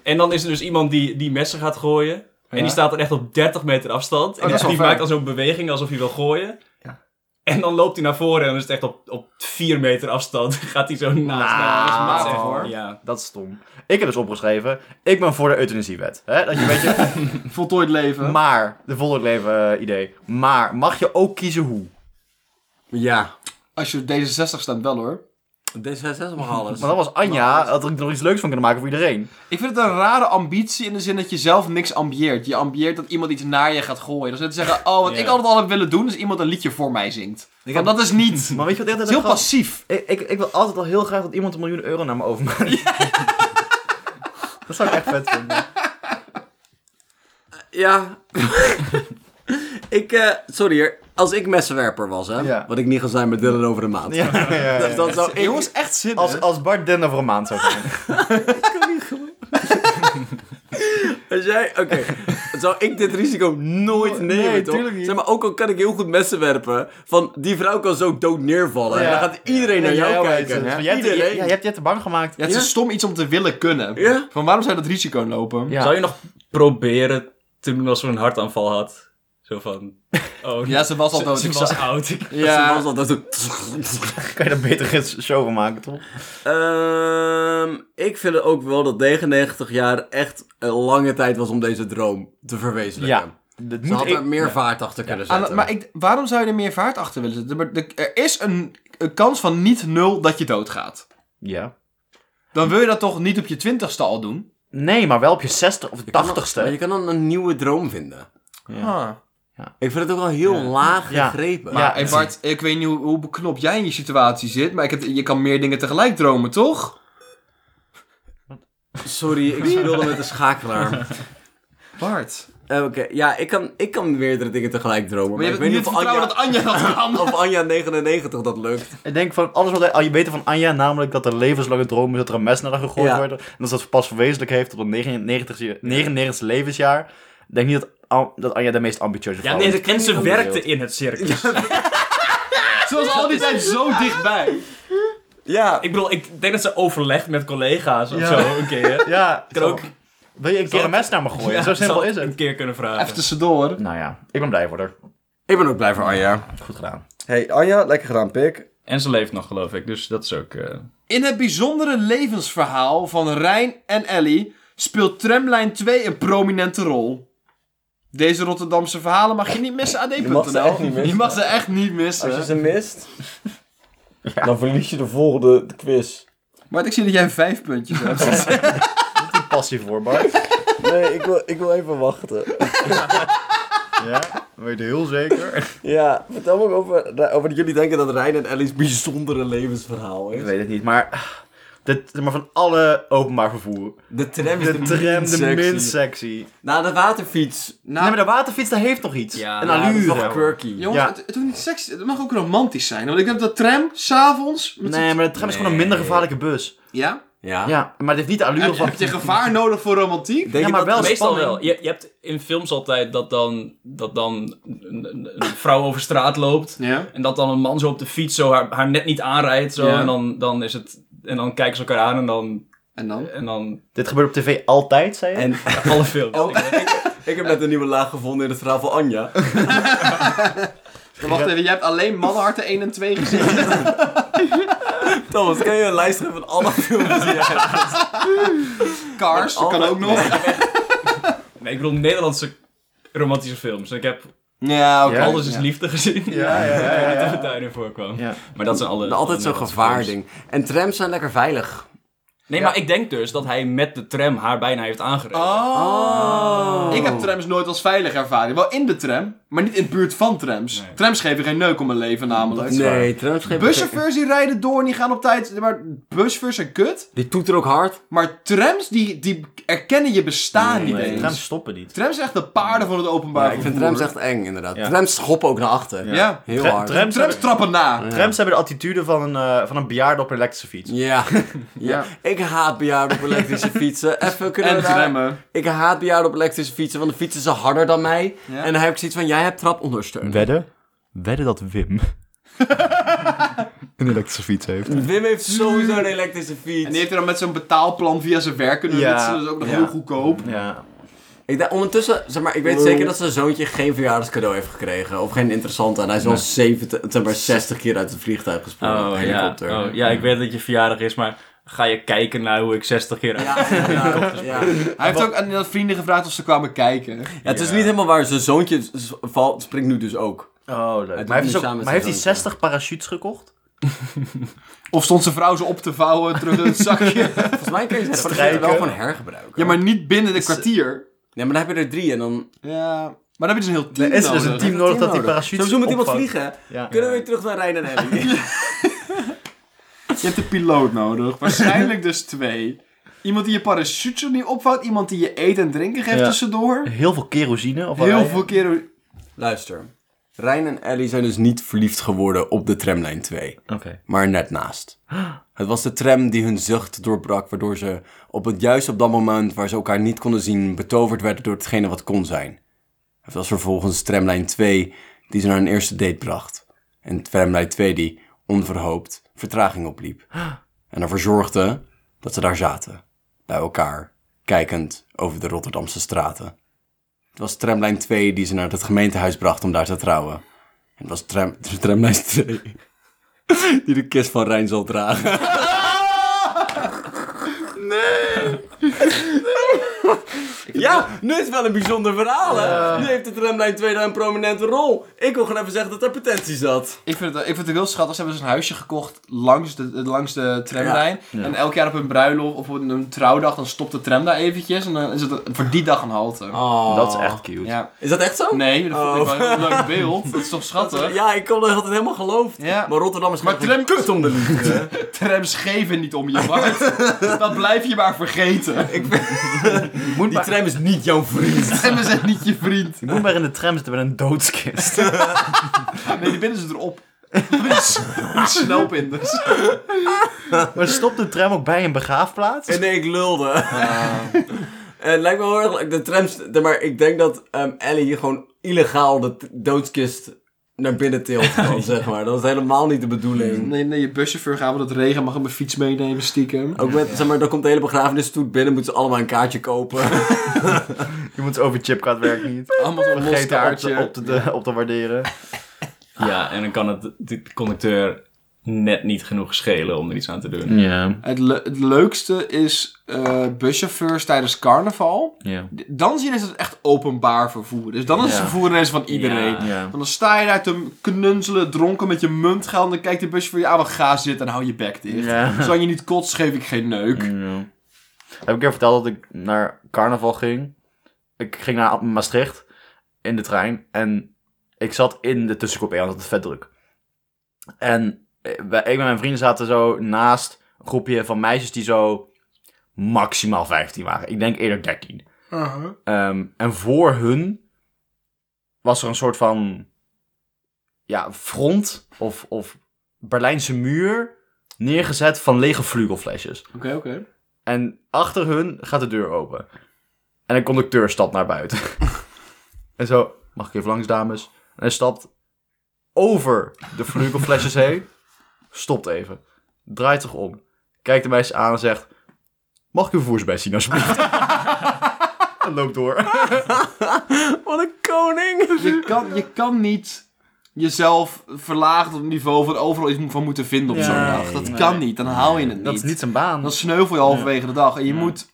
Speaker 4: En dan is er dus iemand die, die messen gaat gooien. En die staat dan echt op 30 meter afstand. En
Speaker 2: Oh, dat is
Speaker 4: die,
Speaker 2: wel
Speaker 4: die
Speaker 2: ver.
Speaker 4: maakt dan zo'n beweging alsof hij wil gooien. En dan loopt hij naar voren en dan is het echt op, op 4 meter afstand. Gaat hij zo naast haar. Dat is
Speaker 3: Nou.
Speaker 4: matig, hoor. Ja.
Speaker 3: Dat is stom. Ik heb dus opgeschreven, ik ben voor de euthanasiewet. Hè? Dat je weet je,
Speaker 2: Voltooid leven.
Speaker 3: maar, de volgend leven eh, idee. Maar, mag je ook kiezen hoe?
Speaker 1: Ja.
Speaker 2: Als je op D66 stemt, wel hoor.
Speaker 1: D66 mag alles.
Speaker 3: Maar dat was Anja, had er nog iets leuks van kunnen maken voor iedereen.
Speaker 2: Ik vind het een rare ambitie in de zin dat je zelf niks ambieert. Je ambieert dat iemand iets naar je gaat gooien. Dus net te zeggen, oh, wat
Speaker 4: Ja.
Speaker 2: ik altijd al heb willen doen, is iemand een liedje voor mij zingt.
Speaker 3: Ik
Speaker 2: Want
Speaker 3: heb-
Speaker 2: dat is niet. Het
Speaker 3: Maar weet je wat ik altijd
Speaker 2: is heel
Speaker 3: heb gehad?
Speaker 2: passief.
Speaker 3: Ik, ik, ik wil altijd al heel graag dat iemand een miljoen euro naar me overmaakt. Dat zou ik echt vet vinden.
Speaker 1: Ja. ik, eh, sorry hoor. Als ik messenwerper was, hè.
Speaker 3: Ja.
Speaker 1: Wat ik niet ga zijn met Dylan over de maand.
Speaker 3: Ja, ja, ja, ja.
Speaker 1: Dus dan zou ik...
Speaker 2: Jongens, echt zin.
Speaker 3: Als, als Bart Denner voor een maand zou gaan.
Speaker 1: Als jij, oké, zou ik dit risico nooit
Speaker 3: Nee,
Speaker 1: nemen, toch?
Speaker 3: tuurlijk niet.
Speaker 1: Zeg maar, ook al kan ik heel goed messen werpen, van die vrouw kan zo dood neervallen. En
Speaker 3: Ja.
Speaker 1: dan gaat iedereen naar jou, kijken.
Speaker 3: Ja.
Speaker 1: Ja.
Speaker 3: Jij hebt, je,
Speaker 1: Iedereen.
Speaker 3: ja, je hebt je te bang gemaakt.
Speaker 2: Ja, het is stom iets om te willen kunnen.
Speaker 1: Ja.
Speaker 2: Van waarom zou je dat risico lopen?
Speaker 3: Ja.
Speaker 4: Zou je nog proberen te doen als ze een hartaanval had? Zo van... Oh,
Speaker 2: Ja, ze was al
Speaker 4: ze,
Speaker 2: dood.
Speaker 4: ze
Speaker 2: Ik
Speaker 4: was
Speaker 2: zag-
Speaker 4: oud. Ik-
Speaker 1: Ze
Speaker 2: Ja.
Speaker 1: was al dat zo-
Speaker 3: Kan je daar beter een show van maken, toch?
Speaker 1: Ehm, ik vind het ook wel dat 99 jaar echt een lange tijd was om deze droom te verwezenlijken.
Speaker 3: Ja. Dit
Speaker 1: Ze
Speaker 3: moet
Speaker 1: had
Speaker 3: ik-
Speaker 1: er meer vaart achter kunnen
Speaker 2: Aan-
Speaker 1: zetten.
Speaker 2: maar ik, waarom zou je er meer vaart achter willen zetten? Maar de- Er is een, een kans van niet nul dat je doodgaat.
Speaker 3: Ja.
Speaker 2: Dan wil je dat toch niet op je twintigste al doen?
Speaker 3: Nee, maar wel op je 60 of
Speaker 1: Je kan dan- maar
Speaker 3: 80ste.
Speaker 1: je kan dan een nieuwe droom vinden.
Speaker 2: Ah.
Speaker 1: Ik vind het ook wel heel laag
Speaker 3: Ja.
Speaker 1: gegrepen.
Speaker 3: Ja.
Speaker 2: Hey Bart, ik weet niet hoe, hoe beknopt jij in je situatie zit, maar ik heb, je kan meer dingen tegelijk dromen, toch?
Speaker 1: Sorry, ik speelde met de schakelaar.
Speaker 2: Bart.
Speaker 1: Eh, Oké, ja, ik kan, ik kan meerdere dingen tegelijk dromen. Maar,
Speaker 2: Maar je
Speaker 1: ik
Speaker 2: hebt
Speaker 1: weet
Speaker 2: niet
Speaker 1: niet
Speaker 2: het
Speaker 1: of
Speaker 2: vertrouwen
Speaker 1: Anja,
Speaker 2: dat Anja dat kan.
Speaker 1: of Anja 99 dat lukt.
Speaker 3: Ik denk van alles wat hij- al je weet van Anja, namelijk dat er levenslange droom is dat er een mes naar haar gegooid
Speaker 1: Ja.
Speaker 3: wordt. En dat ze dat pas verwezenlijk heeft op het 99ste 99ste levensjaar. Ik denk niet dat, An- dat Anja de meest ambitieuze
Speaker 4: Ja,
Speaker 3: vrouw
Speaker 4: nee,
Speaker 3: is.
Speaker 4: ze- en ze
Speaker 1: niet
Speaker 4: werkte in het circus.
Speaker 2: Ze was al die tijd zo dichtbij.
Speaker 1: Ja,
Speaker 4: Ik bedoel, ik denk dat ze overlegt met collega's of
Speaker 3: Ja.
Speaker 4: zo een keer. hè.
Speaker 3: Ja,
Speaker 4: Kan ook-
Speaker 3: Wil je een keer een mes naar me gooien? Zo simpel
Speaker 4: Zou
Speaker 3: is
Speaker 4: Een
Speaker 3: het.
Speaker 4: keer kunnen
Speaker 2: Even
Speaker 4: vragen.
Speaker 2: tussendoor.
Speaker 3: Nou ja, ik ben blij voor haar.
Speaker 1: ik ben ook blij voor Anja.
Speaker 3: Goed gedaan.
Speaker 1: Hey, Anja, lekker gedaan, pik.
Speaker 4: En ze leeft nog, geloof ik. Dus dat is ook... eh,
Speaker 2: In het bijzondere levensverhaal van Rijn en Ellie speelt Tramlijn 2 een prominente rol. Deze Rotterdamse verhalen mag je niet missen, ad.nl.
Speaker 1: mag ze echt niet missen.
Speaker 2: Je mag ze echt niet missen.
Speaker 1: mist, dan verlies je de volgende quiz.
Speaker 2: Bart, ik zie dat jij vijf puntjes hebt.
Speaker 3: Passie voor Bart.
Speaker 1: Nee, ik wil, ik wil even wachten.
Speaker 3: Ja, weet je heel zeker.
Speaker 1: Ja, vertel me ook over, nou, over dat jullie denken dat Rijn en Ellie's bijzondere levensverhaal
Speaker 3: Ik
Speaker 1: is.
Speaker 3: weet het niet, maar... ah, Dit, maar van alle openbaar vervoer.
Speaker 1: De tram is
Speaker 3: De tram,
Speaker 1: minst
Speaker 3: de
Speaker 1: sexy.
Speaker 3: minst sexy.
Speaker 1: Nou, de waterfiets.
Speaker 3: Nee, maar de waterfiets, dat heeft toch iets.
Speaker 4: Ja,
Speaker 3: een
Speaker 4: ja,
Speaker 1: dat is
Speaker 3: allure.
Speaker 1: wel quirky.
Speaker 2: Jongens,
Speaker 3: Ja.
Speaker 2: het, het hoeft niet sexy. Het mag ook romantisch zijn. Want ik heb dat tram, s'avonds... met
Speaker 3: nee,
Speaker 2: het-
Speaker 3: maar de tram is gewoon een minder
Speaker 1: Nee.
Speaker 3: gevaarlijke bus.
Speaker 2: Ja?
Speaker 1: Ja.
Speaker 3: Ja, maar het heeft niet de allure
Speaker 2: Heb, je-
Speaker 3: van...
Speaker 2: heb je gevaar nodig voor romantiek?
Speaker 1: Denk
Speaker 3: Ja,
Speaker 1: je
Speaker 3: maar
Speaker 1: dat-
Speaker 3: wel
Speaker 4: Meestal
Speaker 3: spanning.
Speaker 4: wel. Je, je hebt in films altijd dat dan, dat dan een, een- een vrouw over straat loopt.
Speaker 2: Ja.
Speaker 4: En dat dan een man zo op de fiets zo haar, haar net niet aanrijdt. Zo,
Speaker 2: Ja.
Speaker 4: En, dan, dan is het, en dan kijken ze elkaar aan en dan...
Speaker 2: En dan?
Speaker 4: En dan
Speaker 3: Dit gebeurt op tv altijd, zei je?
Speaker 1: En,
Speaker 4: alle films.
Speaker 1: oh, ik heb net een nieuwe laag gevonden in het verhaal van Anja.
Speaker 2: Wacht even, je hebt alleen mannenharten 1 en 2 gezien.
Speaker 1: Thomas, kan je een lijst geven van alle films die jij hebt?
Speaker 2: Cars, dat kan ook nog.
Speaker 4: Nee, ik bedoel Nederlandse romantische films. Ik heb
Speaker 2: Ja, oké.
Speaker 3: Ja.
Speaker 4: Alles is Liefde gezien.
Speaker 3: Ja, ja, ja, ja, ja.
Speaker 4: Dat het daarin voorkwam.
Speaker 3: Ja.
Speaker 4: Maar dat zijn alle...
Speaker 1: Altijd
Speaker 4: alle
Speaker 1: zo'n
Speaker 4: films.
Speaker 1: gevaarding. En trams zijn lekker veilig.
Speaker 4: Nee, maar ik denk dus dat hij met de tram haar bijna heeft
Speaker 2: Oh.
Speaker 4: aangereden.
Speaker 1: Oh.
Speaker 2: Ik heb trams nooit als veilig ervaren. Wel in de tram, maar niet in de buurt van trams.
Speaker 4: Nee.
Speaker 2: Trams geven geen neuk om mijn leven namelijk.
Speaker 1: Nee, trams geven...
Speaker 2: Buschauffeurs die rijden door en die gaan op tijd. Maar buschauffeurs zijn kut.
Speaker 1: Die toeteren ook hard.
Speaker 2: Maar trams die, die erkennen je bestaan niet
Speaker 3: Nee,
Speaker 2: eens.
Speaker 3: de
Speaker 2: Trams.
Speaker 3: trams stoppen niet.
Speaker 2: zijn echt de paarden van het openbaar
Speaker 1: Ja, ik vind
Speaker 2: vervoer.
Speaker 1: trams echt eng, inderdaad.
Speaker 3: Ja.
Speaker 1: Trams schoppen ook naar achter.
Speaker 2: Ja. Ja.
Speaker 1: Heel
Speaker 3: Tra-
Speaker 1: hard.
Speaker 3: trams,
Speaker 2: Trams
Speaker 3: hebben,
Speaker 2: trappen na.
Speaker 3: trams hebben de attitude van een, eh, van een bejaarde op een elektrische fiets.
Speaker 1: Ja. ja. Ik haat bejaarden op elektrische fietsen. Even kunnen
Speaker 2: En
Speaker 1: we daar-
Speaker 2: remmen.
Speaker 1: Ik haat bejaarden op elektrische fietsen, want de fietsen zijn harder dan mij.
Speaker 2: Ja.
Speaker 1: En dan heb ik zoiets van, jij hebt trapondersteuning.
Speaker 3: Wedden? Wedden dat Wim een elektrische fiets heeft.
Speaker 1: Wim heeft sowieso een elektrische fiets.
Speaker 2: En die heeft er dan met zo'n betaalplan via zijn werk kunnen
Speaker 3: Ja.
Speaker 2: nutsen. Dat is ook nog
Speaker 1: Ja.
Speaker 2: heel goedkoop.
Speaker 3: Ja.
Speaker 1: Ik denk, ondertussen, zeg maar, ik weet zeker dat zijn zoontje geen verjaardagscadeau heeft gekregen. Of geen interessante. En hij is wel 70, zeg maar 60 keer uit het vliegtuig gesprongen.
Speaker 4: Oh ja.
Speaker 1: helikopter.
Speaker 4: oh ja, ik weet dat je verjaardag is, maar ga je kijken naar hoe ik 60 keer...
Speaker 1: Ja, ja, ja.
Speaker 2: Hij heeft ook aan dat vrienden gevraagd of ze kwamen kijken.
Speaker 1: Ja, het is niet helemaal waar. Zijn zoontje s- valt, springt nu dus ook.
Speaker 3: Oh, leuk.
Speaker 1: doet
Speaker 3: Maar heeft,
Speaker 1: nu
Speaker 3: hij zo-
Speaker 1: samen met
Speaker 3: maar heeft
Speaker 1: zijn
Speaker 3: hij
Speaker 1: zoon,
Speaker 3: 60 parachutes gekocht?
Speaker 2: Of stond zijn vrouw ze op te vouwen terug in het zakje?
Speaker 1: Volgens mij kun je ze
Speaker 3: Strijken.
Speaker 1: wel gewoon hergebruiken.
Speaker 2: ja, maar niet binnen de kwartier.
Speaker 1: Nee, maar dan heb je er drie en dan...
Speaker 2: Ja, maar dan heb je dus een heel team
Speaker 3: Er is dus een
Speaker 2: nodig.
Speaker 3: team
Speaker 1: Een
Speaker 3: nodig dat die
Speaker 1: nodig.
Speaker 3: parachute
Speaker 1: Zullen we met iemand
Speaker 3: opvangt.
Speaker 1: vliegen?
Speaker 3: Ja.
Speaker 1: Kunnen we weer terug naar Rijn en Ellie?
Speaker 2: Je hebt een piloot nodig. Waarschijnlijk dus twee. Iemand die je parachute niet opvouwt. Iemand die je eten en drinken geeft
Speaker 3: Ja.
Speaker 2: tussendoor.
Speaker 3: Heel veel kerosine. Of
Speaker 2: Heel veel keren...
Speaker 1: Luister. Rijn en Ellie zijn dus niet verliefd geworden op de tramlijn 2.
Speaker 3: Oké.
Speaker 1: maar net naast. Het was de tram die hun zucht doorbrak, waardoor ze op het juist op dat moment waar ze elkaar niet konden zien, betoverd werden door hetgene wat kon zijn. Het was vervolgens tramlijn 2 die ze naar hun eerste date bracht. En tramlijn 2 die, onverhoopt, vertraging opliep. En ervoor zorgde dat ze daar zaten, bij elkaar, kijkend over de Rotterdamse straten. Het was tramlijn 2 die ze naar het gemeentehuis bracht om daar te trouwen. En het was tram, tramlijn 2 die de kist van Rijn zal dragen. Nee! Ja, nu is het wel een bijzonder verhaal, hè? Nu heeft de tramlijn 2 daar een prominente rol. Ik wil gewoon even zeggen dat er potentie zat.
Speaker 2: Ik vind, het, ik vind het heel schattig. Ze hebben dus een huisje gekocht langs de, langs de tramlijn. En elk jaar op hun bruiloft of op een trouwdag, dan stopt de tram daar eventjes. En dan is het voor die dag een halte.
Speaker 3: Dat is echt cute.
Speaker 2: Ja.
Speaker 1: Is dat echt zo?
Speaker 2: Oh. Nee, dat vond ik
Speaker 1: Oh.
Speaker 2: wel een heel leuk beeld. Dat is toch schattig?
Speaker 1: Ja, ik kon- had het helemaal geloofd.
Speaker 2: Ja.
Speaker 1: Maar Rotterdam is
Speaker 2: Maar
Speaker 1: gewoon
Speaker 2: tram-
Speaker 1: kut om de liefde.
Speaker 2: Trams geven niet om je waard. dat blijf je maar vergeten.
Speaker 3: Moet
Speaker 1: Die
Speaker 3: maar,
Speaker 1: tram is niet jouw vriend.
Speaker 2: Trams zijn niet je vriend.
Speaker 3: moet maar in de tram zitten met een doodskist.
Speaker 2: Nee, die binden ze erop. Snel pinders.
Speaker 3: maar stopt de tram ook bij een begraafplaats?
Speaker 1: En nee, ik lulde.
Speaker 3: Ah.
Speaker 1: Eh, het lijkt me heel erg leuk. De trams. de- maar ik denk dat ehm, Ellie hier gewoon illegaal de t- doodskist naar binnen tilt. gewoon, zeg maar. Dat is helemaal niet de bedoeling.
Speaker 2: Nee, nee, je buschauffeur gaat wel het regen, mag hem mijn fiets meenemen stiekem.
Speaker 1: Ook met, zeg maar, dan komt de hele begrafenisstoet binnen, moeten ze allemaal een kaartje kopen.
Speaker 3: Je moet over chipkaart werkt niet.
Speaker 2: Allemaal zo'n los
Speaker 3: Vergeet op
Speaker 2: kaartje.
Speaker 3: te, op, te, op te waarderen.
Speaker 4: Ja, en dan kan het de conducteur net niet genoeg schelen om er iets aan te doen.
Speaker 3: Ja,
Speaker 2: Het, le- het leukste is eh, buschauffeurs tijdens carnaval.
Speaker 3: ja.
Speaker 2: D- Dan zie je dat het echt openbaar vervoer is. Dan is het
Speaker 3: Ja.
Speaker 2: vervoer ineens van iedereen.
Speaker 4: Ja.
Speaker 3: Ja.
Speaker 2: Want dan sta je daar te knunzelen, dronken met je muntgeld. En dan kijkt de buschauffeur je aan, "Wel, ga zitten en hou je bek dicht.
Speaker 3: Ja.
Speaker 2: Zolang je niet kotst, geef ik geen neuk.
Speaker 3: Ja. Heb ik een keer verteld dat ik naar carnaval ging? Ik ging naar Maastricht in de trein en ik zat in de tussencoupé, want het was vet druk. En eh, wij- ik en mijn vrienden zaten zo naast een groepje van meisjes die zo maximaal 15 waren. Ik denk eerder 13. Ehm, en voor hun was er een soort van ja, front of, of Berlijnse muur neergezet van lege vlugelflesjes.
Speaker 2: Oké, oké.
Speaker 3: En achter hun gaat de deur open. En een conducteur stapt naar buiten. en zo, mag ik even langs, dames? En hij stapt over de vlugelflesjes heen. Stopt even. Draait zich om. Kijkt de meisje aan en zegt... Mag ik uw voersbest zien, alsjeblieft? en loopt door.
Speaker 1: Wat een koning!
Speaker 2: Je kan, je kan niet jezelf verlagen tot het niveau van overal iets van moeten vinden op
Speaker 3: Nee,
Speaker 2: zo'n dag. Dat kan niet, dan haal je het niet.
Speaker 3: Dat is niet zijn baan.
Speaker 2: Dan sneuvel je halverwege de dag. En je, moet,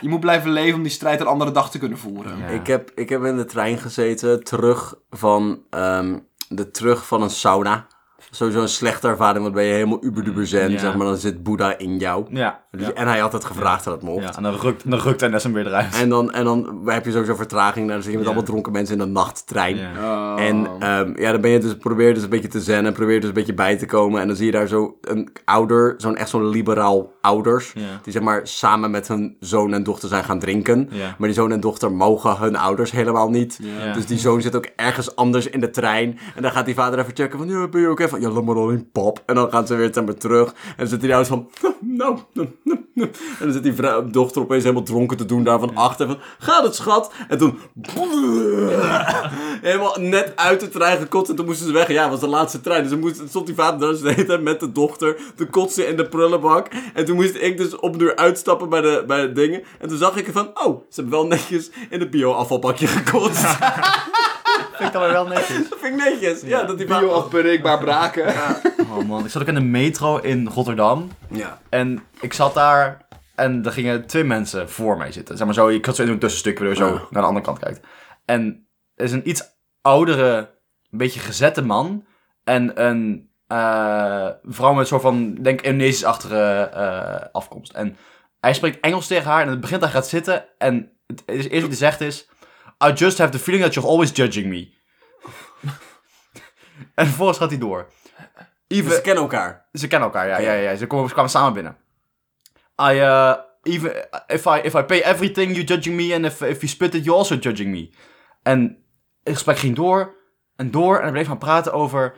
Speaker 2: je moet blijven leven om die strijd een andere dag te kunnen voeren.
Speaker 3: Ja.
Speaker 1: Ik, heb, ik heb in de trein gezeten, terug van, ehm, de, terug van een sauna. Sowieso een slechte ervaring, want ben je helemaal uberduber zen,
Speaker 3: Ja.
Speaker 1: zeg maar. Dan zit Boeddha in jou.
Speaker 3: Ja. ja.
Speaker 1: En hij had het gevraagd dat het mocht.
Speaker 3: en dan rukt, dan rukt NS hem weer eruit.
Speaker 1: En dan, en dan heb je sowieso vertraging. Dan zit je met
Speaker 3: Ja.
Speaker 1: allemaal dronken mensen in de nachttrein.
Speaker 3: Ja.
Speaker 2: Oh.
Speaker 1: En ehm, ja, dan ben je dus, probeer je dus een beetje te zennen. Probeer je dus een beetje bij te komen. En dan zie je daar zo een ouder, zo'n echt zo'n liberaal ouders.
Speaker 3: Ja.
Speaker 1: Die zeg maar samen met hun zoon en dochter zijn gaan drinken.
Speaker 3: Ja.
Speaker 1: Maar die zoon en dochter mogen hun ouders helemaal niet.
Speaker 3: Ja.
Speaker 1: Dus die zoon zit ook ergens anders in de trein. En dan gaat die vader even checken van, ja, ben je ook even? Ja, laat maar alleen pap. En dan gaan ze weer zeg maar, terug. En dan zit die ouders van, nou. En dan zit die vrouw, dochter opeens helemaal dronken te doen daar van achter. Van, gaat het schat? En toen, helemaal net uit de trein gekotst. En toen moesten ze weg. Ja, het was de laatste trein. Dus dan moest, stond die vader daar zitten met de dochter. De kotsen in de prullenbak. En toen moest ik dus op deur uitstappen bij de, bij de dingen. En toen zag ik ervan, oh, ze hebben wel netjes in het bio-afvalbakje gekotst.
Speaker 3: vind ik dan wel netjes.
Speaker 1: Dat vind ik netjes. Ja, dat die
Speaker 2: Bio afbreekbaar braken.
Speaker 3: Oh man, ik zat ook in de metro in Rotterdam.
Speaker 1: Ja.
Speaker 3: En ik zat daar en er gingen twee mensen voor mij zitten. Zeg maar zo, ik had zo in een tussenstuk waar je zo
Speaker 1: Ja.
Speaker 3: naar de andere kant kijkt. En er is een iets oudere, een beetje gezette man en een, eh, eh, vrouw met een soort van, denk ik, Indonesisch-achtige eh, afkomst. En hij spreekt Engels tegen haar en het begint, hij gaat zitten en het is- eerste wat hij zegt is... I just have the feeling that you're always judging me. en vervolgens gaat hij door. Even,
Speaker 1: Dus ze kennen elkaar.
Speaker 3: ze kennen elkaar, ja, ja, ja. Ze komen, ze kwamen samen binnen. I, uh, even, if, I, if I pay everything, you're judging me. And if, if you spit it, you're also judging me. En het gesprek ging door en door. En we bleef gaan praten over...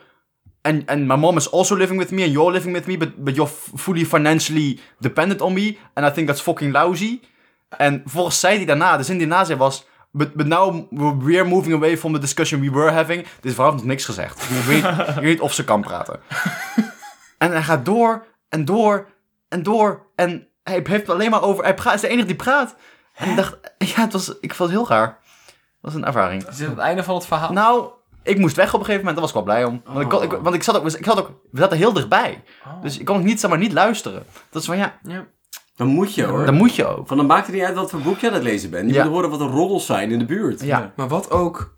Speaker 3: And, and my mom is also living with me and you're living with me. But, but you're f- fully financially dependent on me. And I think that's fucking lousy. En volgens zei hij daarna, de zin die daarna zei was... But, but now we're we're moving away from the discussion we were having. Dit vrouw heeft nog niks gezegd. Ik weet, ik weet niet of ze kan praten. En hij gaat door en door en door. En hij heeft het alleen maar over. Hij praat, is de enige die praat. En ik dacht, ja, het was, ik vond het heel raar. Het was een ervaring.
Speaker 2: Is dit het einde van het verhaal?
Speaker 3: Nou, ik moest weg op een gegeven moment. Daar was ik wel blij om. Want, ik, kon-
Speaker 2: Oh.
Speaker 3: ik, want ik, zat ook, ik zat ook. We zaten heel dichtbij. Dus ik kon ook niet, zeg maar, niet luisteren. Dat is van ja,
Speaker 1: Dan moet je hoor.
Speaker 3: dan moet je ook.
Speaker 1: Van dan maakt het niet uit wat voor boek je aan het lezen bent. Je
Speaker 3: Ja.
Speaker 1: moet horen wat de roddels zijn in de buurt.
Speaker 3: Ja,
Speaker 2: Maar wat ook...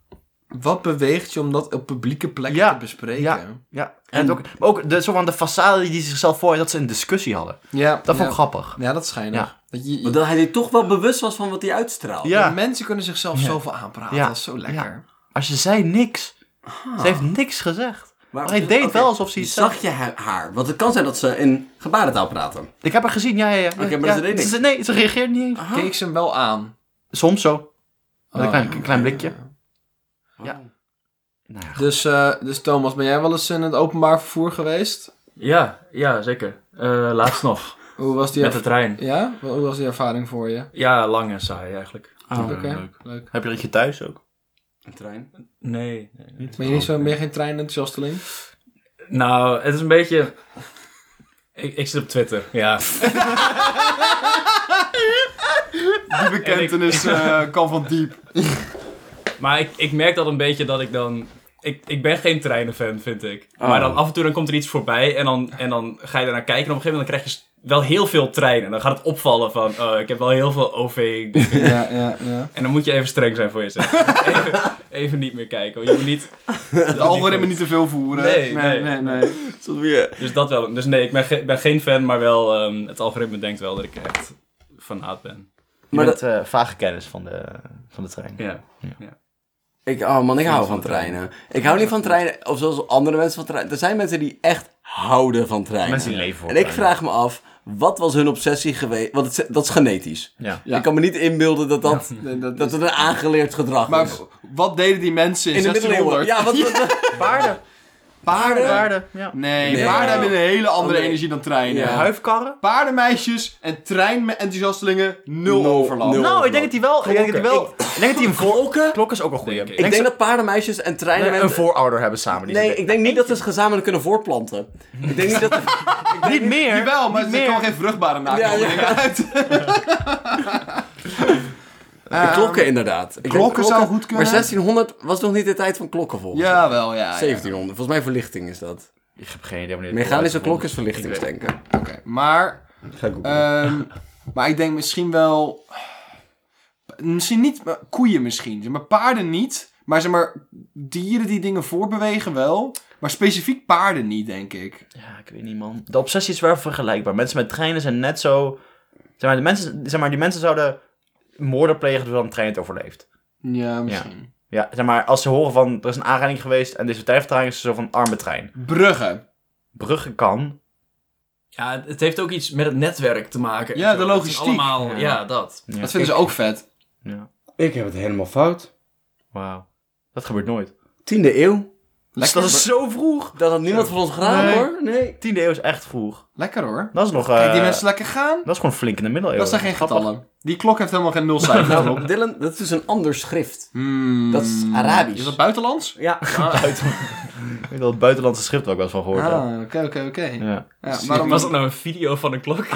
Speaker 2: Wat beweegt je om dat op publieke plekken
Speaker 3: Ja.
Speaker 2: te bespreken?
Speaker 3: Ja. ja. En, het ook, maar ook de, soort van de façade die zichzelf voor dat ze een discussie hadden.
Speaker 2: Ja,
Speaker 3: Dat vond
Speaker 2: ja.
Speaker 3: ik grappig.
Speaker 2: Ja, dat is schijnig.
Speaker 3: Ja.
Speaker 2: Dat je,
Speaker 1: Maar dat hij er toch wel bewust was van wat hij uitstraalt.
Speaker 3: Ja.
Speaker 2: de mensen kunnen zichzelf zoveel aanpraten.
Speaker 3: Ja.
Speaker 2: Dat is zo lekker.
Speaker 3: Maar ze zei niks.
Speaker 2: Ah.
Speaker 3: Ze heeft niks gezegd.
Speaker 1: Maar,
Speaker 3: Maar hij deed
Speaker 1: Oké,
Speaker 3: wel alsof ze iets
Speaker 1: Zag je haar, haar? Want het kan zijn dat ze in gebarentaal praten.
Speaker 3: Ik heb haar gezien, ja, ja, ja.
Speaker 1: Oké, maar
Speaker 3: Ja,
Speaker 1: ze deed niks.
Speaker 3: ze- Nee, ze reageert niet eens.
Speaker 2: Keek ze hem wel aan.
Speaker 3: Soms zo. Met een
Speaker 2: Ah. Oh.
Speaker 3: klein, een klein blikje. Ja.
Speaker 1: Oh.
Speaker 3: Nou ja, goed.
Speaker 2: Dus, eh, dus Thomas, ben jij wel eens in het openbaar vervoer geweest?
Speaker 4: Ja, ja, zeker. Eh, laatst nog.
Speaker 2: Hoe was die
Speaker 4: Met de
Speaker 2: erv-
Speaker 4: trein.
Speaker 2: Ja? Hoe was die ervaring voor je?
Speaker 4: Ja, lang en saai eigenlijk.
Speaker 3: Ah,
Speaker 2: Oké,
Speaker 1: leuk.
Speaker 2: leuk.
Speaker 3: Heb je dat je thuis ook?
Speaker 1: Een trein.
Speaker 4: Nee. nee, nee.
Speaker 2: Ben je niet zo, ben je geen treinenthousiasteling?
Speaker 4: Nou, het is een beetje... Ik, ik zit op Twitter, ja.
Speaker 2: Die
Speaker 4: bekentenis,
Speaker 2: eh, kan van diep.
Speaker 4: Maar ik, ik merk dat een beetje dat ik dan... Ik, ik ben geen treinenfan, vind ik.
Speaker 1: Oh.
Speaker 4: Maar dan af en toe dan komt er iets voorbij en dan, en dan ga je daarnaar kijken. En op een gegeven moment dan krijg je s- wel heel veel treinen. Dan gaat het opvallen van, oh, ik heb wel heel veel OV.
Speaker 2: Ja, ja, ja.
Speaker 4: En dan moet je even streng zijn voor jezelf. Even, even niet meer kijken. want Je moet niet...
Speaker 2: De algoritme niet te veel voeren.
Speaker 4: Nee, nee.
Speaker 2: nee.
Speaker 1: Tot weer.
Speaker 4: Dus dat wel. Dus nee, ik ben, ge- ben geen fan, maar wel... ehm, het algoritme denkt wel dat ik echt fanaat ben.
Speaker 1: Maar
Speaker 3: Maar
Speaker 1: dat,
Speaker 3: dat eh, vage kennis van de, van de trein.
Speaker 4: Ja.
Speaker 1: ik, oh man, ik hou van treinen. Ik hou niet van treinen, of zoals andere mensen van treinen. Er zijn mensen die echt houden van treinen.
Speaker 3: Mensen die leven voor
Speaker 1: En ik
Speaker 3: treinen.
Speaker 1: vraag me af, wat was hun obsessie geweest? Want het, dat is genetisch.
Speaker 3: Ja.
Speaker 2: Ja.
Speaker 1: Ik kan me niet inbeelden dat dat,
Speaker 2: dat,
Speaker 1: dat het een aangeleerd gedrag
Speaker 2: maar
Speaker 1: is.
Speaker 2: wat deden die mensen in,
Speaker 1: In de middeleeuwen.
Speaker 2: 1600?
Speaker 1: Ja, wat, wat,
Speaker 3: Paarden.
Speaker 2: Paarden?
Speaker 3: Paarden, ja.
Speaker 2: Nee,
Speaker 1: Nee.
Speaker 2: paarden hebben een hele andere
Speaker 1: Oh, nee.
Speaker 2: energie dan treinen.
Speaker 1: Ja.
Speaker 3: Huifkarren.
Speaker 2: Paardenmeisjes en treinenthousiastelingen, nul
Speaker 1: Nul,
Speaker 2: overlap.
Speaker 1: nul.
Speaker 3: Nou, ik denk dat hij wel... Ik denk dat hij wel... Ik denk dat hij een voor...
Speaker 1: Klokken?
Speaker 3: Klok is ook een goeie.
Speaker 4: Denk ik.
Speaker 1: Ik denk
Speaker 3: ze-
Speaker 1: dat paardenmeisjes en treinen...
Speaker 3: nee, een voorouder hebben samen. Die
Speaker 1: Nee,
Speaker 3: zitten-
Speaker 1: ik denk niet dat ze het gezamenlijk kunnen voortplanten. Ik denk niet dat...
Speaker 3: niet meer.
Speaker 2: Jawel, maar
Speaker 3: niet
Speaker 2: ze
Speaker 3: meer.
Speaker 2: kan geen vruchtbare nakomelingen
Speaker 1: Ja, ja.
Speaker 2: uit.
Speaker 1: De klokken inderdaad. Ik denk
Speaker 2: Ehm, klokken zou goed kunnen.
Speaker 1: Maar 1600 was nog niet de tijd van klokken volgens mij.
Speaker 2: Jawel, ja. ja.
Speaker 1: 1700, volgens mij verlichting is dat.
Speaker 3: Ik heb geen idee wanneer dit
Speaker 1: Mechanische
Speaker 3: wordt
Speaker 1: klok is verlichtingsdenken.
Speaker 2: Oké, maar
Speaker 1: Ga ik googlen.
Speaker 2: Ehm, maar ik denk misschien wel. Misschien niet. maar Koeien misschien. Zeg Maar paarden niet. Maar zeg maar, dieren die dingen voorbewegen wel. Maar specifiek paarden niet, denk ik.
Speaker 3: uitgevonden. Ja, ik weet niet, man. De obsessie is wel vergelijkbaar. Mensen met treinen zijn net zo... Zeg maar, de mensen, zeg maar die mensen zouden moorden plegen doordat een trein het overleeft.
Speaker 2: Ja, misschien.
Speaker 3: Ja, zeg maar, als ze horen van er is een aanrijding geweest en deze treinvertraging is zo van arme trein.
Speaker 2: Bruggen.
Speaker 3: Bruggen kan.
Speaker 4: Ja, het- het heeft ook iets met het netwerk te maken. en
Speaker 2: Ja,
Speaker 4: zo.
Speaker 2: de
Speaker 4: Het is
Speaker 2: logistiek.
Speaker 4: Allemaal, ja.
Speaker 3: Ja.
Speaker 4: dat.
Speaker 3: Ja.
Speaker 2: Dat vinden ze ook vet.
Speaker 3: Ja.
Speaker 1: Ik heb het helemaal fout.
Speaker 3: Wauw. Dat gebeurt nooit.
Speaker 1: 10e eeuw?
Speaker 2: Lekker,
Speaker 3: dat is zo vroeg.
Speaker 1: Dat had niemand van ons gedaan
Speaker 3: Nee.
Speaker 1: hoor. Nee.
Speaker 3: 10e eeuw is echt vroeg.
Speaker 2: lekker hoor.
Speaker 3: Dat is nog. eh,
Speaker 2: Kijk, die mensen lekker gaan.
Speaker 3: Dat is gewoon flink in de middeleeuwen.
Speaker 2: Dat zijn geen
Speaker 3: Grappig.
Speaker 2: getallen. Die klok heeft helemaal geen nulcijfer erop.
Speaker 1: Nou, Dylan, dat is een ander schrift.
Speaker 2: Hmm.
Speaker 1: Dat is Arabisch.
Speaker 2: Is dat buitenlands?
Speaker 1: Ja.
Speaker 3: Ik weet dat het buitenlandse schrift er ook wel eens van gehoord heb.
Speaker 2: Ah, oké, oké, oké.
Speaker 3: Ja.
Speaker 2: Ja, Waarom
Speaker 4: Was dat nou een video van een klok?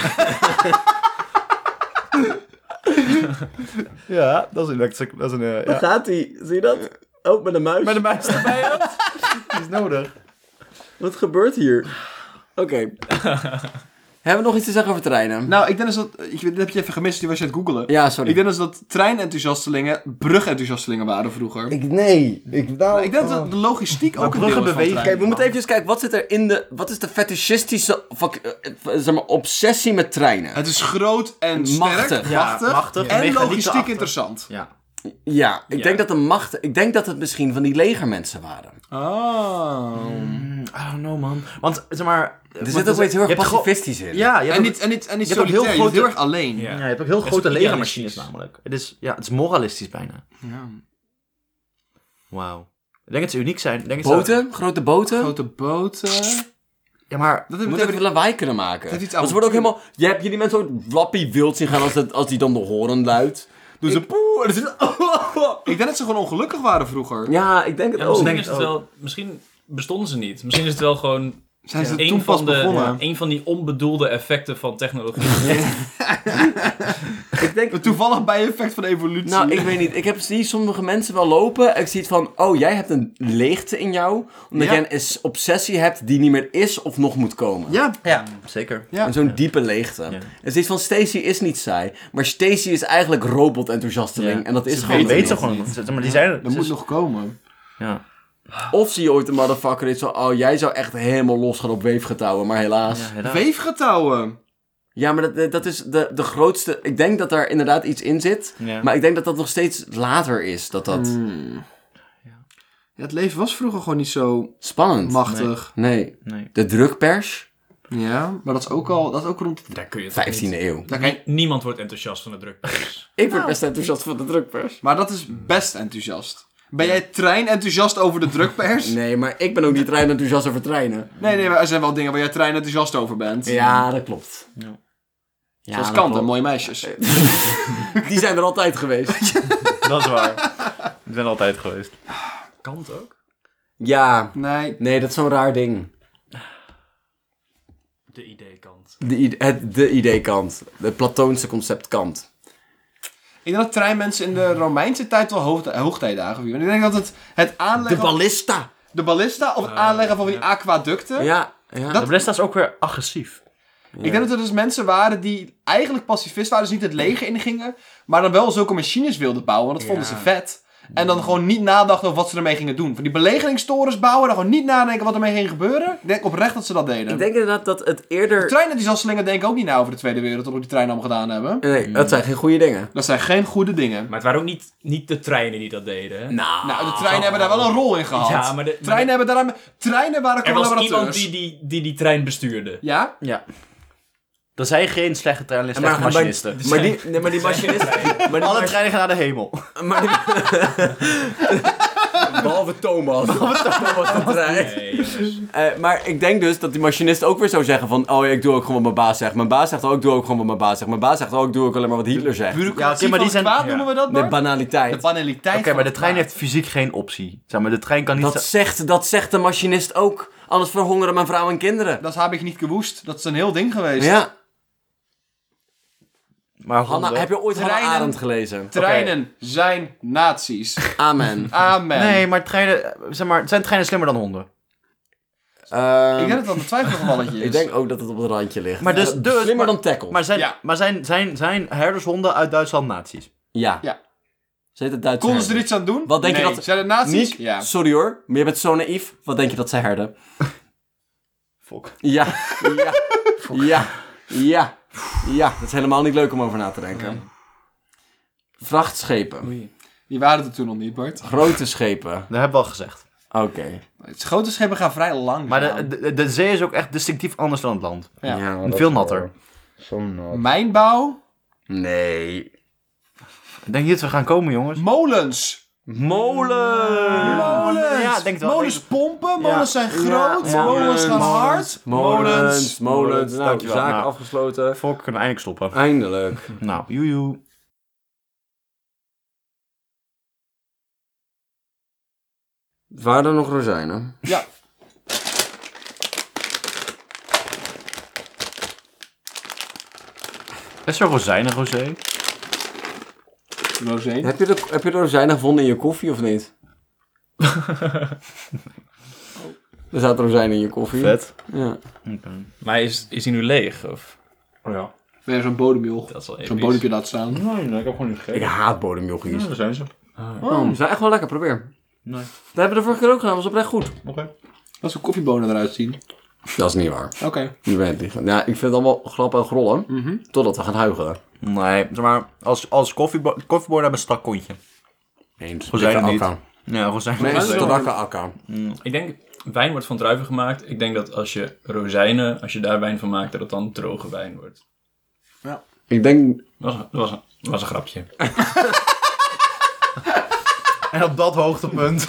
Speaker 3: ja, dat is een. Dat is een, dat is een eh, ja.
Speaker 1: Gaat hij? Zie je dat? Oh, met een muis.
Speaker 3: Met de muis erbij ook. Die is nodig.
Speaker 1: Wat gebeurt hier? Oké. Hebben we nog iets te zeggen over treinen?
Speaker 2: Nou, ik denk dus dat... Ik, dit heb je even gemist, die was je aan het googelen.
Speaker 1: ja, sorry.
Speaker 2: Ik denk dus dat treinenthousiastelingen brugenthousiastelingen waren vroeger. Ik,
Speaker 1: Ik- nee. Ik, nou,
Speaker 2: denk dat de logistiek ook een deel is
Speaker 3: bruggen
Speaker 2: van
Speaker 3: bewegen.
Speaker 2: treinen.
Speaker 1: Oké, we moeten even eens kijken, wat zit er in de... Wat is de fetischistische fuck, eh, eh, zeg maar, obsessie met treinen?
Speaker 2: Het is groot en sterk,
Speaker 1: Machtig.
Speaker 2: machtig,
Speaker 3: Ja, machtig.
Speaker 2: en
Speaker 3: Mechaniek
Speaker 2: logistiek
Speaker 3: erachter.
Speaker 2: interessant.
Speaker 3: Ja.
Speaker 1: Ja, ik
Speaker 4: Ja.
Speaker 1: denk dat de macht... Ik denk dat het misschien van die legermensen waren.
Speaker 2: Oh.
Speaker 4: Hmm.
Speaker 3: I don't know, man. Want, zeg maar...
Speaker 1: Er zit ook iets heel erg pacifistisch in.
Speaker 3: Ja, je hebt
Speaker 2: En
Speaker 3: ook-
Speaker 2: niet, en niet, en niet
Speaker 3: je hebt ook
Speaker 2: solitair,
Speaker 3: heel
Speaker 2: je bent heel
Speaker 3: grote-
Speaker 2: erg alleen.
Speaker 4: Ja.
Speaker 3: ja, je hebt ook heel
Speaker 4: is
Speaker 3: grote
Speaker 4: idealistisch.
Speaker 3: legermachines namelijk. Het is, ja, het is moralistisch bijna.
Speaker 2: Ja.
Speaker 3: Wauw. Ik denk dat ze uniek zijn. Ik Denk dat ze-
Speaker 1: Boten, grote boten.
Speaker 2: Grote boten.
Speaker 3: Ja, maar...
Speaker 2: Dat
Speaker 1: Moet
Speaker 2: hebben
Speaker 1: even
Speaker 2: we
Speaker 1: lawaai kunnen maken.
Speaker 2: heeft iets
Speaker 1: Want ze worden ook helemaal... Je hebt jullie mensen ook wappie wild zien gaan als, dat, als die dan de horen luidt. Doen ze poe. en dan zitten ze-
Speaker 2: Ik denk dat ze gewoon ongelukkig waren vroeger.
Speaker 1: Ja, ik denk het
Speaker 4: Ja,
Speaker 1: ook.
Speaker 4: misschien,
Speaker 3: denk
Speaker 4: is
Speaker 3: het
Speaker 4: het wel, misschien bestonden ze niet. Misschien is het wel gewoon
Speaker 2: Zijn ze
Speaker 4: een
Speaker 2: toen pas
Speaker 4: van de,
Speaker 2: begonnen?
Speaker 4: een van die onbedoelde effecten van technologie.
Speaker 1: Ik denk...
Speaker 2: Een toevallig bijeffect van evolutie.
Speaker 1: Nou, ik weet niet. Ik heb, zie sommige mensen wel lopen. En ik zie het van, oh, jij hebt een leegte in jou. Omdat
Speaker 2: Ja.
Speaker 1: jij een is- obsessie hebt die niet meer is of nog moet komen.
Speaker 2: Ja,
Speaker 3: Ja, zeker.
Speaker 2: Ja.
Speaker 1: En zo'n diepe leegte. En het is van, Stacy is niet saai. Maar Stacy is eigenlijk robot-enthousiasteling.
Speaker 3: Ja.
Speaker 1: En dat is
Speaker 3: Ze
Speaker 1: gewoon...
Speaker 3: weten
Speaker 1: niet.
Speaker 3: het gewoon niet. Zeg maar, die zijn er.
Speaker 2: dat moet nog komen.
Speaker 3: Ja.
Speaker 1: Of zie je ooit een motherfucker die is van, oh, jij zou echt helemaal los gaan op weefgetouwen. Maar helaas.
Speaker 3: Ja,
Speaker 1: Ja,
Speaker 3: helaas.
Speaker 2: Weefgetouwen.
Speaker 1: maar dat, dat is de, de grootste... Ik denk dat daar inderdaad iets in zit.
Speaker 3: Ja.
Speaker 1: Maar ik denk dat dat nog steeds later is. Dat dat
Speaker 2: Ja, het leven was vroeger gewoon niet zo
Speaker 1: spannend.
Speaker 2: machtig.
Speaker 1: Nee.
Speaker 3: Nee.
Speaker 1: De drukpers...
Speaker 2: Ja, maar dat is ook al, dat is ook rond...
Speaker 4: Daar kun je toch
Speaker 1: 15e eeuw.
Speaker 2: Daar kan
Speaker 4: niet-
Speaker 2: je-
Speaker 4: Niemand wordt enthousiast van de drukpers.
Speaker 1: Ik word best enthousiast van de drukpers.
Speaker 2: Maar dat is best enthousiast. Ben jij treinenthousiast over de drukpers?
Speaker 1: Nee, maar ik ben ook niet trein enthousiast over treinen.
Speaker 2: Nee, nee, maar er zijn wel dingen waar jij treinenthousiast over bent.
Speaker 1: Ja, dat klopt.
Speaker 3: Ja.
Speaker 1: Ja,
Speaker 2: Zoals
Speaker 1: dat
Speaker 2: Kant en
Speaker 1: klopt.
Speaker 2: mooie meisjes.
Speaker 1: Die zijn er altijd geweest.
Speaker 3: Dat is waar. Ik ben altijd geweest.
Speaker 4: Kant ook?
Speaker 1: Ja.
Speaker 2: Nee.
Speaker 1: Nee, dat is zo'n raar ding.
Speaker 4: De idee-kant.
Speaker 1: De, i- het, de idee-kant. De platoonse concept-kant.
Speaker 2: Ik denk dat treinmensen in de Romeinse tijd wel hoogte- hoogtijdagen vieren. Ik denk dat het, het
Speaker 1: De
Speaker 2: aanleggen...
Speaker 1: ballista.
Speaker 2: de ballista of het aanleggen van die aquaducten.
Speaker 1: Ja. ja.
Speaker 2: Dat-
Speaker 3: De Blesta is ook weer agressief.
Speaker 2: Ik denk dat er dus mensen waren die eigenlijk pacifist waren, dus niet het leger ingingen, maar dan wel zulke machines wilden bouwen, want dat vonden ze vet. En dan gewoon niet nadachten over wat ze ermee gingen doen. Van die belegeringstorens bouwen, dan gewoon niet nadenken wat ermee ging gebeuren. Ik denk oprecht dat ze dat deden.
Speaker 1: Ik denk inderdaad dat het eerder...
Speaker 2: Treinen die slingen denken ook niet na over de Tweede Wereldoorlog, die treinen allemaal gedaan hebben.
Speaker 3: Mm.
Speaker 1: Nee, dat zijn geen goede dingen.
Speaker 2: Dat zijn geen goede dingen.
Speaker 4: Maar het waren ook niet, niet de treinen die dat deden. hè?
Speaker 1: Nou.
Speaker 2: Nou, de treinen hebben daar wel een rol in gehad.
Speaker 4: Ja, maar de- maar
Speaker 2: treinen
Speaker 4: de-
Speaker 2: hebben daaraan... Treinen waren
Speaker 4: er was iemand
Speaker 2: collaborateurs.
Speaker 4: die die, die die trein bestuurde.
Speaker 2: Ja?
Speaker 3: Ja. Er zijn geen slechte treinen en slechte
Speaker 1: maar, maar,
Speaker 3: machinisten.
Speaker 1: maar die, nee, maar die machinisten... Maar die,
Speaker 3: Alle
Speaker 1: maar,
Speaker 3: treinen gaan naar de hemel.
Speaker 1: maar die- Behalve Thomas. Behalve Thomas de trein.
Speaker 4: Nee, jongens.
Speaker 1: Eh, maar ik denk dus dat die machinist ook weer zou zeggen van... Oh, ja, ik doe ook gewoon wat mijn baas zegt. Mijn baas zegt ook, ik doe ook gewoon wat mijn baas zegt. Mijn baas zegt ook, ik doe ook alleen maar wat Hitler zegt.
Speaker 3: Ja, oké, maar die zijn-
Speaker 2: kwaad
Speaker 3: ja.
Speaker 2: noemen we dat,
Speaker 1: De
Speaker 2: Bart?
Speaker 1: banaliteit.
Speaker 2: De banaliteit
Speaker 3: Oké, maar
Speaker 2: van
Speaker 3: de
Speaker 2: het
Speaker 3: trein
Speaker 2: kwaad.
Speaker 3: heeft fysiek geen optie. Zeg maar, de trein kan niet...
Speaker 1: dat, zegt, dat zegt de machinist ook. Anders verhongeren mijn vrouw en kinderen.
Speaker 2: Dat heb ik niet gewoest. Dat is een heel ding geweest.
Speaker 1: Ja.
Speaker 3: Maar
Speaker 1: Hanna,
Speaker 3: honden-
Speaker 1: heb je ooit Hannah
Speaker 2: Treinen.
Speaker 1: Arendt gelezen?
Speaker 2: Treinen zijn nazi's.
Speaker 1: Amen.
Speaker 2: Amen.
Speaker 3: Nee, maar treinen... eh, Zeg maar, zijn treinen slimmer dan honden?
Speaker 1: Ehm,
Speaker 2: Ik denk dat dat een twijfelgevalletje is.
Speaker 1: ik denk ook dat het op het randje ligt.
Speaker 3: Maar dus-
Speaker 1: Eh,
Speaker 3: dus-
Speaker 1: slimmer
Speaker 3: maar-
Speaker 1: dan tackle.
Speaker 3: Maar zijn,
Speaker 2: Ja.
Speaker 3: maar zijn, zijn, zijn herdershonden uit Duitsland nazi's?
Speaker 1: ja.
Speaker 2: Ja.
Speaker 1: Ze heet het Duits.
Speaker 2: Konden ze er iets aan doen?
Speaker 1: Wat denk je
Speaker 2: Nee.
Speaker 1: dat-
Speaker 2: Zijn het nazi's?
Speaker 1: Niek,
Speaker 2: Ja.
Speaker 1: sorry hoor, maar je bent zo naïef. Wat denk je dat zij herden?
Speaker 3: Fok.
Speaker 1: Ja, ja, ja, ja, ja. Dat is helemaal niet leuk om over na te denken. Vrachtschepen.
Speaker 2: Die waren er toen nog niet, Bart.
Speaker 1: Grote schepen.
Speaker 3: Dat hebben we al gezegd.
Speaker 1: Oké.
Speaker 2: Het grote schepen gaan vrij lang.
Speaker 3: Maar de, de, de zee is ook echt distinctief anders dan het land.
Speaker 2: Ja.
Speaker 3: En veel natter.
Speaker 1: Zo nat.
Speaker 2: Mijnbouw.
Speaker 1: Nee.
Speaker 3: Ik denk niet dat we gaan komen, jongens.
Speaker 2: Molens.
Speaker 1: Molen!
Speaker 2: Molens.
Speaker 3: Ja, ik denk het wel.
Speaker 2: Molens pompen. Molens zijn groot.
Speaker 1: Ja.
Speaker 2: Molens gaan hard.
Speaker 1: Molens, molens.
Speaker 3: Molens.
Speaker 1: Nou,
Speaker 3: Dankjewel.
Speaker 1: zaak
Speaker 3: Nou.
Speaker 1: afgesloten.
Speaker 3: Fok, kunnen we eindelijk stoppen.
Speaker 1: Eindelijk.
Speaker 3: Nou, joejoe.
Speaker 1: Waren er nog rozijnen?
Speaker 2: Ja.
Speaker 3: Is er rozijnen, Rosé?
Speaker 2: Rozijn.
Speaker 1: Heb je, de, heb je de rozijnen gevonden in je koffie of niet? Er zaten rozijnen in je koffie.
Speaker 3: Vet.
Speaker 1: Ja.
Speaker 4: Maar is, is hij nu leeg? Of?
Speaker 3: Ja.
Speaker 2: Ben je zo'n bodemjoch?
Speaker 4: Dat is wel
Speaker 2: Zo'n
Speaker 4: episch.
Speaker 2: bodempje laat staan.
Speaker 3: Nee, nee, ik heb gewoon niet
Speaker 1: Ik
Speaker 3: gegeten.
Speaker 1: haat bodemjochies.
Speaker 3: daar zijn ze.
Speaker 1: Oh, ze zijn echt wel lekker, probeer.
Speaker 3: Nee.
Speaker 1: Dat hebben we de vorige keer ook gedaan, was oprecht goed.
Speaker 3: Oké.
Speaker 2: Dat is koffiebonen eruit zien.
Speaker 1: Dat is niet waar.
Speaker 2: Oké.
Speaker 1: Je bent het niet van. Ja, ik vind het allemaal grappen en grollen. Totdat we gaan huigen.
Speaker 3: Nee, zeg maar, als, als koffiebo koffieboorden hebben een strak kontje.
Speaker 1: Eens.
Speaker 3: Rozijnen
Speaker 1: Dikke
Speaker 3: niet.
Speaker 1: akka.
Speaker 3: Ja, rozijnen.
Speaker 1: Mensen
Speaker 2: wel.
Speaker 1: rakken akka.
Speaker 4: Ik denk, wijn wordt van druiven gemaakt. Ik denk dat als je rozijnen, als je daar wijn van maakt, dat het dan droge wijn wordt.
Speaker 1: Ik denk...
Speaker 4: Dat was, een- dat was, een- dat was een grapje.
Speaker 3: En op dat hoogtepunt.